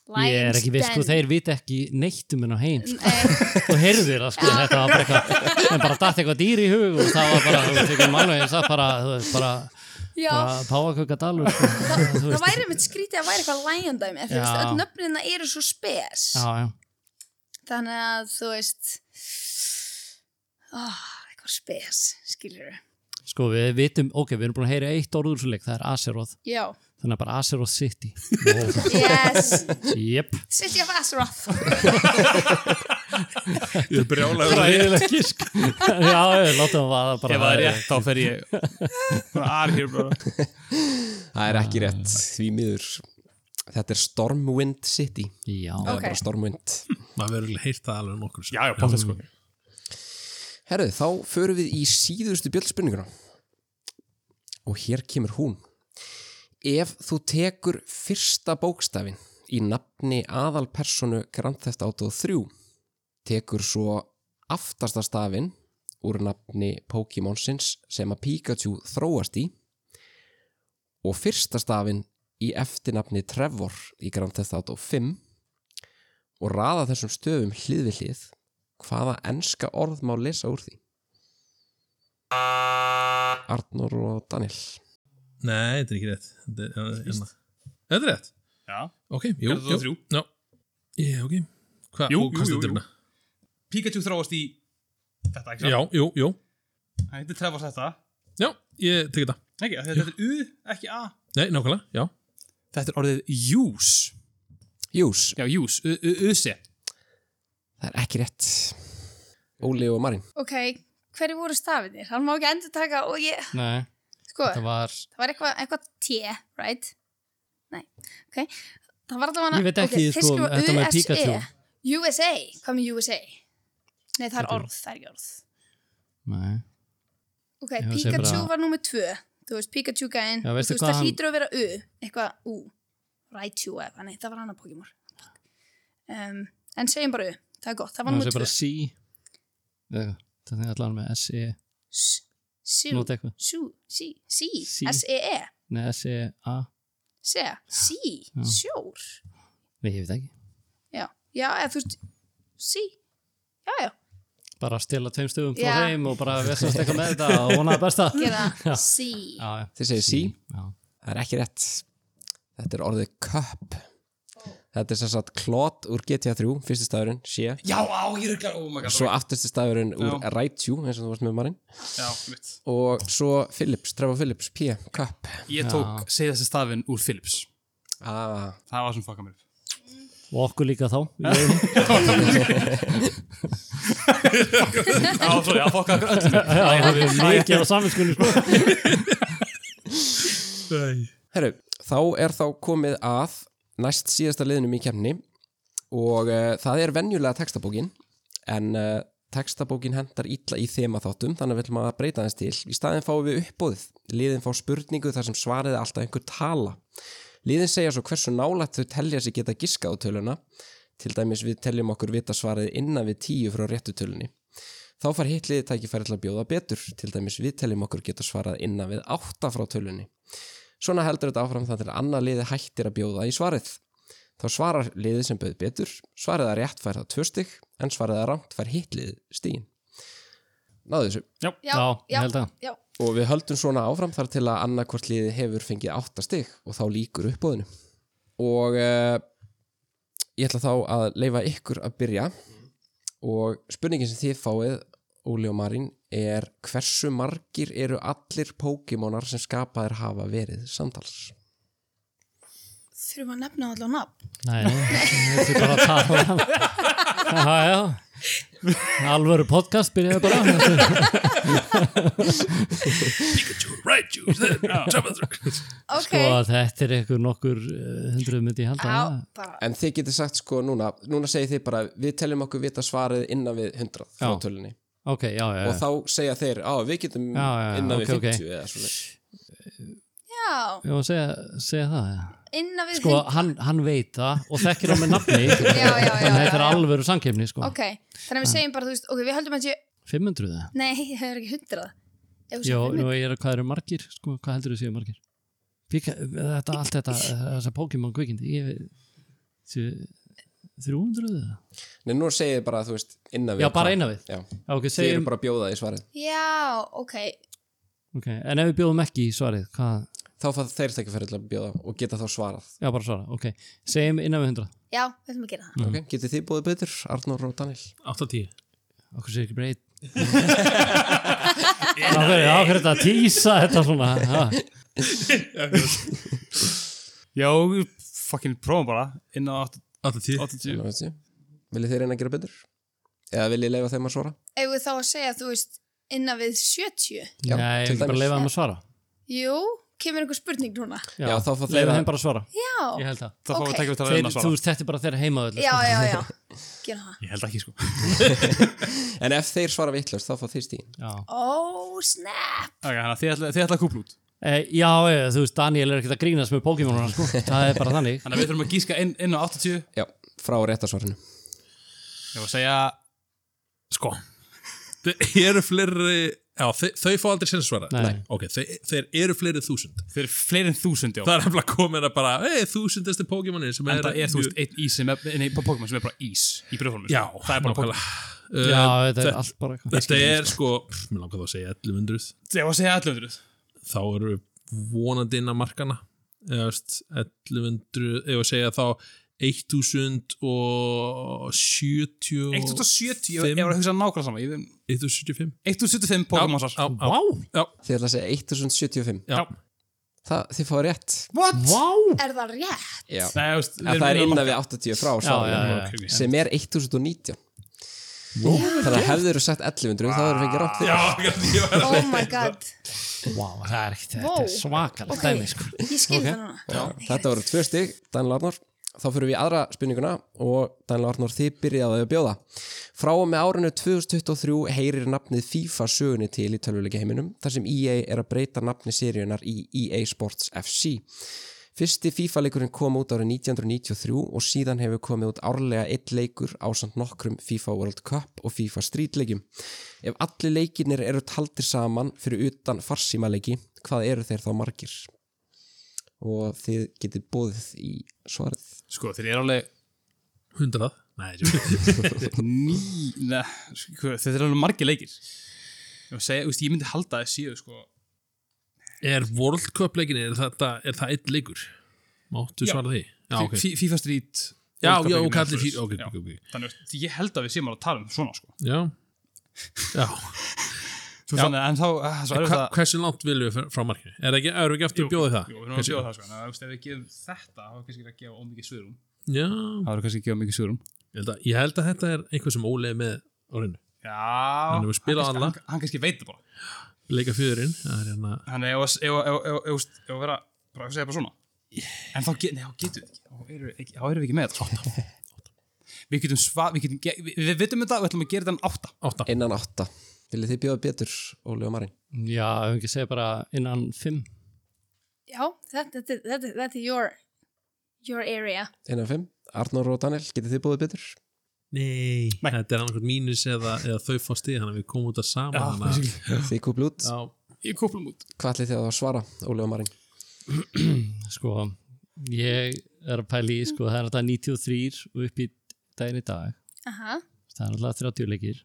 C: Ég er ekki viss, sko,
D: den. eh,
C: þeir vita ekki neitt um henn á heim, sko.
D: Nei,
C: og heyrðir það sko, þetta var bara eitthvað en bara datt eitthvað dýr í hug og það var bara, þú veist, ekki mánu eins að bara, þú veist, bara,
D: Já,
C: bara páaköka dalur sko, þú
D: það
C: veist,
D: væri mitt skrítið að væri eitthvað lion dæmi, af því
C: Já.
D: þú veist, öll nöfnina eru svo spes.
C: já, já,
D: Þannig að þú veist, oh, eitthvað spes, skilur þau.
C: sko við vitum, ok, við erum búin að heyra eitt orður svo leik, það er Aseroth,
D: Já.
C: þannig að bara Aseroth City
D: Yes,
C: jep,
D: City of Azeroth.
E: Ég er brjálega
C: ræðileg gísk já, já, látum að vaða bara
B: Ef það er rétt, þá fer ég bara ar hér bara.
A: það er ekki rétt því miður þetta er Stormwind City
C: já,
A: það
D: Ok.
A: er bara Stormwind
E: Maður verður heirt það alveg nokkur
B: Já, já, pálfætt sko.
A: Herðu, þá förum við í síðustu bjöldspurninguna og hér kemur hún Ef þú tekur fyrsta bókstafin í nafni aðalpersonu Grand Theft Auto 3 tekur svo aftasta stafin úr nafni Pokémonsins sem að Pikachu þróast í og fyrsta stafinn í eftirnafni Trevor í Grand Theft Auto 5 og raða þessum stöfum hlið við hlið hvaða enska orð má lesa úr því? Arnur og Daniel
E: Nei, þetta er ekki rétt Þetta er, hérna, hérna. þetta er rétt
B: Já.
E: Ok, jú,
B: Gerðu þú
E: jú no. yeah, okay. Hva,
B: Jú,
E: og
B: jú,
E: hvað
B: jú, jú.
E: stendur hérna?
B: Pikachu þróast í þetta, ekki
E: Já,
B: satt?
E: jú, jú
B: Hann heitir Trevor þetta.
E: Já, ég tek þetta
B: Ekki, af því að þetta er U, ekki A.
E: Nei, nákvæmlega, já
B: Þetta er orðið use.
A: Jús,
B: Já, use. U- u- Use.
A: það er ekki rétt Óli og Marín
D: Ok, hverju voru stafinir? Hann má ekki endur taka og ég,
C: Nei,
D: sko,
C: það var,
D: það var eitthvað eitthva T, right? Nei, ok. Það var allavega
C: ég veit ekki,
D: ok, þeir
C: sko,
D: skrifa
C: þetta með
D: USE.
C: Pikachu.
D: USA, hvað með USA? Nei, það er orð, það er ekki orð.
C: Nei,
D: Ok,
C: Ég hugsa
D: Pikachu
C: bara-
D: var nummer tvö, þú veist, Pikachu gæinn,
C: Já,
D: þú
C: veistu
D: veist,
C: hvað
D: það
C: hann-
D: hlýtur að vera U, eitthvað U, Raichu eða, nei, það var annar Pokémon. Um, en segjum bara U, það er gott, það var
C: það
D: nummer
C: sé bara
D: tvö.
C: C. Það er allan með S-E,
D: S- Sú,
C: nota eitthvað.
D: sú, sí, sí,
C: Sí.
D: S-E-E,
C: Nei, E S-E-A,
D: sé, sí,
C: Já.
D: sjór.
C: nei, ég veit ekki.
D: Já, já, eða þú veist, sí, já, já,
C: Bara stela tveim stöfum frá
D: Já.
C: þeim og bara vesast eitthvað með þetta og vona að besta.
D: gera
C: Já.
D: sí.
C: Já, já.
A: Þið segir sí,
C: Sí, E já.
A: það er ekki rétt Þetta er orðið cup Þetta er sem sagt klót úr GTA 3 fyrsti stafurinn, sé
B: Já, á, ég er klar. Oh my god.
A: svo aftursti stafurinn úr
B: Já.
A: Raichu eins og þú varst með Marín
B: Já, mitt.
A: og svo Phillips, Trevor Phillips, P, cup
B: Ég tók segðast stafinn úr Philips.
A: ah,
B: Það var sem fucka mér upp.
C: Og okkur líka þá.
B: Já, sorry, það fokkaði okkur öllum.
C: Það er mikið á samvinskunni, sko.
A: Herru, þá er þá komið að næst síðasta liðnum í kemni og uh, það er venjulega textabókin en uh, textabókin hendar illa í þemaþáttum þannig að við ætlum að breyta þess til í staðin fáum við uppbóðið liðin fá spurningu þar sem svarið er alltaf einhver tala liðin segja svo hversu nálægt þau telja sig geta giskað á töluna til dæmis við teljum okkur vita svarið innan við tíu frá réttu tölunni þá far hitt liðið tækifæri til að bjóða betur til dæmis við teljum okkur geta svarað innan við átta frá tölunni Svona heldur þetta áfram þannig að annað liði hættir að bjóða í svarið. Þá svarar liðið sem bauð betur, svarið að rétt fær það tvö stygg, en svarið að rangt fær hitt liðið stígin. Náðu þessu.
D: Já,
C: Já, ég
D: já,
C: held að.
D: já,
A: Og við höldum svona áfram þar til að annað hvort liðið hefur fengið átta stygg og þá líkur uppbóðinu. Og uh, ég ætla þá að leifa ykkur að byrja og spurningin sem þið fáið, Óli og Marín, er hversu margir eru allir Pokémonar sem skapaðir hafa verið samtals?
D: þurfum að nefna allavega nafn.
C: Nei, nei, þetta er bara að tala Já, já Alvöru podcast byrjaði bara
E: Pikachu, Raichu, Trevor
D: Ok,
C: Sko, þetta er eitthvað nokkur eh, hundruð myndi ég halda
D: já,
C: það.
D: bara,
A: En þið getur sagt sko núna, núna segir þið bara við teljum okkur vita svarið innan við 100 frá
C: Já.
A: tölunni
C: Ok, já, já,
A: og
C: já
A: þá segja þeir, á við getum
C: Já, já, já,
A: innan
C: ok,
A: við
C: ok.
A: 50 eða svona
D: já,
C: Ég var að segja, segja það já.
D: innan við
C: Sko, hann, hann veit það og þekkir hann með nafni Þannig
D: já, já,
C: að þetta
D: já,
C: er
D: já.
C: alvöru samkeppni, sko
D: Ok, þannig að við segjum bara, þú veist, ok, við höldum að sé,
C: 500 það
D: nei, það er ekki hundrað. Ef við
C: Jó,
D: segjum
C: nú ég er að hvað eru margir, sko, hvað heldur þú séu margir? Pika, þetta, allt þetta, þessa Pokémon kvikindi ég, sé- 300 það?
A: Nei, nú segir þið bara, þú veist, innan við
C: Já, bara
A: hvað-
C: eina við
A: Já,
C: Já, ok,
A: þið eru
C: segjum
A: bara að bjóða í svarið
D: Já, ok,
C: Ok, en ef við bjóðum ekki í svarið, hvað?
A: Þá fæða þeir þekki fyrir til að bjóða og geta þá svarað
C: Já, bara svara, ok. Segjum innan við 100.
D: já, við ætlum að gera það.
C: Mhm.
A: mm. Getið þið búið betur, Arnór og Daniel
E: 8-10
C: Okkur sé ekki breyt. Það fyrir það fyrir þetta að tísa þetta svona. Ha.
B: Já, fucking prófum bara. Inn á
E: 8-10
B: 80.
A: Þannig að veistu. Viljið þið reyna að gera betur? Eða viljið leifa þeim að svara?
D: Ef við þá að segja, þú veist, innan við 70.
A: Já, til
C: Nei, ég vil bara
A: dæmis.
C: leifa þeim að svara.
D: Jú, kemur einhver spurning núna?
A: Já, þá fá þeir
C: leifa
A: að-
C: þeim bara að svara. Ég
D: Já,
C: held það.
B: Það fáum við
D: Ok.
B: að taka við það að
C: Þeir,
B: reyna að
C: þú
B: svara.
C: veist, þetta er bara þeirra heima öll.
D: já, já, já, gera það.
B: Ég held ekki, sko.
A: En ef þeir svara vittlust, þá fá þeir stíðin
C: sko. Já.
D: Ó, snap!
B: Ok, þannig að þið ætla- þið ætla að kúpla út.
C: E, já, e, þú veist, Daniel er ekkert að grínast með Pokémonuna, sko. Það er bara þannig.
B: Þannig að við þurfum að gíska inn, inn á 80.
A: Já, frá réttasvarinu
B: Ég var að segja, sko,
E: Þeir eru fleiri Já, þau, þau fá aldrei sinni svara
C: Nei. Nei.
E: Ok, þeir, þeir eru fleiri þúsund
B: Þeir eru fleiri en þúsund, já.
E: Það er hefnilega komin að bara, ei, þúsundasti Pokémoni sem
B: en
E: er,
B: það er, þú veist, einn ís sem er, nei, Pokémon sem er bara ís í brjóðforminu.
E: Já,
B: það er bara Pokémon.
E: Pokémon
C: Já, þetta er allt bara eitthvað.
E: Þetta er sko, pff, mér langar þá að segja 1100
B: Ég var að segja 1100.
E: þá eru við vonandi inn að markana eða veist, 1100 eða að segja þá 1070
B: 1070, ég var- ég var að hugsa nákvæmlega sama. ég-
E: 1075
B: 1075 Pokémonsar.
E: Já, já,
C: Vá,
E: já,
A: Þið ætla að segja 1075
E: já,
A: Það, þið fáið rétt
B: What?
C: vá,
D: Er það rétt?
A: Já,
B: Nei, þú veist,
A: en það er innan við 80 frá svarinu,
C: já, já.
B: Ok,
A: sem er 1019 Þannig að hefðir þú sagt 1100 þá erum við ekki rátt fyrir
D: Oh my god.
C: vá, það er ekkert,
D: Vá.
C: þetta er svakalegt
D: Ok,
C: dæmi, sko.
D: ég skil það núna.
A: Eh, Þetta voru tvö stig, Daniel Arnór Þá fyrir við í aðra spurninguna og Daniel Arnór þið byrjaði að bjóða Frá og með árinu 2023 heyrir nafnið FIFA sögunni til í tölvuleika heiminum þar sem EA er að breyta nafni seríunar í EA Sports FC Fyrsti FIFA-leikurinn kom út árið 1993 og síðan hefur komið út árlega eitt leikur ásamt nokkrum FIFA World Cup og FIFA Street leikjum. Ef allir leikinir eru taldir saman fyrir utan farsímaleiki, hvað eru þeir þá margir? og þið getið bóðið í svarið
B: Sko, þeir eru alveg
E: 100 Nei, ég-
B: ný... Nei, sko, þeir eru alveg margir leikir. Ég, var að segja, þú veist, ég myndi halda að séu, sko...
E: er World Cup leikin er, þetta- er það einn leikur? Máttu
B: Já.
E: svara því? Já, ok,
B: Fi- FIFA Street...
E: já,
B: World Cup
E: já,
B: leikirnir,
E: ok, allir
B: svoleiðis.
E: fyrir okay,
B: Já.
E: ok, ok, ok.
B: Þannig að ég held að við séum alveg að tala um svona sko.
E: Já, já.
B: Svo
E: Já.
B: þannig, en þá, að, svo erum við
E: Hva,
B: það
E: Hversu langt viljum við frá- frá markinu? Er það ekki, erum við ekki aftur að bjóða í það?
B: Jú, við erum að
E: Hversu-
B: bjóða það sko, en að, þú veist, ef við gefum þetta þá er kannski ekki að gefa ómikið svörum
E: Já,
B: Það er kannski að gefa mikið svörum
E: ég held, að, ég held að þetta er einhver sem Óli er með á reynu.
B: Já,
E: Hann hefur spilað
B: kannski-
E: alla.
B: hann, hann kannski veit það bara
E: Leika fjöðurinn, það er hérna
B: Þannig, ef að- ef að- ef að- ef að- ef að- ef að vera bara að segja bara svona En þá, get, nei, þá getum við ekki Þá erum við ekki, þá erum við ekki með þetta Við getum svað, við getum, ge- við, við vitum þetta og við ætlum að gera þetta en átta
E: átta.
A: innan átta viljið þið bjóða betur, Óli og Marín
C: Já, ef ekki segja bara innan fimm.
D: Já, þetta, þetta, þetta, þetta er your, your area.
A: innan fimm, Arnór og Daniel, getið þið bjóðið betur
E: Nei, þetta er annarkvæmt mínus eða, eða þau fá stíð, þannig að við komum út að saman. þannig að-
A: þið kúplu út,
E: Já,
B: Ég kóplum út
A: hvað ætlið þið að svara Óli og Marín,
C: sko, ég er að pæli í, sko, það er alltaf 93 og upp í daginn í dag
D: Aha.
C: það er alltaf 30 leikir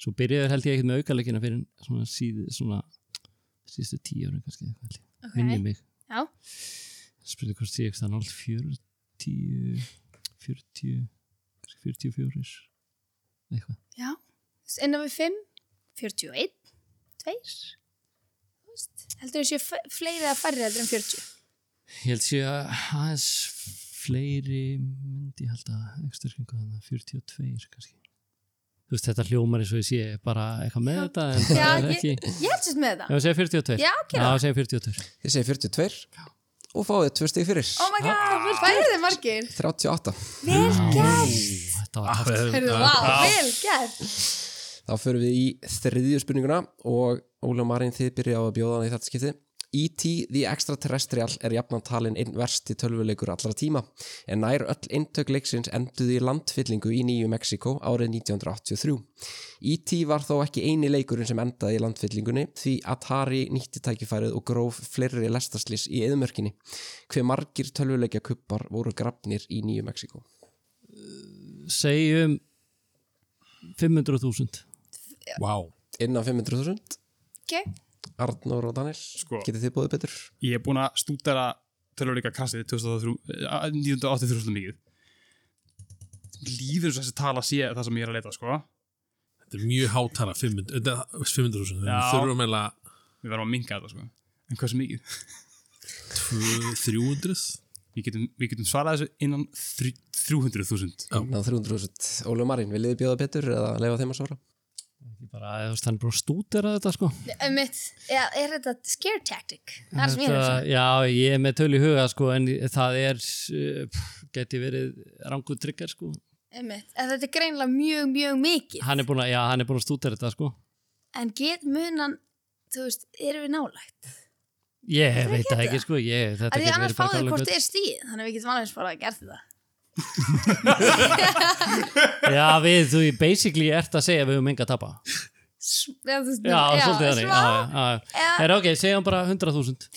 C: svo byrjaður held ég ekkert með aukaleikina fyrir svona síð, svona síðustu tíu ára kannski, eitthvað held ég.
D: Ok.
C: minnir mig
D: Já.
C: spurði hvort ég ekki það nátt 40 40 kannski 44 eitthvað
D: Já. Þú veist, Innan við 5, 41, 2. Þú veist, heldur þú séu fleiri að færri heldur en 40?
C: ég held sé að aðeins fleiri myndi ég held að ekki styrkingu þannig 42 kannski þú veist þetta hljómar eins og ég sé bara eitthvað með þetta en það
D: Já,
C: er ekki
D: ég,
C: ég...
D: ég held sérst með
C: ef
D: það.
C: ég segja 42
D: Já, gerðu það.
C: ég segja 42
A: þið segir 42 og fáið tvö stig fyrir
D: Oh my god, hvað er þið margir?
A: 38,
D: Vel gert.
C: þetta var
E: við höfum-
D: Hörðu, vá, vel gert.
A: þá förum við í þriðju spurninguna og Óli og Marín þið byrjaði að bjóða hann í þetta skipti E.T. The Extraterrestrial er jafnan talin einn versti tölvuleikur allra tíma en nær öll eintök leiksins enduði í landfyllingu í Nýju Mexiko árið 1983. E.T. E var þó ekki eini leikurinn sem endaði í landfyllingunni því Atari nýtti tækifærið og gróf fleiri lestaslis í eðumörkinni. Hve margir tölvuleikja kuppar voru grafnir í Nýju Mexiko?
C: segjum 500.000
E: Vá.
A: Innan 500.000,
D: Ok,
A: Arnór og Daniel,
B: Sko.
A: getið þið búið betur?
B: Ég er búin að stúdara töluleika krassið eh, 1983 svolítið mikið Líður eins og þessi tala sé það sem ég er að leita sko
E: Þetta er mjög hátala, 500 þetta- 500.000, þannig
B: Já.
E: að þurfum eiginlega
B: Við verðum að minka þetta sko En hversu mikið?
E: 200, 300.
B: Við getum, við getum svarað þessu innan þrjú- 300.000
A: Ná 300.000. Óli og Marín, viljið þið bjóða betur eða leifa þeim að svara?
C: bara, þú veist, hann er bara að stúdera þetta sko
D: um mitt, ja, er þetta scare tactic? Það er sem ég er að segja.
C: já, ég er með töl í huga sko en það er uh, pff, geti verið rangu tryggar sko
D: Einmitt. En þetta er greinilega mjög, mjög mikið.
C: hann er búin að, já, hann er búin að stúdera þetta sko
D: En get munan, þú veist, erum við nálægt?
C: ég veit það ekki sko ég,
D: Af
C: þetta
D: því
C: getur
D: annars
C: verið bara
D: fáðu hvort
C: galið
D: er stíð, þannig að við getum alveg bara að gera þetta.
C: já, við, þú, basically ert að segja að við höfum enga að tapa
D: sv- eða þú veist,
C: Já, svolítið
D: já,
C: þannig.
D: smá.
C: já, já, já.
D: Eða-
C: Heyrðu, ok, segjum bara 100.000.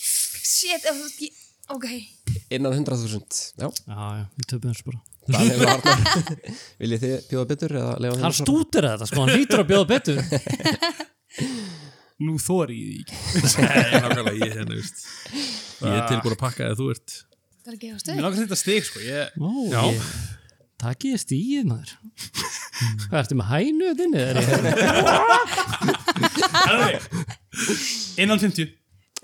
D: Shit, ef þú veist, ég- ok
A: innan 100.000 já,
C: Já, já, við töpum þessu bara.
A: það er varnar viljið þið bjóða betur eða lefa
C: Hann stútir þetta, sko, hann lítur að bjóða betur.
B: Nú þóri ég því ekki.
E: Nei, nákvæmlega, ég, hérna, veist, ég er tilbúin að pakka eða þú ert
D: Það er að gefa
B: Mér
D: stöð
B: langar þetta stig, sko. Ég,
C: Ó, ég, takk ég stíð, maður. Hvað ertu með hænu þetta inni? Er ég,
B: alveg, innan 50.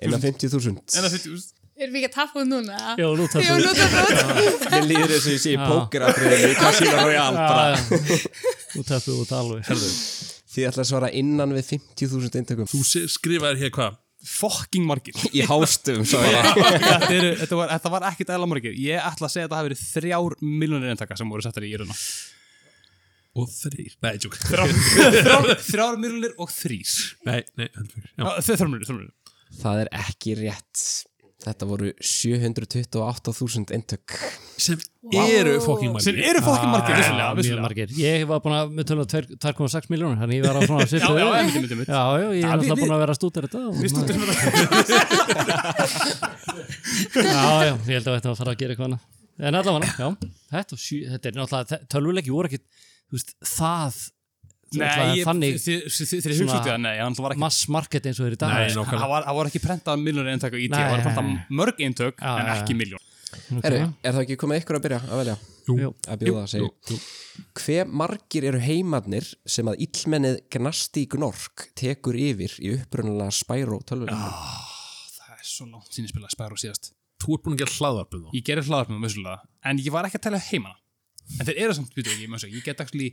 A: innan 50.000
B: Innan 50, úst.
D: Erum við ekki að tappa það núna?
C: já, nú
D: Jú,
C: tapum
D: nú
C: við.
D: tappa það
A: mér líður þess að ég sé í pókeratriðinu í Casino Royale bara
C: Nú tapum við út alveg.
A: þið ætla að svara innan við 50.000 eintökum
E: Þú se- skrifaðir hér hvað?
B: Fucking margir.
A: í hástum svo ég
B: þetta, eru, þetta, var, þetta var ekkit eðla margir. Ég ætla að segja að þetta hafi verið þrjár miljonir eintaka sem voru settar í íruna.
E: Og þrýr Nei, tjók
B: Þrjár, þrjár, þrjár miljonir og þrýr.
E: Nei, nei, heldur fyrir Já,
B: Ah, Þau þrjár miljonir, þrjár miljonir.
A: Það er ekki rétt. Þetta voru 728.000 eintök.
E: sem eru fokking margir Ah,
B: Sem eru fucking margir, vissulega,
C: Mjög
B: vissulega.
C: margir. Ég var búin að, með tölum að 2,6 miljónur, þannig ég var á svona
B: Já,
C: svipuðu.
B: já, einmitt, einmitt, einmitt.
C: Já, já,
B: Já,
C: ég er
B: við-
C: alltaf
B: við-
C: búin að vera að stúta þetta og-
B: Við stútum þetta.
C: Já, já, ég held að þetta var að fara að gera eitthvað annað. En allavega, já, þetta, og sjö, þetta er náttúrulega, tölvuleiki voru ekkit, þú veist, það, þú
B: Nei,
C: veist,
B: ég,
C: þannig
B: þið, þið, þið, þið
C: svona-
B: hugsaðu það, nei, hann var ekki
C: mass market eins og þeir í dag.
E: Nei,
C: sko.
E: nákvæmlega.
B: hann var, hann var ekki prentað miljónir eintök á IT,
C: Nei,
B: hann var prentað
C: nei, nei.
B: mörg eintök
C: Já,
B: en
C: já, já.
B: ekki miljón
C: Ok.
A: Herri, er það ekki komið ykkur að byrja að velja?
C: Jú.
A: Að bjóða, segi. ég. Hve margir eru heimarnir sem að illmennið Gnasti Gnork tekur yfir í upprunalega Spyro tölvuleik?
C: Ah.
B: Það er svo langt sín ég spilaði Spyro síðast
E: Þú ert búin að gera hlaðvarpum þá
B: Ég gerði hlaðarpum vissulega, en ég var ekki að tala heima En þeir eru samt, býtu, ég, ég, ég get actually,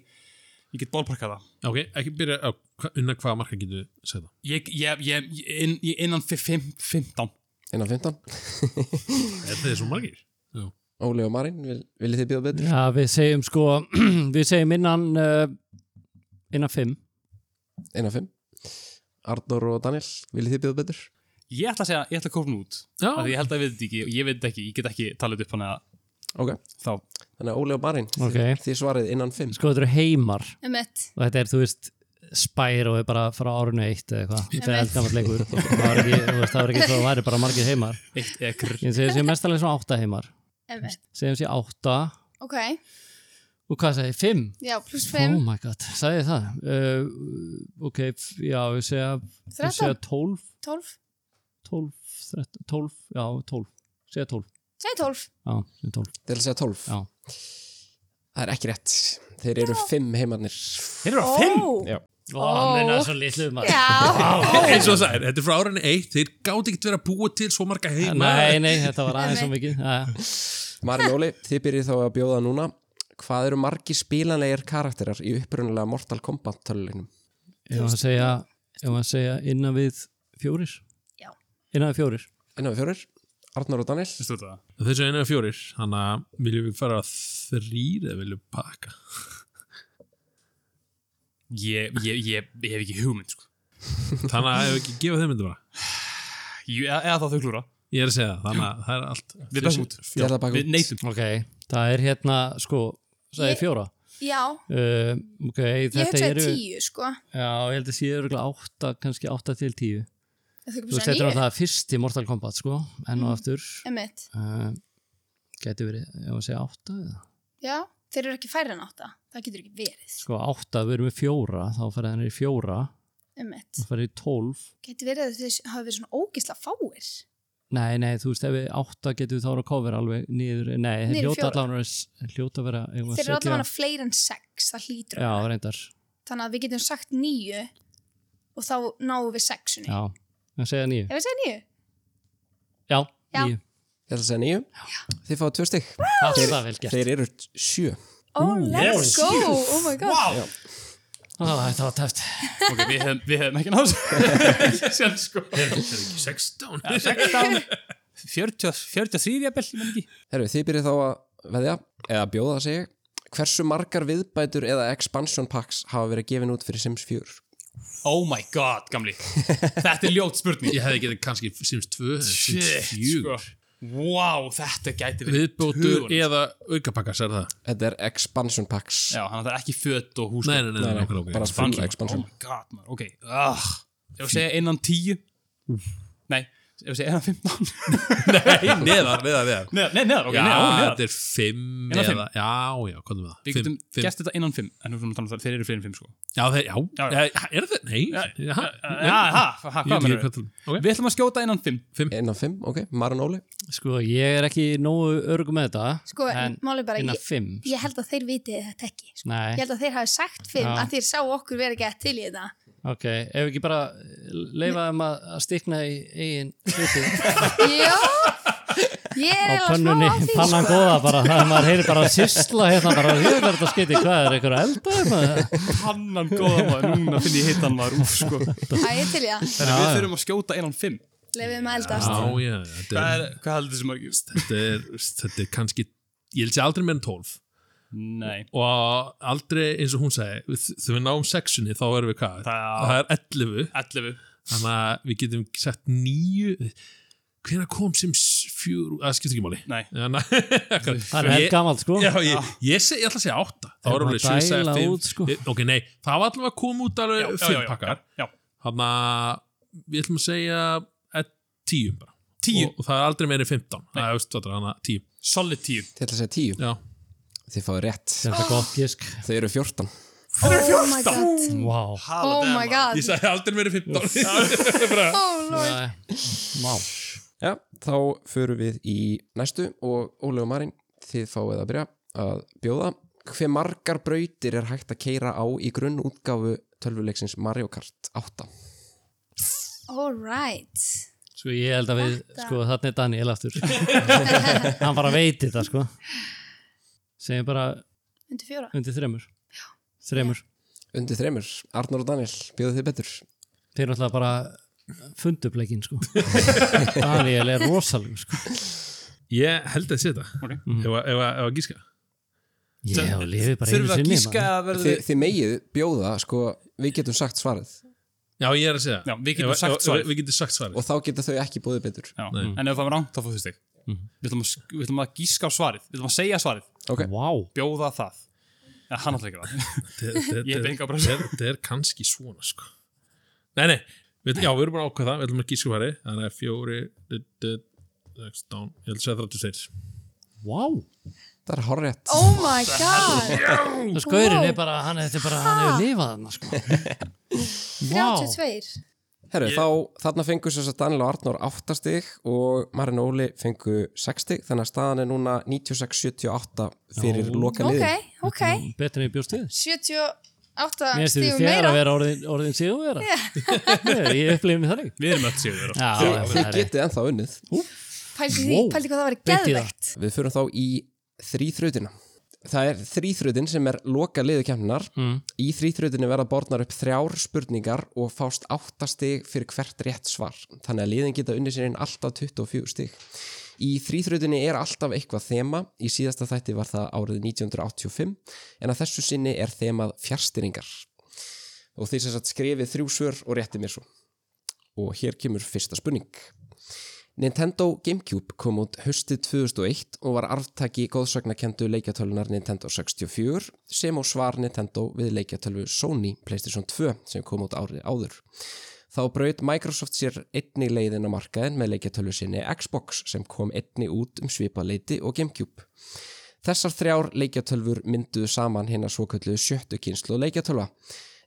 B: ég get bólparkað það
E: Ok, ekki byrja á hva- Unna hvaða marka getur við segð
B: Ég, ég, ég, ég, inn, ég innan fi- fimm- 15
A: Innan 15?
E: það Er þeir svo margir? Já
A: Óli og Marín, vil, viljið þið bjóða betur?
C: Já, við segjum sko, við segjum innan, uh, innan fimm.
A: Innan 5? Arnór og Daniel, viljið þið bjóða betur?
B: Ég ætla að segja, ég ætla að kópa hún út
E: Já.
B: Af því ég held að við þetta ekki, og ég veit þetta ekki, ég get ekki talað upp hann að
A: Ok,
B: þá
A: þannig að Óli og Marín,
C: Ok.
A: þið, þið svarið innan 5.
C: Sko, þetta eru heimar
D: Emmett,
C: og þetta er, þú veist, spær og er bara frá árinu eitt eða eitthvað. Þetta er
D: Einmitt.
C: eldgammal leikur. Það var ekki, þú veist, það var ekki svo, það er bara margir heimar.
B: eitt ekkur
C: Ég segi, segjum mestalega svona átta heimar.
D: emmett
C: Segjum sé átta
D: um Ok,
C: og hvað segi, fimm?
D: já, pluss
C: Oh
D: 5
C: my god, sagði ég það? Uh, ok, f- já, ég segja, ég segja
D: 13,
C: 12,
D: 12
C: 12, 13, 12, já, 12, segja 12,
D: Segð 12
C: já, segja 12,
A: Þið er að segja 12.
C: já.
A: Það er ekki rétt. Þeir eru 5 heimarnir.
B: Þeir eru að fimm
D: Ó.
A: Já.
C: Ó, hann er svo litlu maður.
D: Já,
E: Eins og það er, þetta er frá árunni eitt Þeir gáti ekki verið að búa til svo marga heima
C: Nei, nei, þetta var aðeins svo mikið. Já,
A: Marín Óli, þið byrjið þá að bjóða núna Hvað eru margi spílanlegir karakterar í upprunalega Mortal Kombat tölulegnum?
C: Ef maður segja, ef maður segja innan við fjórir.
D: Já.
C: Innan við fjórir.
A: Einna við fjórir, Arnar og Daniel
B: Veistu þetta?
E: Þessu einu er fjórir Þannig að viljum við fara þrýr eða viljum við pakka
B: Ég, ég, ég, ég hef ekki hugmynd sko.
E: Þannig að ef ekki gefa þeim þetta bara
B: Jú, eða, eða þá þau klúra
E: Ég er að segja það, þannig að það er allt
B: Við bækum út.
A: Ég ætla að baka
B: Við
A: út.
B: neytum
C: Ok, það er hérna, sko, sagði
D: Ég-
C: ég fjóra.
D: já,
C: Uh, ok,
D: ég
C: þetta
D: hugsaði
C: eru,
D: 10 sko
C: já, ég held að sé örgulega átta, kannski átta til tíu.
D: Það þurfum
C: Þú veist,
D: svo
C: þetta er
D: nýju
C: það fyrsti Mortal Kombat, sko, enn
D: Mm.
C: og aftur.
D: Emmett,
C: Uh, gæti verið, ef maður segja átta, eða?
D: já, þeir eru ekki færri en 8 Það getur ekki verið
C: sko, átta, við erum með fjóra, þá farið hann í fjóra,
D: Emmett,
C: þá farið í tólf.
D: getur Um verið að þeir hafa verið svona ógisla fáir
C: Nei, nei, þú veist, ef við átta getum við þá að kofir alveg niður, nei, þeir
D: Niður í
C: hljóta
D: fjóra.
C: allan að vera- hljóta að vera, eigum við
D: Þeir
C: að
D: eru
C: setja,
D: allavega fleiri en 6 Það hlýtur að
C: já,
D: vera.
C: reyndar,
D: Þannig að við getum sagt 9 Og þá náum við 6
C: já, það segja nýju,
D: Ef við segja 9
C: já,
D: Já.
C: nýju,
A: Ég ætla að segja nýju Þið fáið tvö stygg
C: það er það vel gert.
A: Þeir eru sjö
D: Oh, let's go, oh my god
B: Vá,
C: Ó, Ah, Þetta var tæft,
B: ok, við hefum, við hefum ekki náðu Sér sko
E: Það er ekki 16
B: 16 40 43 jafnvel, ég menn ekki
A: Herru, þið byrjið þá að veðja eða bjóða að segja Hversu margar viðbætur eða expansion packs hafa verið gefin út fyrir Sims 4?
B: Oh my god, gamli Þetta er ljót spurning
E: Ég hefði getið kannski Sims 2 Sims
B: Shit, sko
E: 4
B: wow, þetta gæti verið
E: Viðbótur
B: tugunum.
E: eða aukapakkars er það?
A: Þetta er expansion packs
B: Já, þannig að það er ekki föt og húsgögn.
E: Nei, nei, nei, nei,
A: Nei, nei,
E: nei, nei,
A: bara
E: nei.
A: full
B: Oh
A: expansion
B: my god, man, ok ah, Ef við segja innan tíu Nei, ef við segja innan fimmtán
E: Nei, neðar, neðar, neðar
B: Neðar, nei, neðar, ok,
E: Já,
B: neðar, ó, neðar
E: þetta er fimm
B: Eða fimm.
E: eða, Já, já, hvað er það?
B: Við getum
E: Fimm- fimm.
B: gert þetta innan fimm En við erum að tala um það, þeir eru fleiri en fimm sko
E: Já, þeir, já,
B: Já, já.
E: Eh, er það? Nei, já,
B: Já, ha, ha,
E: Ég
B: hvað
E: veit
B: mennur
E: ekki
B: við?
E: hvað það
B: Við ætlum að skjóta innan fimm
A: Einn af fimm, ok, Maran Óli
C: Sko, ég er ekki nógu örgum með þetta
D: Sko, en, máli bara,
C: innan
D: ég,
C: fimm
D: ég held að þeir viti þetta ekki. Sko. Ég
C: Nei,
D: held að þeir hafi sagt fimm
C: Já.
D: að þeir sá okkur vera ekki að til í þetta.
C: ok, ef við ekki bara leifaðum að að stikna í eigin hluti
D: Já, ég er
C: á
D: eiginlega smá
C: pönnunni,
D: á því.
C: pannan
D: sko.
C: góða bara, það er maður heyri bara að sýsla hérna bara, hér verður þetta skytti, hvað er einhver eldaði maður?
B: Hannan góða maður, núna finn ég heitan maður úf sko Þannig
D: Æ, ég er til í það.
B: að við þurfum að skjóta innan fimm
D: Lefiðum að eldast.
E: Já, já, þetta
B: Hvað
E: er,
B: er- hvað heldur þessi margir?
E: þetta er, þetta er kannski Ég held sér aldrei meira en 12
B: Nei,
E: og aldrei eins og hún sagði við- þegar við náum sexunni þá erum við hvað
B: Já.
E: það er 11
B: 11
E: þannig að við getum sett níu hvenær kom sem s- fjögur það skiptir ekki máli
B: Nei.
E: Þannig að-
C: Það er held
E: Ég-
C: gamalt, sko.
E: Já, ég, ég, seg, ég ætla að segja átta þá
C: Þeir
E: erum
C: eru
E: við
C: að
E: sjö
C: dæla
E: eftir
C: út, sko.
E: ok, nei, það var allavega að koma út
B: Já,
E: alveg
B: já, já,
E: fimm
B: já,
E: pakkar
B: já, já.
D: Oh
E: þannig að við ætlum að segja eh, tíu bara
B: Tíu.
E: og, og það er aldrei meiri 15 það er östu þannig að tíu
B: Solid 10
A: Þið ætla að segja tíu,
E: já,
A: þið fáið rétt
C: Þetta er gott gísk.
A: Þau eru fjórtán
D: Oh my god.
C: Vá. Wow.
D: Oh my
B: um
D: god.
E: ég sagði aldrei meiri 15
D: Oh lord.
C: Vá.
A: Já, þá förum við í næstu og Óli og Marín, þið fáið að byrja að bjóða. Hve margar brautir er hægt að keira á í grunn útgáfu tölvuleiksins Mario Kart 8?
D: All right.
C: Sko, ég held að við,
D: Þetta-
C: sko, þarna er Daniel aftur. Hann bara veit þetta, sko. Segjum bara
D: Undir fjóra.
C: undir þremur. Þremur.
A: Undir þremur, Arnur og Daniel, bjóðu þið betur.
C: Þeir eru alltaf bara fundupleikinn, sko. Daniel er rosalug, sko.
E: ég held að sé þetta
B: Ok.
E: ef að- ef að ef að gíska
C: Já, lifi bara
B: Þurfum
C: einu
B: við að
C: sinni.
B: gíska
C: maður.
B: að verður
A: Þið, þið megið bjóða, sko, við getum sagt svarið
E: Já, ég er að segja.
B: Já, við getum
E: Ef-
B: sagt
E: ef-
B: svarið.
E: Við getum sagt svarið.
A: og þá geta þau ekki bjóðu betur.
B: Já, en ef það var rangt þá fór þú stig við, ætlum að, sk- við ætlum að gíska á svarið Við ætlum að segja svarið,
A: Ok,
C: Vá.
B: bjóða það Já, hann alltaf ekki það Ég hef enga bremsu.
E: Þetta er kannski svona, sko. Nei, nei, við, já, við erum bara að ákveða það, við ætlum að gíska svarið, þannig að fjóri, d- d- 16, ég held að segja 36.
C: Vá.
A: það er horrið.
D: Oh my god.
C: Það skaurin
D: Vá.
C: er bara, hann, þetta er bara, hann hefur lifað þarna, sko. Vá.
D: 32.
A: Herru, þá, þarna fengu þess að Daniel og Arnur 8 stig og Marín og Óli fengu 6 stig, þannig að staðan er núna 96-78 fyrir loka
D: Ok,
A: liðin.
D: ok.
C: Betur en Hm, ég bjóst við.
D: 78
C: Mm. Mér finnst
D: stífum
C: þið þegar
D: meira.
C: að vera orðin, orðin sigurvera. Ég upplifði mig þannig.
B: Við erum öll sigur
C: Já,
A: Þið,
C: já,
A: þið
C: það er-
A: getið ennþá unnið.
D: Pældi því,
C: Wow.
D: pældi hvað það væri
C: Beint í það.
D: geðvegt.
A: Við förum þá í þrýþrautina. Það er þrýþrautin sem er loka liðu kemnar.
C: Mm.
A: Í þrýþrautinu verða borðnar upp þrjár spurningar og fást átta stig fyrir hvert rétt svar. Þannig að liðin geta unni sér inn alltaf 24 stig. Í þrýþrautinu er alltaf eitthvað þema. Í síðasta þætti var það árið 1985 en að þessu sinni er þemað fjárstyringar. Og þeir sem sagt skrifið þrjú svör og rétti mér svo. Og hér kemur fyrsta spurning. Nintendo Gamecube kom út haustið 2001 og var arftaki góðsagnakendu leikjatölunar Nintendo 64 sem á svar Nintendo við leikjatölu Sony PlayStation 2 sem kom út árið áður. Þá braut Microsoft sér einni leiðin á markaðin með leikjatölu sinni Xbox sem kom einni út um svipaleiti og Gamecube. Þessar þrjár leikjatölfur mynduðu saman hérna svo kölluðu sjöttu kynslu leikjatölva.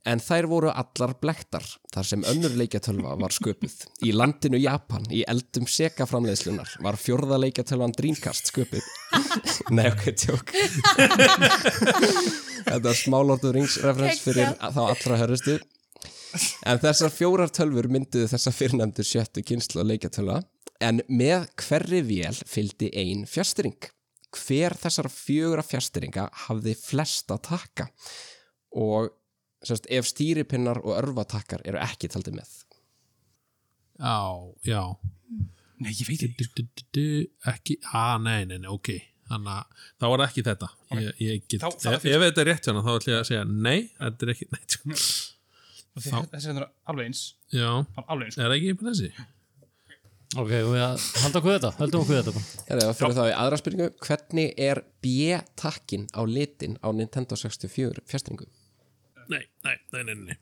A: En þær voru allar blektar, þar sem önnur leikjatölva var sköpuð. Í landinu Japan, í eldum seka framleiðslunar, var fjórða leikjatölvan Dreamcast sköpuð. Nei, ok, tjók. Þetta var smálortu ringsreferens fyrir þá allra hörðustu. En þessar fjórar tölfur mynduðu þessa fyrrnefndu sjöttu kynslu leikjatölva. En með hverri vél fylgdi ein fjastring hver þessar fjögra fjastringa hafði flest að taka og semst, ef stýripinnar og örvatakkar eru ekki taldi með
E: Já, já.
B: Nei, ég veit
E: D- d- d- d- d- Ekki, að, nei, nei, nei, ok. Þannig að það var ekki þetta. Ég, ég get,
B: Þá- það er
E: ef, ef þetta er rétt hérna, þá ætlum ég að segja nei, þetta er ekki, nei, tjú.
B: ekki Þessi er alveg eins
E: já,
B: Alveg eins
E: er það ekki bara þessi?
C: Ok, og ég halda okkur við þetta, höldum okkur við þetta bara.
A: Herra, og fyrir þá í aðra spurningu, hvernig er B-takkin á litin á Nintendo 64 fjastringu?
E: Nei, nei, nei, nei, nei.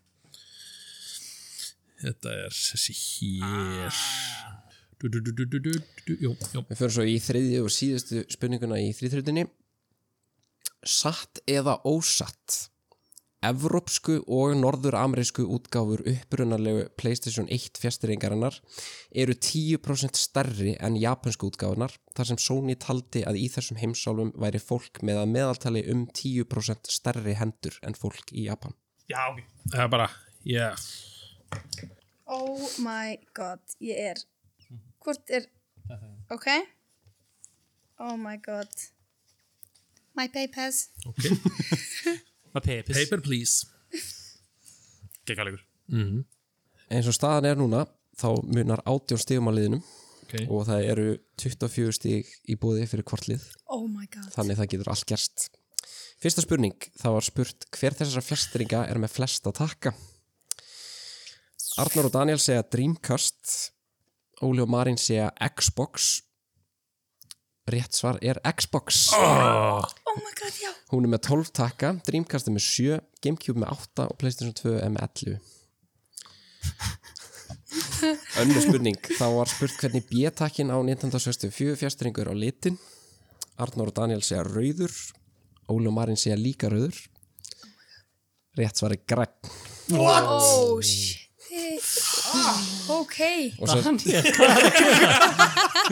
E: Þetta er þessi hér. Ah. Du, du, du, du, du, du, du, jú, jú.
A: Við fyrir svo í þriðju og síðustu spurninguna í þrýþröðinni. Satt eða ósatt? Evrópsku og norður-amerísku útgáfur upprunalegu PlayStation 1 fjastringarinnar eru 10% stærri en japansku útgáfunar þar sem Sony taldi að í þessum heimsálfum væri fólk með að meðaltali um 10% stærri hendur en fólk í Japan.
E: Já, ok. Það er bara, já.
D: Oh my god, ég er Hvort er Ok Oh my god My papers
E: Ok. Paper, please.
B: Gekkaðlegur.
A: eins og staðan er núna þá munar 18 stigum á liðinum
E: Ok.
A: og það eru 24 stig í búði fyrir hvort lið
D: Oh my god
A: þannig það getur allt gerst fyrsta spurning, það var spurt hver þessara fjastringa er með flesta takka Arnar og Daniel segja Dreamcast Óli og Marín segja Xbox rétt svar er Xbox
D: Oh my god, já
A: hún er með 12 takka, Dreamcast er með 7 Gamecube með 8 og Playstation 2 er með 11 önnur spurning þá var spurt hvernig B-takkin á 1964 fjastringur á litin Arnór og Daniel segja rauður Óli og Marín segja líka rauður rétt svar er græn
D: What? Oh shit Ok
A: og svo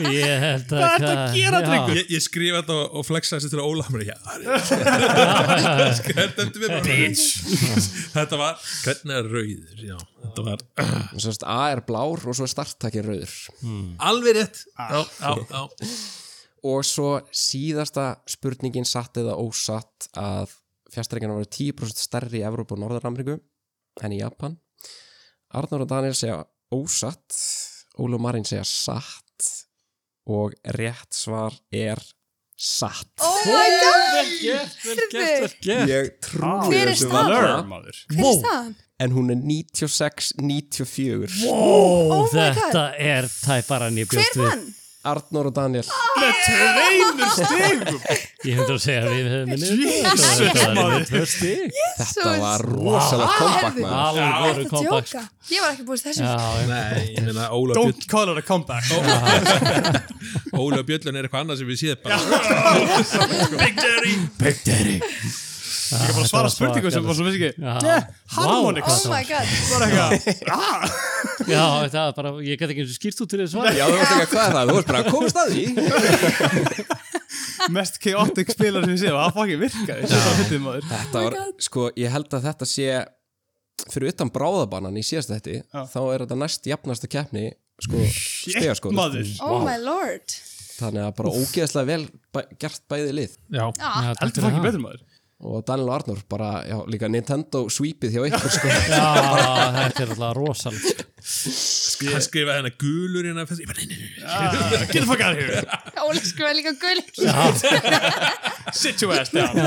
C: Ég held að... Hvað er þetta að gera, drengur?
E: Ég, ég skrifa þetta og- og flexa þessi til að Óla mér, já. Skrifa þetta eftir mér bara. þetta var, hvernig er rauður, já. Þetta var
A: og svo A er blár og svo er starttakkin rauður
E: alveg rétt. Já, já, já.
A: og svo síðasta spurningin satt eða ósatt að fjastreikana voru 10% stærri í Evrópu og Norðar-Ameríku en í Japan Arnur og Daniel segja ósatt Ólu og Marín segja satt og rétt svar er satt
D: Oh my god
B: Gert, vel gert, vel gert.
A: ég trúi
D: Hver er
A: þessu
D: staðan?
A: varla.
B: Lörr, maður.
D: Hver er staðan?
A: en hún er 96-94
C: Ó,
D: Oh my God.
C: þetta er tæparan ég
D: Hver
C: bjóst við.
D: vann?
A: Arnur og Daniel
B: Tveimur stigum.
C: Ég hefði að segja að við hefðum minni. Jesus, maður. Tvö stík.
A: þetta var rosalega kompakt maður.
D: Ertu
C: Alveg voru
D: að
C: kompakt.
D: djóka? Ég var ekki búist þessu
C: Já, já.
E: Nei, ég meina Óla Björn.
B: Don't call it a comeback.
E: Óla Björn er eitthvað annað sem við séð bara.
B: Big Daddy.
A: Big Daddy
B: Ég var að svara
C: var
B: spurningum sem
C: svakalegt.
B: var svo mikið.
C: Já.
B: Yeah,
C: Vá.
B: harmonics.
D: Oh my god
B: Bara eitthvað.
C: já, þetta var bara, ég gæti ekki eins og skýrt út til þess svar.
A: já þú veist ekki hvað er það, þú veist bara komist að því
B: Mest chaotic spilar sem ég sé. og Það fucking virkaði. Þetta var fyndið maður.
A: Þetta var, sko, ég held að þetta sé fyrir utan bráðabannan í síðast þetta þá er þetta næst jafnasta keppni sko, stegaskóð
B: Maður.
D: Oh my lord
A: þannig að bara ógeðslega vel bæ, gert bæði lið
E: Já.
C: Já,
B: Heldur
C: takk fyrir
B: fucking
C: það.
B: betur maður.
A: og Daniel og Arnur bara, já, líka Nintendo sweepið hjá ykkur, sko
C: Já, þetta er alltaf rosalega.
E: Hann skrifaði hennar gulur hérna. fyrst- Ég bara, nei, nei, nei, nei.
C: Ah.
B: Get the fuck out of here.
D: Óli skrifaði líka gul Já,
B: Sit your ass down.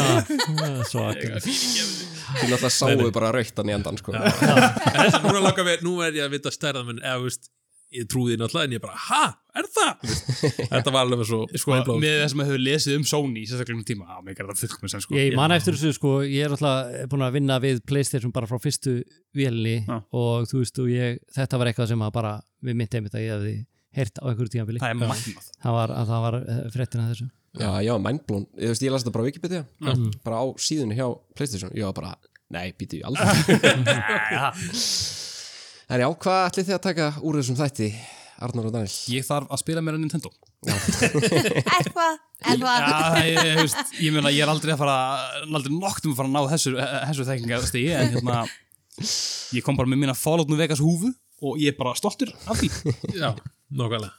C: Svakar.
A: því náttúrulega sáu bara rauktan í endan, sko já,
E: Þess að núna langar við, nú er ég að vita stærðan menn, eða, þú veist, ég trúði því náttúrulega en ég bara, ha, er það? Þú veist, Þetta var alveg svo, sko,
B: Sko, með það sem hefur lesið um Sony í sérstaklega um tíma, á mig er það fullkomins en sko
C: Ég man eftir þessu sko, ég er alltaf búin að vinna við Playstation bara frá fyrstu vélni
B: Já.
C: og þú veist og ég, þetta var eitthvað sem að bara, við myndi einmitt að ég hefði heyrt á einhverju tímanbili.
B: Það er magnað.
C: Það var, að það var eh, fréttin að þessu.
A: já, mindblown, ég veist, ég las þetta bara á Wikipedia Mm-hmm. bara á síðunni hjá Playstation ég var bara, nei, býti ég aldrei en já, hvað ætlið þið að taka úr þessum þætti, Arnur og Daniel?
B: Ég þarf að spila mér að Nintendo.
D: Eitthvað, eitthvað
B: Já, ég, ég, veist, ég meina, ég er aldrei að fara, aldrei nokt um að fara að ná þessu, þessu þekkingastegi, en hérna, ég kom bara með mína Fallout New Vegas húfu og ég er bara stoltur af því.
E: já, nákvæmlega.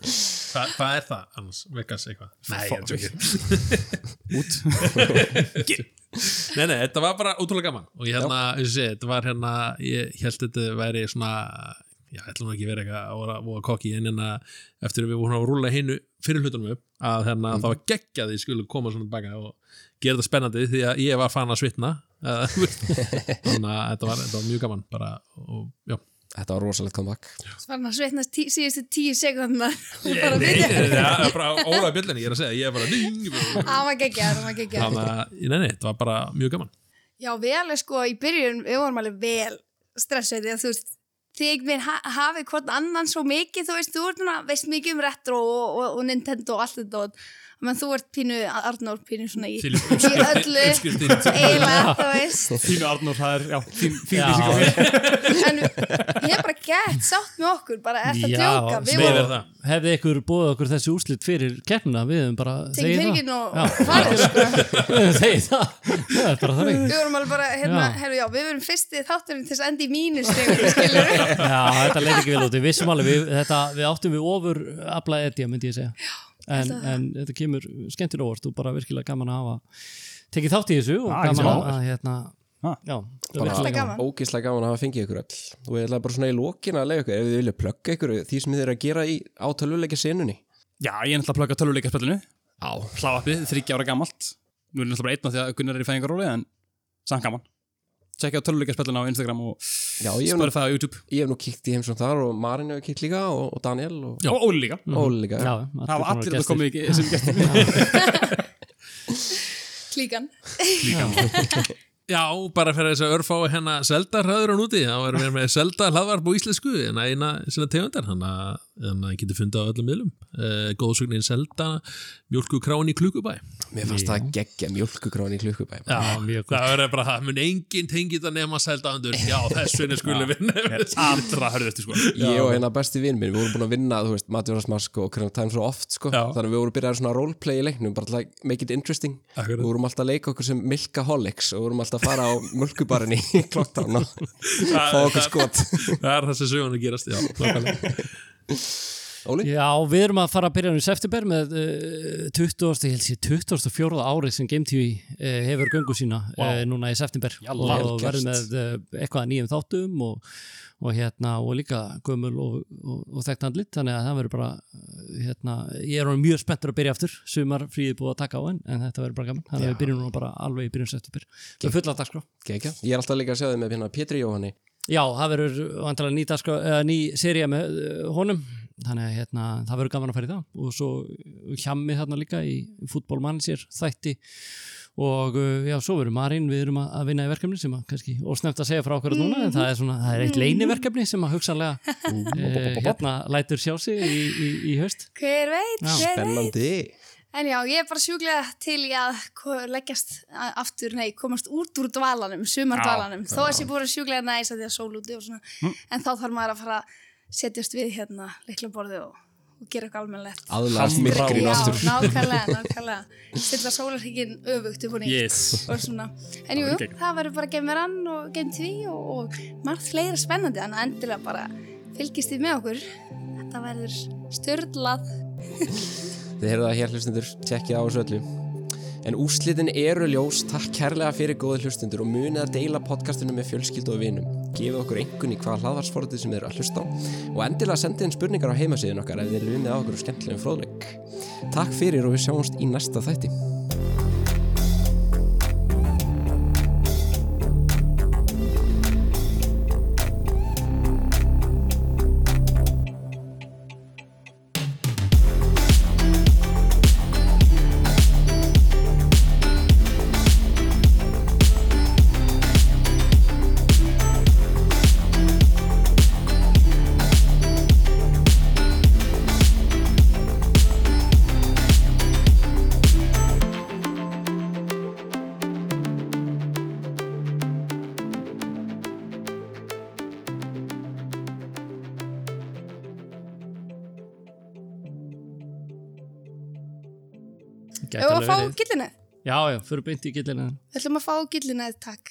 E: Hva, hvað er það, annars, Vegas eitthvað? Nei, ég veit ekki. Nei, nei, þetta var bara ótrúlega gaman og ég hérna, eins og sé, þetta var hérna ég held þetta væri svona já, ætlum nú ekki verið eitthvað að voru, voru kokki en hérna, eftir að við vorum að rúla hinu fyrir hlutunum upp, að hérna það var geggjað því skulle koma svona tilbaka og gera þetta spennandi því að ég var fan að svitna Eh, þannig að þetta var, þetta var mjög gaman bara, og já,
A: Þetta var rosalegt comeback.
D: Svo var hann að sveitnast tí, síðustu tíu sekundar og bara
E: Nei,
D: byrja.
E: það er bara ólega bjöllunni, ég er að segja, ég er bara ding,
D: Það var geggjað, það var geggjað.
E: Þannig að, nei, nei, þetta var bara mjög gaman
D: Já, við alveg sko í byrjun, við vorum alveg vel stressið því að þú veist, þig minn ha hafið hvort annan svo mikið, þú veist, þú ert núna, veist mikið um retro og, og, og Nintendo og allt þetta og menn þú ert pínu, Arnór pínu svona í,
E: Til-
D: í öllu,
E: Uppskriftin til-
D: eiginlega, þú veist,
B: Þínu Arnór, það er, já, þín, þín
C: Já.
B: lýsing á því.
D: en ég er bara gett sátt með okkur, bara ert að
C: Já,
D: djóka, við
C: smá.
E: Meir
D: vorum
E: er það
C: hefði ykkur búið okkur þessi úslit fyrir keppnina, við hefum bara
D: tekið
C: þegið
D: fyrkinn og
C: Já.
D: farið, sko.
C: Við höfum þegið það, það er bara þannig
D: Við vorum alveg bara, hérna,
C: Já.
D: herru, já, við verum fyrsti þátturinn til þess að enda í mínustegum, skilur við.
C: Já, þetta leiði ekki vel út, við vissum alveg við, þetta, við áttum við ofur afla edja, myndi ég segja en, en þetta kemur skemmtilega óvart og bara virkilega gaman að hafa tekið þátt í þessu og
B: Ah,
C: gaman að,
B: ekki
C: að hérna,
B: Ah.
C: já, það er
A: Bara
C: virkilega gaman.
D: gaman.
A: ógeðslega gaman að hafa fengið ykkur öll. Og ég ætla bara svona í lokin að leiða ykkur, ef þið vilja plugga ykkur því sem þið eru að gera í átölvuleika senunni.
B: Já, ég er náttúrulega að plöka töluleika spilinu,
A: Á.
B: hláappið, þryggja ára gamalt. Nú er ég náttúrulega bara einn af því að Gunnar er í fæðingaróli, en samt gaman. Tjekkja á töluleika á Instagram og
A: Já, ég hef nú,
B: Spotify og YouTube.
A: ég hef nú kíkt í heimsum þar og Marin hefur kíkt líka og, og Daniel og
B: Og Óli líka.
E: Mhm.
A: Óli líka.
C: Já,
B: Það hafa allir þetta
C: gestir.
B: komið í- sem gestur.
D: Klíkan.
E: Já, bara fyrir þess að örfá hérna hennar selda hraður hún úti, þá erum við með selda hlaðvarp og íslensku, en að eina sinna tegundar, hann að, hann að geti fundið á öllum miðlum. Uh, góðsugnin selda mjölkukrán í klukubæ.
A: Mér fannst það geggja mjölkugrón í klukkubæm.
E: Já,
C: mjög gott.
E: það verður bara, það mun enginn tengið það nema selda andur. Já, þess vegna skulum við nefnir.
B: Allra hörðustu, sko.
A: Ég og hérna besti vinn minn, við vorum búin að vinna, þú veist, Matjóðarsmask og Krenna Time svo oft, sko.
E: Já.
A: Þannig að við vorum byrjaði svona að roleplay í leiknum, bara til að make it interesting.
E: Akkurat.
A: Við vorum alltaf að leika okkur sem Milkaholics og vorum alltaf að fara á mjölkubarinn í klokktan og fá okkur skot.
E: Það er það sem söguna gerast, já, nákvæmlega.
A: Óli?
C: Já, við erum að fara að byrja nú í september með uh, 20. ég held sér 24. árið sem Game TV uh, hefur göngu sína uh, núna í september
A: Jalla.
C: og
A: Vel
C: verðum
A: gert.
C: með uh, eitthvað að nýjum þáttum og, og hérna og líka gömul og, og, og þekkt andlit þannig að það verður bara uh, hérna, ég er orðinn mjög spenntur að byrja aftur sumar fríði búið að taka á en, en þetta verður bara gaman þannig að við byrjum núna bara alveg í byrjun september með fulla dagskrá
A: Gekkja. Ég er alltaf líka að sjá þið með hérna Pétri Jóhanni.
C: Já, það verður vantilega ný, dagskrá, eða, ný seria með uh, honum þannig að hérna, það verður gaman að fara í það og svo hjammi þarna líka í fútbólmannsir þætti og uh, já, svo verður Marín við erum að, að vinna í verkefni sem að kannski ósnefnt að segja frá okkur núna en það er svona, það er eitt leiniverkefni sem að hugsanlega uh, hérna lætur sjá sig í, í, í haust
D: Hver veit,
C: Já.
D: hver veit.
A: Spennandi.
D: En já, ég er bara sjúklega til í að ko- leggjast a- aftur, nei, komast út úr dvalanum, sumardvalanum. Þó að sé búin að sjúklega næs að því að sól úti og svona. En þá þarf maður að fara að setjast við hérna leikla borði og, og gera eitthvað almennlegt.
A: Aðlast
B: Hamra
A: myrkrinu
B: út.
A: aftur.
D: Já, nákvæmlega, nákvæmlega. Silla sólarhygginn öfugt upp og nýtt.
B: Yes.
D: Og svona. En jú,
B: geggjað.
D: það verður bara gemerann og game 2 og, og margt fleira spennandi. Þannig að endilega bara fylgist þið með okkur. Þetta verður störlað.
A: Þið heyrðu það hér hlustundur, tjekkið á þessu öllu. En úrslitin eru ljós, takk kærlega fyrir góði hlustundur og munið að deila podcastinu með fjölskyldu og vinum. Gefið okkur einhvern í hvaða hlaðvarsforðið sem þið eru að hlusta á og endilega sendið inn spurningar á heimasíðin okkar ef þið eru vinnið á okkur skemmtilegum fróðleik. Takk fyrir og við sjáumst í næsta þætti.
D: Ef að
C: Gæti alveg
D: fá
C: verið.
D: gillinu.
C: Já, já, fyrir beint í gillinu
D: Við ætlum að fá gillina, takk.